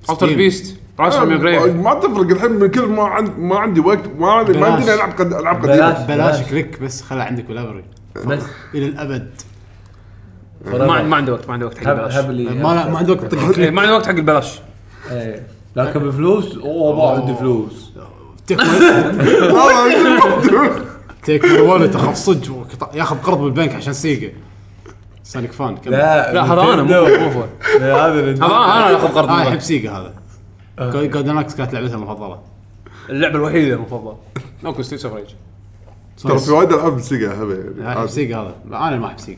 آه، التر بيست راسهم يا جريف ما تفرق الحين من كل ما عند ما عندي وقت ما عندي ما بلاش. عندي العب قد... العاب بلاش. قديمه بلاش كليك بس خلها عندك والابري بس الى الابد ما عندي ما عندي وقت ما عندي وقت حق هب هب البلاش لي ما ما عندي وقت طق إيه، كليك ما عندي وقت حق البلاش إيه. لكن بفلوس اوه ما عندي فلوس تيك ماي والت اخاف صدق وقطع- ياخذ قرض بالبنك عشان سيجا سانيك فان كمل. لا هذا انا مو نينتندو. مو هو. لا، إيه، هذا هذا نينتندو. انا أنا اخذ قرض انا آه. من احب البنك. سيجا هذا جولدن اكس كانت لعبتها المفضله اللعبه الوحيده المفضله اوكي ستيتس اوف ريج ترى في وايد العاب موسيقى هبه يعني احب عادي. سيجا هذا لا، انا ما احب سيجا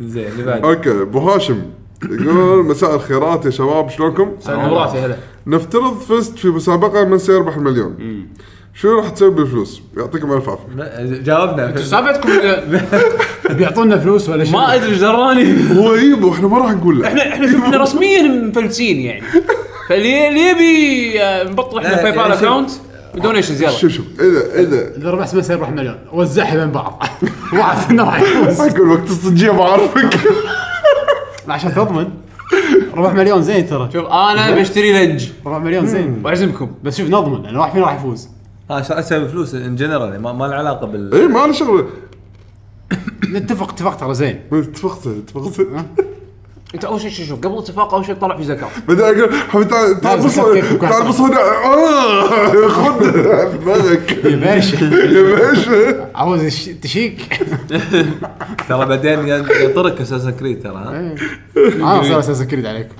زين اللي بعد اوكي ابو هاشم يقول مساء الخيرات يا شباب شلونكم؟ نمراتي هلا نفترض فزت في مسابقه من سيربح المليون شو راح تسوي بالفلوس؟ يعطيكم الف عافيه ما- جاوبنا سالفتكم آه، بيعطونا طيب، فلوس ولا شيء ما ادري ايش دراني هو يبو احنا ما راح نقول له احنا احنا شوف احنا رسميا مفلسين يعني فاللي اللي يبي آه، نبطل احنا لا، باي بال يعني شوف- اكونت ودونيشن زياده شوف شوف اذا اذا اذا ربحت مثلا يروح مليون وزعها بين بعض واحد فينا راح يفوز حق الوقت الصجيه ما اعرفك عشان تضمن ربع مليون زين ترى شوف شوف انا بشتري لنج ربع مليون زين واعزمكم بس شوف نضمن لان واحد فينا راح يفوز ها شو اسوي بفلوس ان جنرال ما, ما له علاقه بال اي إيه، ما له شغله نتفق اتفاق ترى زين اتفقت اتفقت انت اول شيء شوف شوف قبل الاتفاق اول شيء تطلع في زكاه بعدين اقول حبيبي تعال تعال لازم بص كيف- كيف- تعال بص هنا آه، خذ دماغك يا باشا يا باشا عاوز الش- تشيك ترى بعدين ينطرك اساسا كريد ترى إيه. ها انا آه، صار اساس كريد عليكم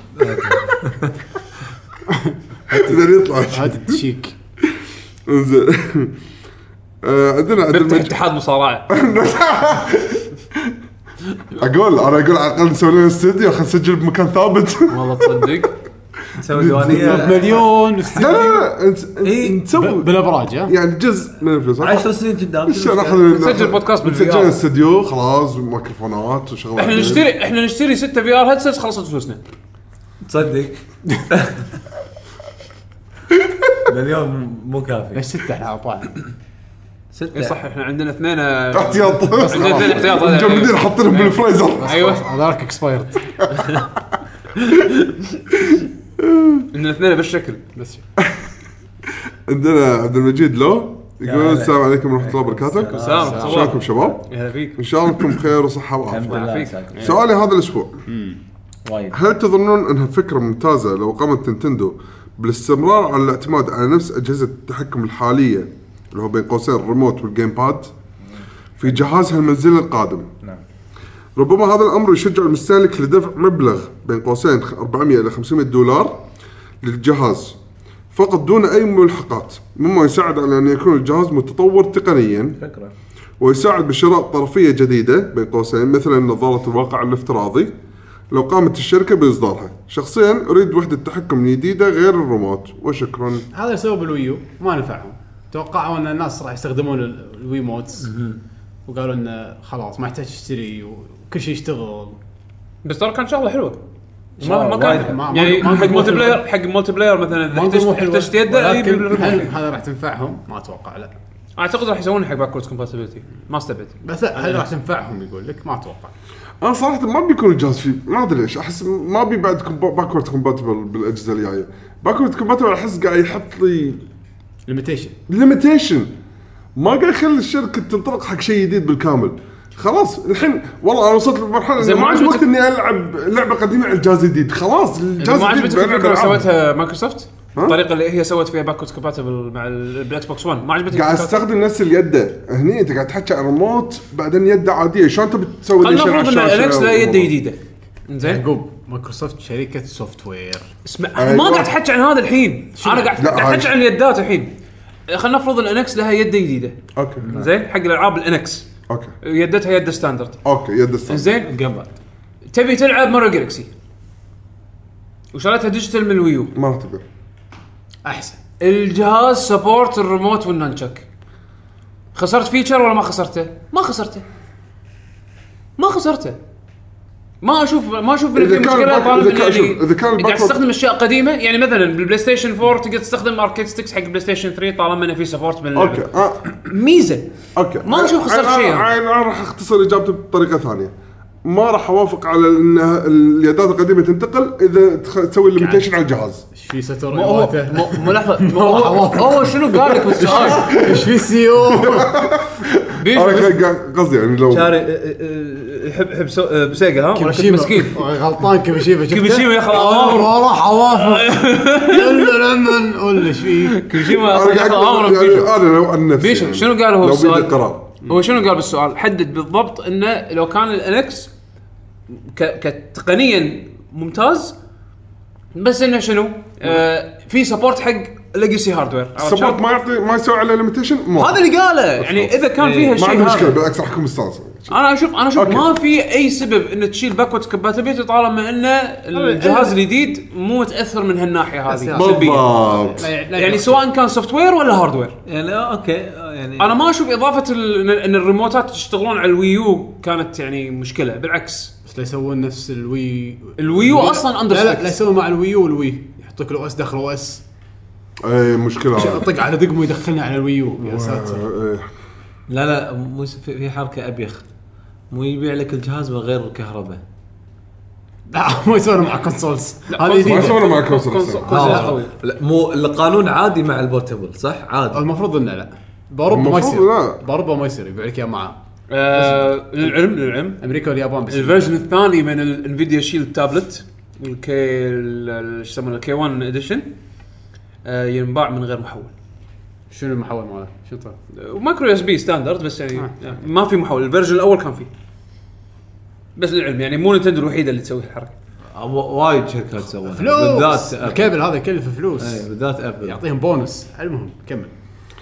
بعدين يطلع هات التشيك انزين آه، عندنا عبد نفتح المجيد اتحاد مصارعه اقول انا اقول على الاقل نسوي لنا استوديو خلينا نسجل بمكان ثابت والله تصدق تسوي ديوانيه مليون لا لا لا نس- إيه. إي، نسوي بالابراج ها يعني جزء من الفلوس 10 سنين قدام عشان ناخذ يعني نسجل بودكاست بالVR. نسجل استوديو خلاص وميكروفونات وشغلات احنا نشتري احنا نشتري 6 في ار هيدسيتس خلصت فلوسنا تصدق مليون مو كافي ليش ستة احنا اربعة اي ستة إيه، صح احنا عندنا اثنين آه، احتياط عندنا اثنين احتياط هذا. إيه. مجمدين حاطينهم بالفريزر ايوه هذاك اكسبايرد عندنا اثنين بالشكل بس عندنا عبد المجيد لو يقول هلا. السلام عليكم ورحمه الله وبركاته سلام شلونكم صباح شباب؟ يا هلا فيك ان شاء الله انكم بخير وصحه الحمد وعافيه لله فيك. ساكت. سؤالي هذا الاسبوع وايد هل تظنون انها فكره ممتازه لو قامت نينتندو بالاستمرار على الاعتماد على نفس اجهزه التحكم الحاليه اللي هو بين قوسين الريموت والجيم باد في جهازها المنزلي القادم نعم. ربما هذا الامر يشجع المستهلك لدفع مبلغ بين قوسين 400 الى 500 دولار للجهاز فقط دون اي ملحقات مما يساعد على ان يكون الجهاز متطور تقنيا فكرة ويساعد بشراء طرفيه جديده بين قوسين مثلا نظاره الواقع الافتراضي لو قامت الشركه باصدارها شخصيا اريد وحده تحكم جديده غير الريموت وشكرا هذا اللي سووه بالويو ما نفعهم توقعوا ان الناس راح يستخدمون ال- الويموتس وقالوا انه خلاص ما يحتاج تشتري وكل شيء يشتغل بس ترى كان شغله حلوه ما ما شغلة وايد كان حلوة. ما- ما- يعني ما- حق ما- مولتي بلاير حق مولتي بلاير مثلا اذا منظومه احتجت حلوة. احتجت يده إيه، أي ولكن هل بالريموت. هذا راح تنفعهم؟ ما اتوقع لا اعتقد راح يسوون حق باكوردز كومباتيبلتي ما استبعد بس لا، هل راح تنفعهم يقول لك؟ ما اتوقع انا صراحه ما بيكون الجهاز فيه ما ادري ليش احس ما بي بعد باكورد كومباتبل بالاجهزه الجايه باكورد كومباتبل احس قاعد يحط لي ليميتيشن ليميتيشن ما قاعد يخلي الشركه تنطلق حق شيء جديد بالكامل خلاص الحين والله انا وصلت لمرحله زين إني ما ما عندي وقت عجبتك- اني العب لعبه قديمه على الجهاز الجديد خلاص الجهاز ما الجديد عجبتك بلعب الفكره اللي ألعاب. سوتها مايكروسوفت ها؟ الطريقه اللي هي سوت فيها باكوردز كومباتبل مع ال- بالاكس بوكس 1 ما عجبتك قاعد الفكرة؟ استخدم نفس اليد هني انت قاعد تحكي عن ريموت بعدين يد عاديه شلون انت بتسوي خلينا ليشن على نفرض ان الشاشة الكس لا يده والريموت؟ جديده زين يعقوب مايكروسوفت شركه سوفت وير اسمع أيوة. ما قاعد احكي عن هذا الحين انا قاعد لا، قاعد عايش. احكي عن اليدات الحين خلينا نفرض ان الانكس لها يده جديده اوكي زين حق الالعاب الانكس اوكي يدتها يد ستاندرد اوكي يد السالفه زين قبل تبي تلعب ماريو جالكسي وشريتها ديجيتال من الويو ما راح تقدر احسن الجهاز سبورت الريموت والنانشك خسرت فيتشر ولا ما خسرته؟ ما خسرته ما خسرته ما اشوف ما اشوف ان إذا في كان مشكله الباك- طالب إذا كان- إن يعني شوف، إذا كان قاعد الباك- تستخدم اشياء قديمه يعني مثلا بالبلاي ستيشن 4 تقدر تستخدم اركيد ستكس حق بلاي ستيشن 3 طالما انه في سبورت من اللعبة. اوكي آه. ميزه اوكي ما أشوف خسرت أنا- شيء. أنا- انا راح اختصر اجابتي بطريقه ثانيه ما راح اوافق على ان اليدات القديمه تنتقل اذا تخ- تسوي ليميتيشن على الجهاز ايش في ستر ما هو إيواته؟ ما- ما لحظه ما هو هو شنو قال لك بالسؤال؟ ايش في E سي او بيش انا بس- كان قصدي يعني لو شاري أه، أه، يحب يحب سو- أه، بسيجا ها؟ ولا كنت مسكين غلطان كيميشيما شفته كيميشيما يا أخي، اوامر وراح اوافق الا لما نقول ايش فيك كوجيما انا قاعد أصلاً أمره أقول- آه، بيشو. يعني انا لو عن نفسي بيشو، يعني شنو قال لو هو بيدي السؤال؟ القرار هو شنو قال بالسؤال؟ حدد بالضبط انه لو كان الانكس ك- كتقنيا ممتاز بس انه شنو؟ آه في سبورت حق ليجسي هاردوير سبورت ما يعطي ما يسوي عليه ليميتيشن آه، هذا اللي قاله يعني اذا كان فيها إيه. ما شيء عندي مشكله هذا بالعكس راح اكون مستانس انا اشوف انا اشوف أوكي. ما في اي سبب ان تشيل باكورد كباتيبيتي طالما ان الجهاز الجديد مو متاثر من هالناحيه هذه سلبيه بالضبط يعني سواء كان سوفت وير ولا هاردوير يعني آه، اوكي آه، يعني انا ما اشوف اضافه ال- إن- ان الريموتات تشتغلون على الويو كانت يعني مشكله بالعكس بس لا يسوون نفس الوي الويو أصلاً under لا لا spec. لا يسوون مع الويو والوي يحطك الاو اس داخل او اس اي مشكله هذا. طق على دقمه يدخلنا على الويو يا ساتر آه، لا لا مو س- في في حركه ابيخ مو يبيع لك الجهاز من غير الكهرباء لا ما يسوون مع كونسولز هذه ما جديدة. يسوونه مع كونسول أصلاً. كونسول آه، قوي. لا مو القانون عادي مع البورتبل صح عادي المفروض انه لا باوروبا ما المفروض يصير لا. باوروبا ما يصير يبيع لك اياه معاه آه للعلم للعلم امريكا واليابان بس الفيرجن الثاني من الانفيديا شيلد تابلت الكي ال- ال- ايش يسمونه الكي 1 اديشن آه ينباع من غير محول شنو المحول ماله؟ شنو طلع؟ آه، ومايكرو اس بي ستاندرد بس يعني آه، ما في محول الفيرجن الاول كان فيه بس للعلم يعني مو نتندو الوحيده اللي تسوي الحركه آه، و- وايد شركات سووها فلوس بالذات أبل. الكابل هذا يكلف فلوس إيه، بالذات ابل يعطيهم بونس المهم كمل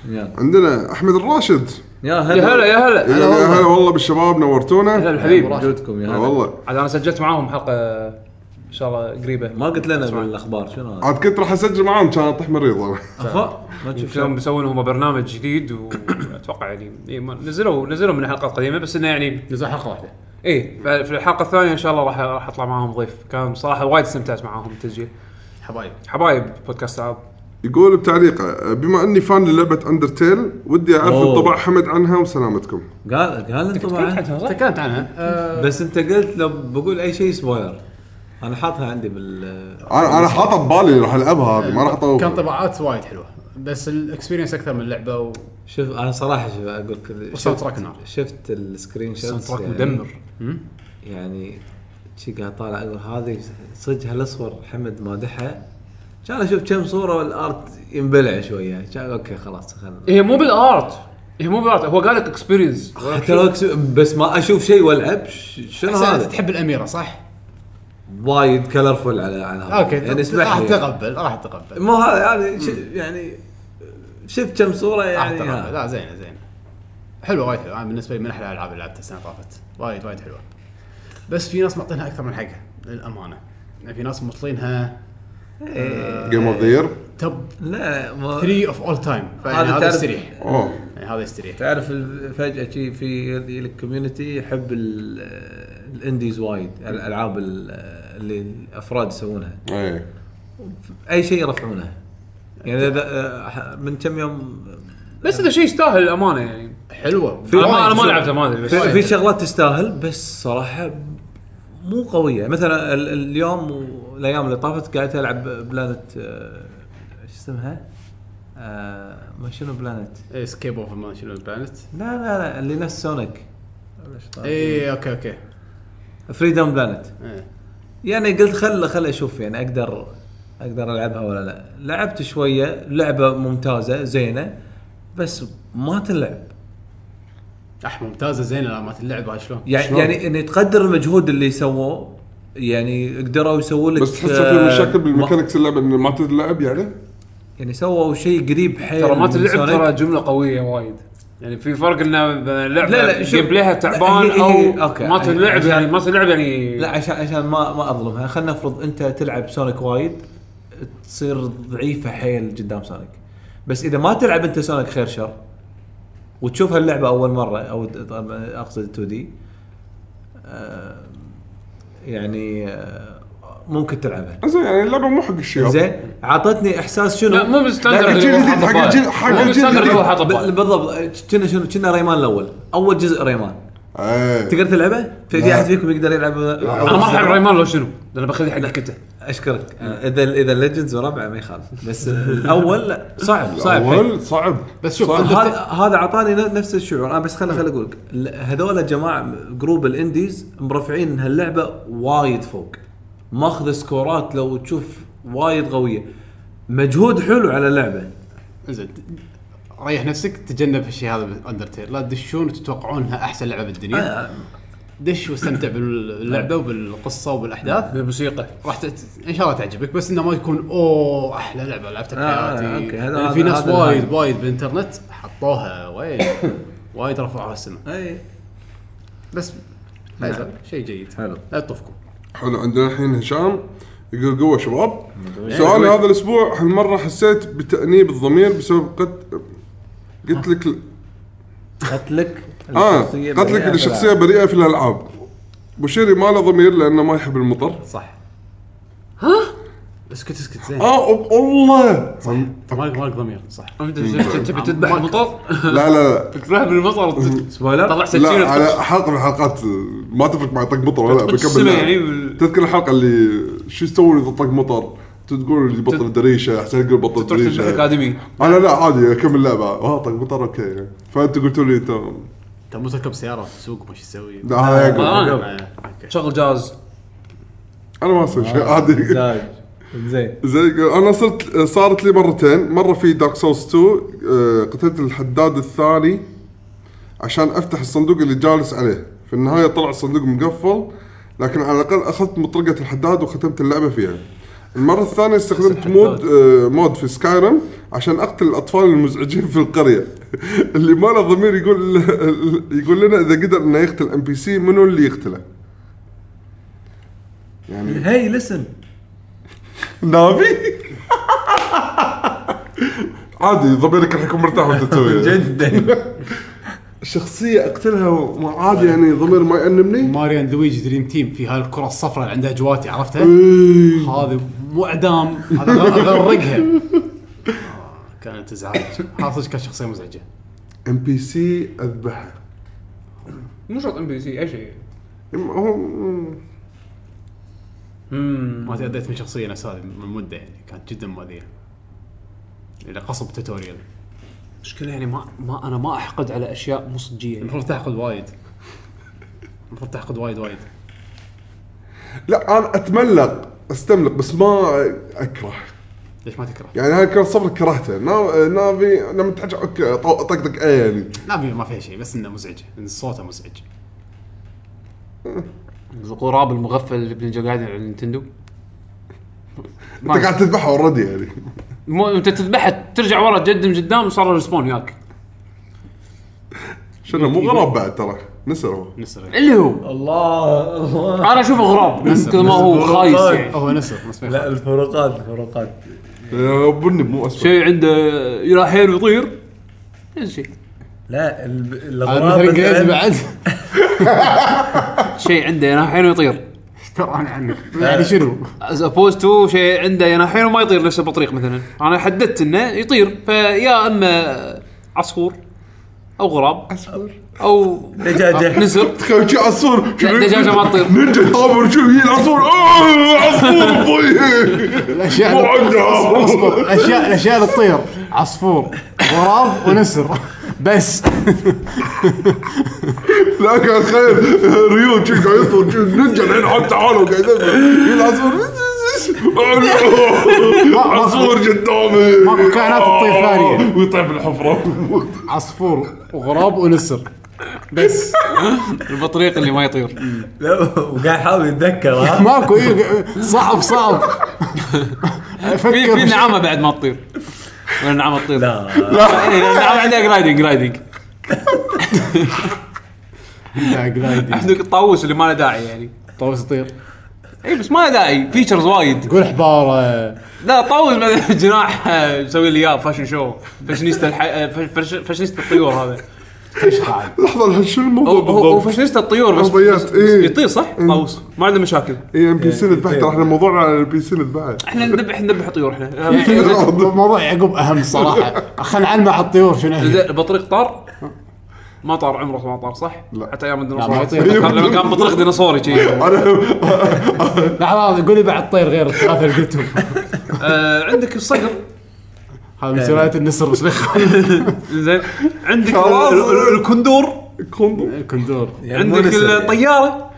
يلا. عندنا احمد الراشد يا يا هلا هلا يا هلا يعني هلا والله بالشباب نورتونا هلا الحبيب وجودكم يا آه، هلا والله عاد انا سجلت معاهم حلقه ان شاء الله قريبه ما قلت لنا من الاخبار شنو هذا؟ عاد كنت راح اسجل معاهم كان اطيح مريض انا أفا؟ ما تشوف شلون بيسوون هم برنامج جديد واتوقع يعني إيه ما- نزلوا نزلوا من الحلقه القديمه بس انه يعني نزل حلقه واحده ايه في الحلقه الثانيه ان شاء الله راح راح اطلع معاهم ضيف كان صراحه وايد استمتعت معاهم التسجيل حبايب حبايب بودكاست العاب يقول بتعليقه بما اني فان للعبه اندرتيل ودي اعرف أوه. انطباع حمد عنها وسلامتكم قال قال انت طبعا تكلمت عنها آه، بس انت قلت لو بقول اي شيء سبويلر انا حاطها عندي بال انا انا حاطه ببالي اللي راح العبها هذه ما راح كان اطوف طباعات وايد حلوه بس الاكسبيرينس اكثر من اللعبه و- شوف انا صراحه شوف اقول لك ال- والساوند شفت- تراك نار. شفت السكرين شوت الساوند تراك مدمر يعني شي قاعد طالع اقول هذه صدق هالاصور حمد مادحها كان اشوف كم صوره والارت ينبلع شويه كان اوكي خلاص خلنا هي إيه، مو بالارت هي مو بالارت هو قال لك اكسبيرينس حتى لو أكس- بس ما اشوف شيء والعب ش- شنو بس انت هذا؟ تحب الاميره صح؟ وايد كلرفول على على هذا. اوكي يعني راح اسمح لي تقبل راح تقبل مو هذا يعني ش- يعني شفت كم صوره راح يعني تقبل ها. لا زينه زينه حلوه وايد حلوه انا بالنسبه لي من احلى الالعاب اللي لعبتها السنه اللي طافت وايد وايد حلوه بس في ناس معطينها اكثر من حقها للامانه يعني في ناس موصلينها جيم اوف ذا يير توب لا ما 3 اوف اول تايم هذا هذا تعرف- يستريح اوه يعني هذا يستريح تعرف ال- فجاه شي في لك كوميونتي يحب ال- الانديز وايد الالعاب ال- اللي الافراد يسوونها اي اي شيء يرفعونه يعني اذا من كم يوم بس اذا شيء يستاهل الامانه يعني حلوه في- انا ما انا ما شوف. لعبته ما ادري بس في, في شغلات تستاهل بس صراحه مو قويه مثلا ال- اليوم والايام اللي طافت قاعد العب بلانت آه، ايش اسمها؟ آه، ما شنو بلانت؟ سكيب اوف ما شنو البلانت لا لا لا اللي نفس إيه. سونيك اي اوكي اوكي فريدم بلانت إيه. يعني قلت خل خل اشوف يعني اقدر اقدر العبها ولا لا لعبت شويه لعبه ممتازه زينه بس ما تلعب اح ممتازه زينه لا ما تلعب هاي شلون يعني يعني اني تقدر المجهود اللي سووه يعني قدروا يسووا لك بس تحس في آه، مشاكل ما- بالميكانكس اللعبه انه ما تلعب يعني يعني سووا شيء قريب حيل ترى ما من تلعب سونيك. ترى جمله قويه وايد يعني في فرق ان اللعبه لا، لا، شوف. جيب لها تعبان لا، هي- او هي- أوكي. ما تلعب عشان- يعني ما تلعب يعني لا عشان عشان ما ما اظلمها خلينا نفرض انت تلعب سونيك وايد تصير ضعيفه حيل قدام سونيك بس اذا ما تلعب انت سونيك خير شر وتشوف هاللعبه اول مره او د- طبعاً اقصد 2 دي آه، يعني آه، ممكن تلعبها زين يعني اللعبه مو حق الشباب زين عطتني احساس شنو لا، مو بالستاندرد لا، لا، الجيل هو الجديد حط حق بباله. الجيل حق هو الجيل بالستاندرد هو الجديد حط بباله. ب- بالضبط كنا شنو كنا ريمان الاول اول جزء ريمان ايه تقدر تلعبه؟ في احد فيكم يقدر يلعب انا ما العب ريمان لو شنو انا بخليه حق كته اشكرك اذا اذا ليجندز وربعه ما يخالف بس الاول لا، صعب صعب حيل. اول صعب بس شوف صعب. هذا هذا اعطاني ن- نفس الشعور انا بس خل خل اقول لك ال- هذول جماعه جروب الانديز مرفعين هاللعبه وايد فوق ماخذ سكورات لو تشوف وايد قويه مجهود حلو على اللعبه زين ريح نفسك تجنب هالشيء هذا باندرتيل لا تدشون وتتوقعون انها احسن لعبه بالدنيا آه، دش واستمتع باللعبه وبالقصه وبالاحداث آه، بالموسيقى راح ت... ان شاء الله تعجبك بس انه ما يكون اوه احلى لعبه لعبتها آه، بحياتي أوكي، هذا- لأن هذا- في ناس هذا وايد الهايب. وايد بالانترنت حطوها وايد وايد رفعوها السماء اي بس لا يزال شيء جيد نعم. حلو لا تطفكم حلو عندنا الحين هشام يقول قوه شباب سؤالي هذا الاسبوع هالمره حسيت بتانيب الضمير بسبب قد قلت لك قتلك اه قتلك الشخصيه بريئه في الالعاب بشيري ما له ضمير لانه ما يحب المطر صح ها اسكت اسكت زين آه، اه أب- الله مالك مالك ضمير صح تبي تذبح المطر لا لا لا تذبح بالمطر سبويلر طلع سكينه لا على حلقه من الحلقات ما تفرق مع طق مطر ولا تخبط السماء يعني بكمل بال- تذكر الحلقه اللي شو تسوي اذا طق مطر تقول اللي بطل دريشه احسن تقول بطل تروح تذبح دريشه اكاديمي انا لا عادي اكمل لعبه اه طق مطر اوكي فانت قلت لي انت انت مو تركب سياره تسوق مش تسوي لا، هذا يعقوب. آه. آه، اوكي شغل جاز انا ما اسوي شيء عادي زين زي انا صرت صارت لي مرتين مره في دارك سولز 2 آه، قتلت الحداد الثاني عشان افتح الصندوق اللي جالس عليه في النهايه طلع الصندوق مقفل لكن على الاقل اخذت مطرقه الحداد وختمت اللعبه فيها المره الثانيه استخدمت مود آه، مود في سكايرم عشان اقتل الاطفال المزعجين في القريه اللي ما له ضمير يقول يقول لنا اذا قدر انه يقتل ام بي سي منو اللي يقتله يعني هي لسن نابي عادي ضميرك راح يكون مرتاح وانت تسويها جدا شخصية اقتلها وما- عادي يعني ضمير ما يأنبني ماريو اند لويجي دريم تيم في هاي الكره الصفراء اللي عندها جواتي عرفتها إيه. هذا مو اعدام هذا هذا رقها آه، كانت ازعاج هذا صدق كانت شخصيه مزعجه ام بي سي اذبحها مو شرط ام بي سي اي شيء هو ما تأديت من شخصيه نفس هذه من مده يعني كانت جدا مؤذيه الى قصب توتوريال مشكلة يعني ما ما انا ما احقد على اشياء مو صجية يعني. المفروض تحقد وايد المفروض تحقد وايد وايد لا انا اتملق استملق بس ما اكره ليش ما تكره؟ يعني هاي كان صبر كرهته نا- نافي لما تحكي اوكي طو- طقطق ايه يعني طيب. نافي ما فيها شيء بس انه مزعجه ان صوته مزعج الغراب المغفل اللي بنلقى قاعد على النينتندو انت قاعد تذبحها اوريدي يعني مو انت تذبحها ترجع ورا تقدم قدام صار ريسبون وياك شنو مو غراب بعد ترى نسر هو نسر اللي هو الله الله انا اشوفه غراب من كثر ما هو نسر خايس غراب. يعني هو نسر بس ما لا يخاف. الفروقات الفروقات آه، بني مو اسود شيء عنده يراحين ويطير نفس الشيء لا يعني. الب- هذا الاغراب مثل انجليزي مثلاً- آه، بعد شيء عنده يناحين ويطير ترى عنك يعني شنو؟ از opposed تو شيء عنده يناحين وما يطير نفس البطريق مثلا انا حددت انه يطير فيا اما عصفور او غراب او دجاجة. نسر تخيل شي عصفور شو- دجاجة ما تطير. نينجا طابر شو هي العصفور آه، عصفور طير الاشياء مو عنده. اصبر الاشياء الاشياء اللي تطير عصفور غراب ونسر بس لا كان خير ريو شي قاعد يطير شي نينجا الحين حط تعالوا قاعد يطير. هي العصفور عصفور قدامي ماكو كائنات تطير ثانية. ويطير بالحفرة عصفور وغراب ونسر بس البطريق اللي ما يطير لا وقاعد يحاول يتذكر ها ماكو إيه، صعب صعب في في افكر نعامه بعد ما تطير ولا نعامه تطير لا إيه، النعامه عندها جرايدنج جرايدنج جلايدي عندك الطاووس اللي ما له داعي يعني طاووس يطير اي بس ما له داعي فيتشرز وايد قول حباره لا طاووس بعدين جناح آه، مسوي لي اياه فاشن شو فاشينيستا الح... آه، فش- فاشينيستا الطيور هذا تشخعل لحظة الحين شنو الموضوع هو هو بالضبط؟ فاشينيستا الطيور بس, ربيات، بس إيه. يطير صح طاووس ما عنده مشاكل اي ام إيه، بي سي نذبح ترى احنا موضوعنا على الام بي سي نذبح احنا نذبح نذبح طيور احنا الموضوع يعقوب اهم صراحه خلينا نعلمه على الطيور شنو هي البطريق طار ما طار عمره ما طار صح؟ لا. أيوه. حتى ايام ما الديناصورات يطير. كان- لما كان مطرق ديناصوري شي. لحظه لحظه قولي بعد طير غير الثلاثه اللي قلتهم آه، عندك الصقر هذا من سلاله النسر وسليخ زين عندك خلاص. ال- ال- الكندور كوندو الكندور يعني مو عندك نسر. الطياره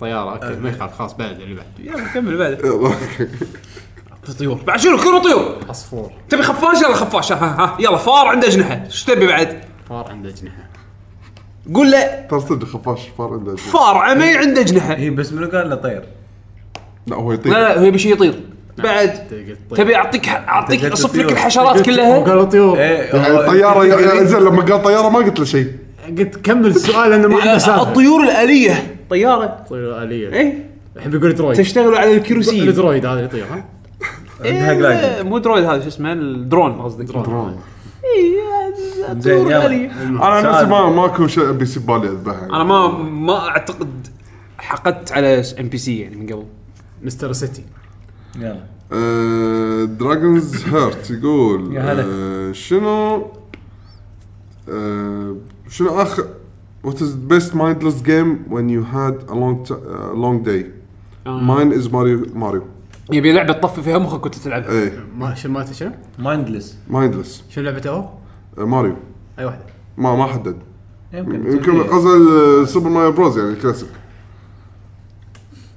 طياره اوكي ما يخاف خلاص بعد اللي بعد يلا كمل بعد أوكي. طيور بعد شنو كله طيور عصفور تبي خفاش يلا خفاش ها ها ها يلا فار عنده اجنحه ايش تبي بعد؟ فار عنده اجنحه قول له ترى صدق خفاش فار عنده أجنحة. فار عمي عنده اجنحه هي إيه، بس منو قال له طير؟ إيه، لا هو يطير لا لا هو يبي شيء نعم. يطير بعد طيب. تبي إيه. اعطيك اعطيك قلت اصف لك طيور. الحشرات كلها قالوا طيور ايه يعني الطياره يعني زين لما قال طياره ما قلت له شيء قلت كمل السؤال لانه إيه، ما أه، عنده سالفه آه، الطيور الاليه طياره طيور اليه اي الحين بيقول درويد تشتغل على الكروسي الدرويد هذا يطير ها عندها جلايدنج. مو درويد هذا شو اسمه الدرون قصدك إيه، درون. اي زين، الطيور يلا. أيوه. الاليه انا عن نفسي سؤال. ما ماكو شيء بيصير بالي اذبحه انا ما ما اعتقد حقدت على ام بي سي يعني من قبل مستر سيتي يلا دراجونز هيرت آه، يقول يا هلا. آه، شنو آه، شنو اخر What is the best mindless game when you had a long t- uh, long day? Mine is Mario Mario. يبي لعبه تطفي فيها مخك وانت تلعبها ايه ما شنو مالته شنو؟ مايندلس mindless شنو لعبته هو؟ آه، ماريو اي واحده ما ما حدد يمكن يمكن آه، قصد سوبر ماريو بروز يعني الكلاسيك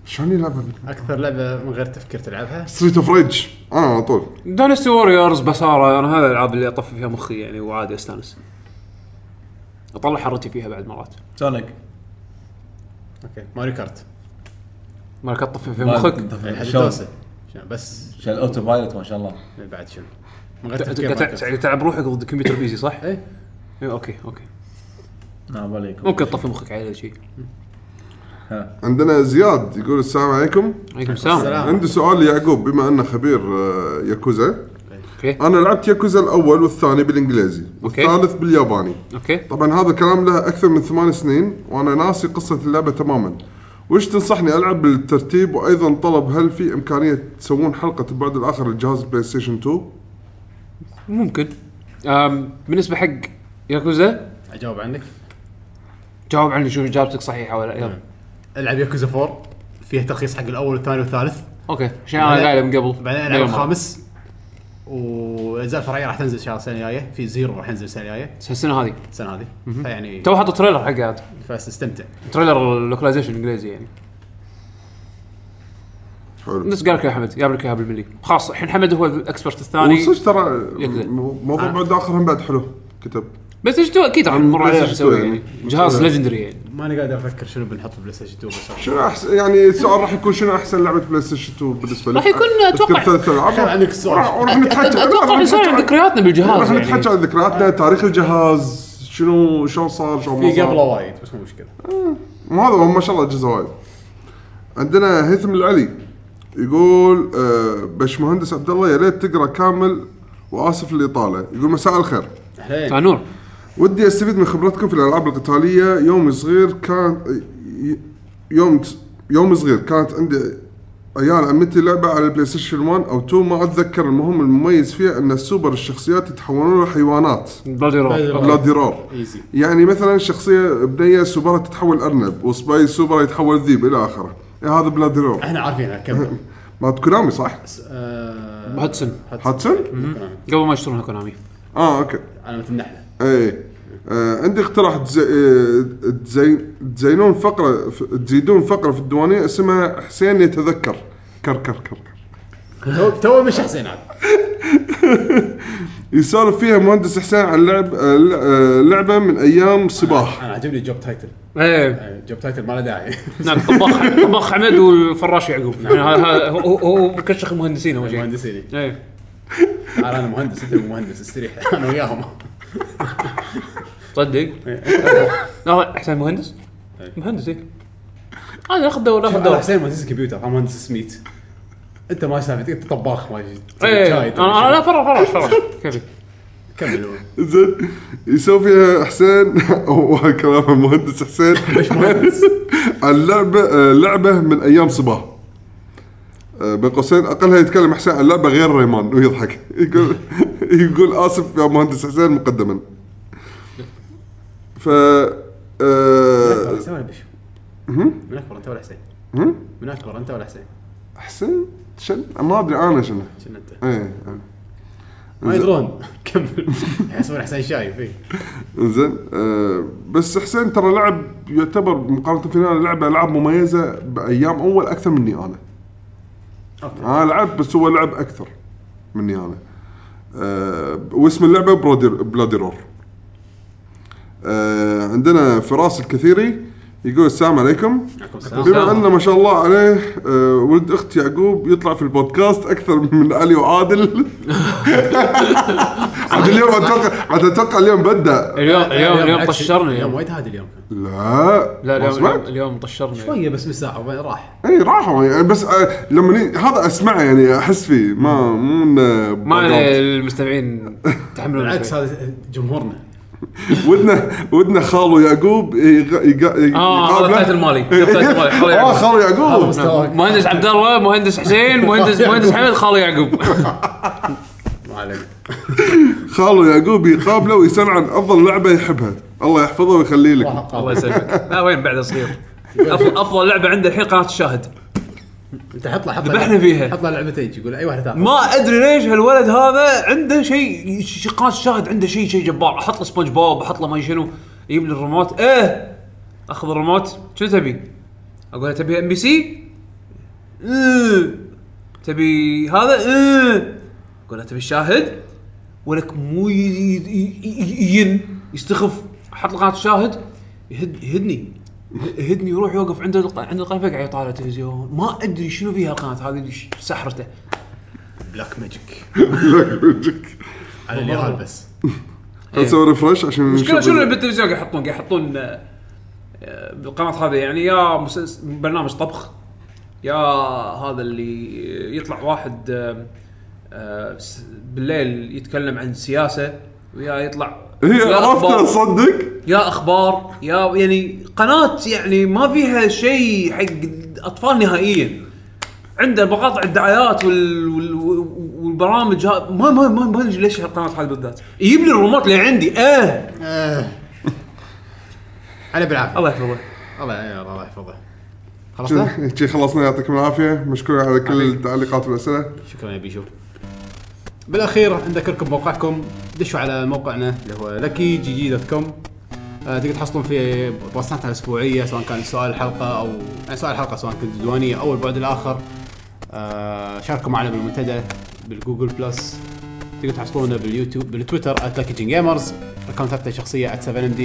شلون يلعبها اكثر لعبه من غير تفكير تلعبها ستريت اوف ريج انا آه، على طول دانستي ووريرز بساره انا هذا الالعاب اللي اطفي فيها مخي يعني وعادي استانس اطلع حرتي فيها بعد مرات سونيك اوكي ماريو كارت مرات اطفي فيها مخك شلون الحدوسه شنو بس إيه، شال الاوتو بايلوت ما شاع الله بعد شنو؟ من غير ت- تفكير ت- ماريو يعني تلعب روحك ضد كمبيوتر بيزي صح؟ إيه. إيه، اوكي اوكي نعم عليكم ممكن تطفي مخك على شيء عندنا زياد يقول السلام عليكم عليكم السلام السلام. عندي سؤال ليعقوب بما انه خبير آه، ياكوزا اوكي انا لعبت ياكوزا الاول والثاني بالانجليزي أوكي. والثالث بالياباني اوكي طبعا هذا الكلام له اكثر من ثمان سنين وانا ناسي قصه اللعبه تماما وش تنصحني العب بالترتيب وايضا طلب هل في امكانيه تسوون حلقه البعد الاخر لجهاز بلاي ستيشن 2 ممكن أم بالنسبه حق ياكوزا اجاوب عنك جاوب عني شوف اجابتك صحيحه ولا لا يلا. العب ياكوزا 4 فيها تلخيص حق الاول والثاني والثالث اوكي عشان انا بعدين- قايله من قبل بعدين العب دايما. الخامس والاجزاء الفرعيه راح تنزل ان شاء الله السنه الجايه في زيرو راح ينزل السنه الجايه السنه هذه السنه هذه فيعني تو حاطط تريلر حق هذا فاستمتع تريلر اللوكلايزيشن الانجليزي يعني حلو نفس قال لك يا حمد جاب لك اياها بالملي خلاص الحين حمد هو الاكسبرت الثاني وصدق ترى يكذب. م- موضوع آه. بعد اخر هم بعد حلو كتب بس ايش تو- اكيد راح نمر عليه بلاي راح ستيشن نسوي تو يعني يعني. جهاز بلاي ليجندري يعني ماني قادر افكر شنو بنحط بلاي ستيشن 2 بس شنو احسن يعني السؤال راح يكون شنو احسن لعبه بلاي ستيشن 2 بالنسبه لك راح يكون أتوقع- أذكر ثلاث العاب خل عنك السؤال. وراح- وراح نتحكى لا، راح اتوقع نسولف نتحكى عن عن- ذكرياتنا بالجهاز راح يعني نتحكى عن ذكرياتنا تاريخ الجهاز شنو شلون صار شلون ما في قبله صار وايد بس مو مشكله مو هذا هو ما شاء الله اجهزه وايد عندنا هيثم العلي يقول آه، بشمهندس عبد الله يا ليت تقرا كامل واسف للاطاله يقول مساء الخير تاع آه، نور ودي استفيد من خبرتكم في الالعاب القتاليه يوم صغير كان ي- يوم يوم صغير كانت عندي عيال عمتي لعبه على البلاي ستيشن 1 او 2 ما اتذكر المهم المميز فيها ان السوبر الشخصيات يتحولون لحيوانات بلادي رول بلادي رور ايزي يعني مثلا شخصيه بنيه سوبرا تتحول ارنب وسباي سوبرا يتحول ذيب الى اخره إيه هذا بلادي رور احنا عارفينها كمل مالت كونامي صح؟ بس، آه، هاتسون هاتسون؟ كونامي. قبل ما يشترونها كونامي اه اوكي علامة النحلة اي آه عندي اقتراح تز- آه، تزين تزينون فقره ف- تزيدون فقره في الديوانيه اسمها حسين يتذكر كر كر كر كر. تو- تو مش حسين عاد يسولف فيها مهندس حسين عن لعب آه، ل- آه، لعبه من ايام صباح انا عجبني جوب تايتل ايه يعني جوب تايتل ما له داعي نعم طباخ طباخ حمد والفراش يعقوب يعني هذا هذا هو هو مكشخ المهندسين اول شيء مهندسين ايه تعال انا مهندس انت مو مهندس استريح انا وياهم تصدق لا احسن مهندس مهندس ايه هذا ناخذ دور ناخذ انا دور حسين مهندس كمبيوتر انا مهندس سميت انت ما سالفتك انت طباخ ما ايه طيب، انا انا لا فراش فراش فراش كيفي كمل زين يسوي فيها حسين وكلام المهندس حسين عن لعبه آه، لعبه من ايام صباح آه، بين قوسين اقلها يتكلم حسين عن لعبه غير ريمان ويضحك يقول يقول اسف يا مهندس حسين مقدما ف آه، حسين ولا بشو؟ من اكبر انت ولا حسين؟ من اكبر انت ولا حسين؟ احسن شن ما ادري انا شنو شنو انت؟ ايه أنا. ما يدرون كمل يحسبون حسين شايف اي زين آه بس حسين ترى لعب يعتبر مقارنه فينا لعب العاب مميزه بايام اول اكثر مني انا. أوكي. انا لعبت بس هو لعب اكثر مني انا. آه واسم اللعبه برودر بلاديرور. آه عندنا فراس الكثيري يقول السلام عليكم بما ان ما شاء الله عليه آه ولد اخت يعقوب يطلع في البودكاست اكثر من علي وعادل عاد اليوم اتوقع عاد اتوقع اليوم بدا اليوم اليوم اليوم طشرنا اليوم اليوم وايد هادي اليوم كان. لا ما لا اليوم سمعت؟ اليوم, اليوم طشرنا شويه بس مساحه وبعدين راح اي راحوا يعني بس آه، لما ي- هذا اسمعه يعني احس فيه ما مو إنه ما عليه بالضبط. المستمعين تحملون بالعكس شوي. هذا جمهورنا نعم. ودنا ودنا خاله يعقوب يغ- يق- يق- آه، هذا يقابله. التايتل مالي. التايتل مالي، خاله اه يعقوب. خاله يعقوب مستواك مهندس عبد الله مهندس حسين مهندس مهندس حمد خالي يعقوب ما عليك خاله يعقوب يقابله ويسأل عن افضل لعبه يحبها الله يحفظه ويخليه لك الله يسلمك لا وين بعد صغير افضل افضل لعبه عنده الحين قناه الشاهد انت حط له حط له- ذبحنا فيها. حط له لعبتين يقول اي واحده تاخذ ما ادري ليش هالولد هذا عنده شيء ش- قناه الشاهد عنده شيء شيء جبار احط له سبونج بوب احط له ما أدري شنو يجيب لي الريموت ايه اخذ الريموت شنو تبي؟ اقول له تبي ام بي سي؟ إيه! تبي هذا؟ إيه. اقول له تبي الشاهد؟ ولك مو ي- ي- ي- ي- ين يستخف احط له قناه الشاهد يهد يهدني يهدني يروح يوقف عند الق- عند القناه فقع يطالع تلفزيون ما ادري شنو فيها القناه هذه ش- سحرته بلاك ماجيك على اليابان بس نسوي ريفرش عشان المشكله نشوف إيه. شنو ال- اللي بالتلفزيون قاعد يحطون قاعد يحطون آه، آه، بالقناه هذه يعني يا مسلس- برنامج طبخ يا هذا اللي يطلع واحد آه، آه، س- بالليل يتكلم عن سياسه ويا يطلع هي يا عرفتها أخبار- تصدق يا اخبار يا يعني قناه يعني ما فيها شيء حق اطفال نهائيا عنده مقاطع الدعايات وال... وال... والبرامج ها... ما ما ما ما ادري ليش هالقناه هذه بالذات يجيب لي الريموت اللي عندي اه آه. على بالعافيه الله يحفظه الله يا الله يحفظه خلصنا؟ شي- شي خلصنا يعطيكم العافيه مشكور على كل التعليقات والاسئله شكرا يا بيشو بالاخير نذكركم بموقعكم دشوا على موقعنا اللي هو لكي جي جي دوت كوم آه، تقدر تحصلون فيه بوستاتنا الاسبوعيه سواء كان سؤال الحلقه او يعني سؤال الحلقه سواء كنت ديوانيه او البعد الاخر آه، شاركوا معنا بالمنتدى بالجوجل بلس تقدر تحصلونا باليوتيوب بالتويتر @لكيجن جيمرز اكونتاتنا الشخصيه @7md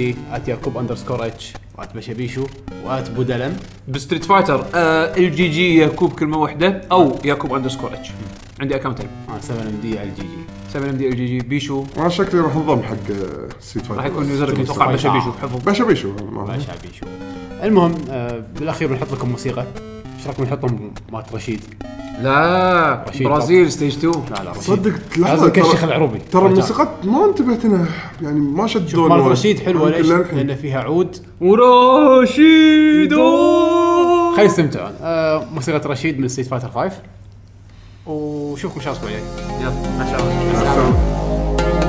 @يعقوب اندرسكور اتش @بشبيشو و@بودلم بستريت فايتر آه الجي جي ياكوب كلمه واحده او ياكوب اندرسكور اتش عندي اكونتين آه، 7md على الجي جي 7 ام دي الجي جي بيشو انا شكلي راح انضم حق آه، سيت فايتر راح يكون يوزر اتوقع بشا بيشو حفظ بشا بيشو ما- لا شعبي شو المهم آه بالاخير بنحط لكم موسيقى ايش رايكم نحطهم مالت رشيد؟ لا رشيد برازيل ستيج 2 لا لا رشيد صدق لازم لحظه نكشخ ترى- العروبي ترى رجاء. الموسيقى ما انتبهت لها يعني ما شدوني مالت وايد. رشيد حلوه ليش؟ إلا الحين. لان فيها عود ورشيدو خلينا نستمتع آه موسيقى رشيد من ستيت فايتر 5 وشوفكم ان شاء الله الاسبوع الجاي يلا ما شاء الله السلام.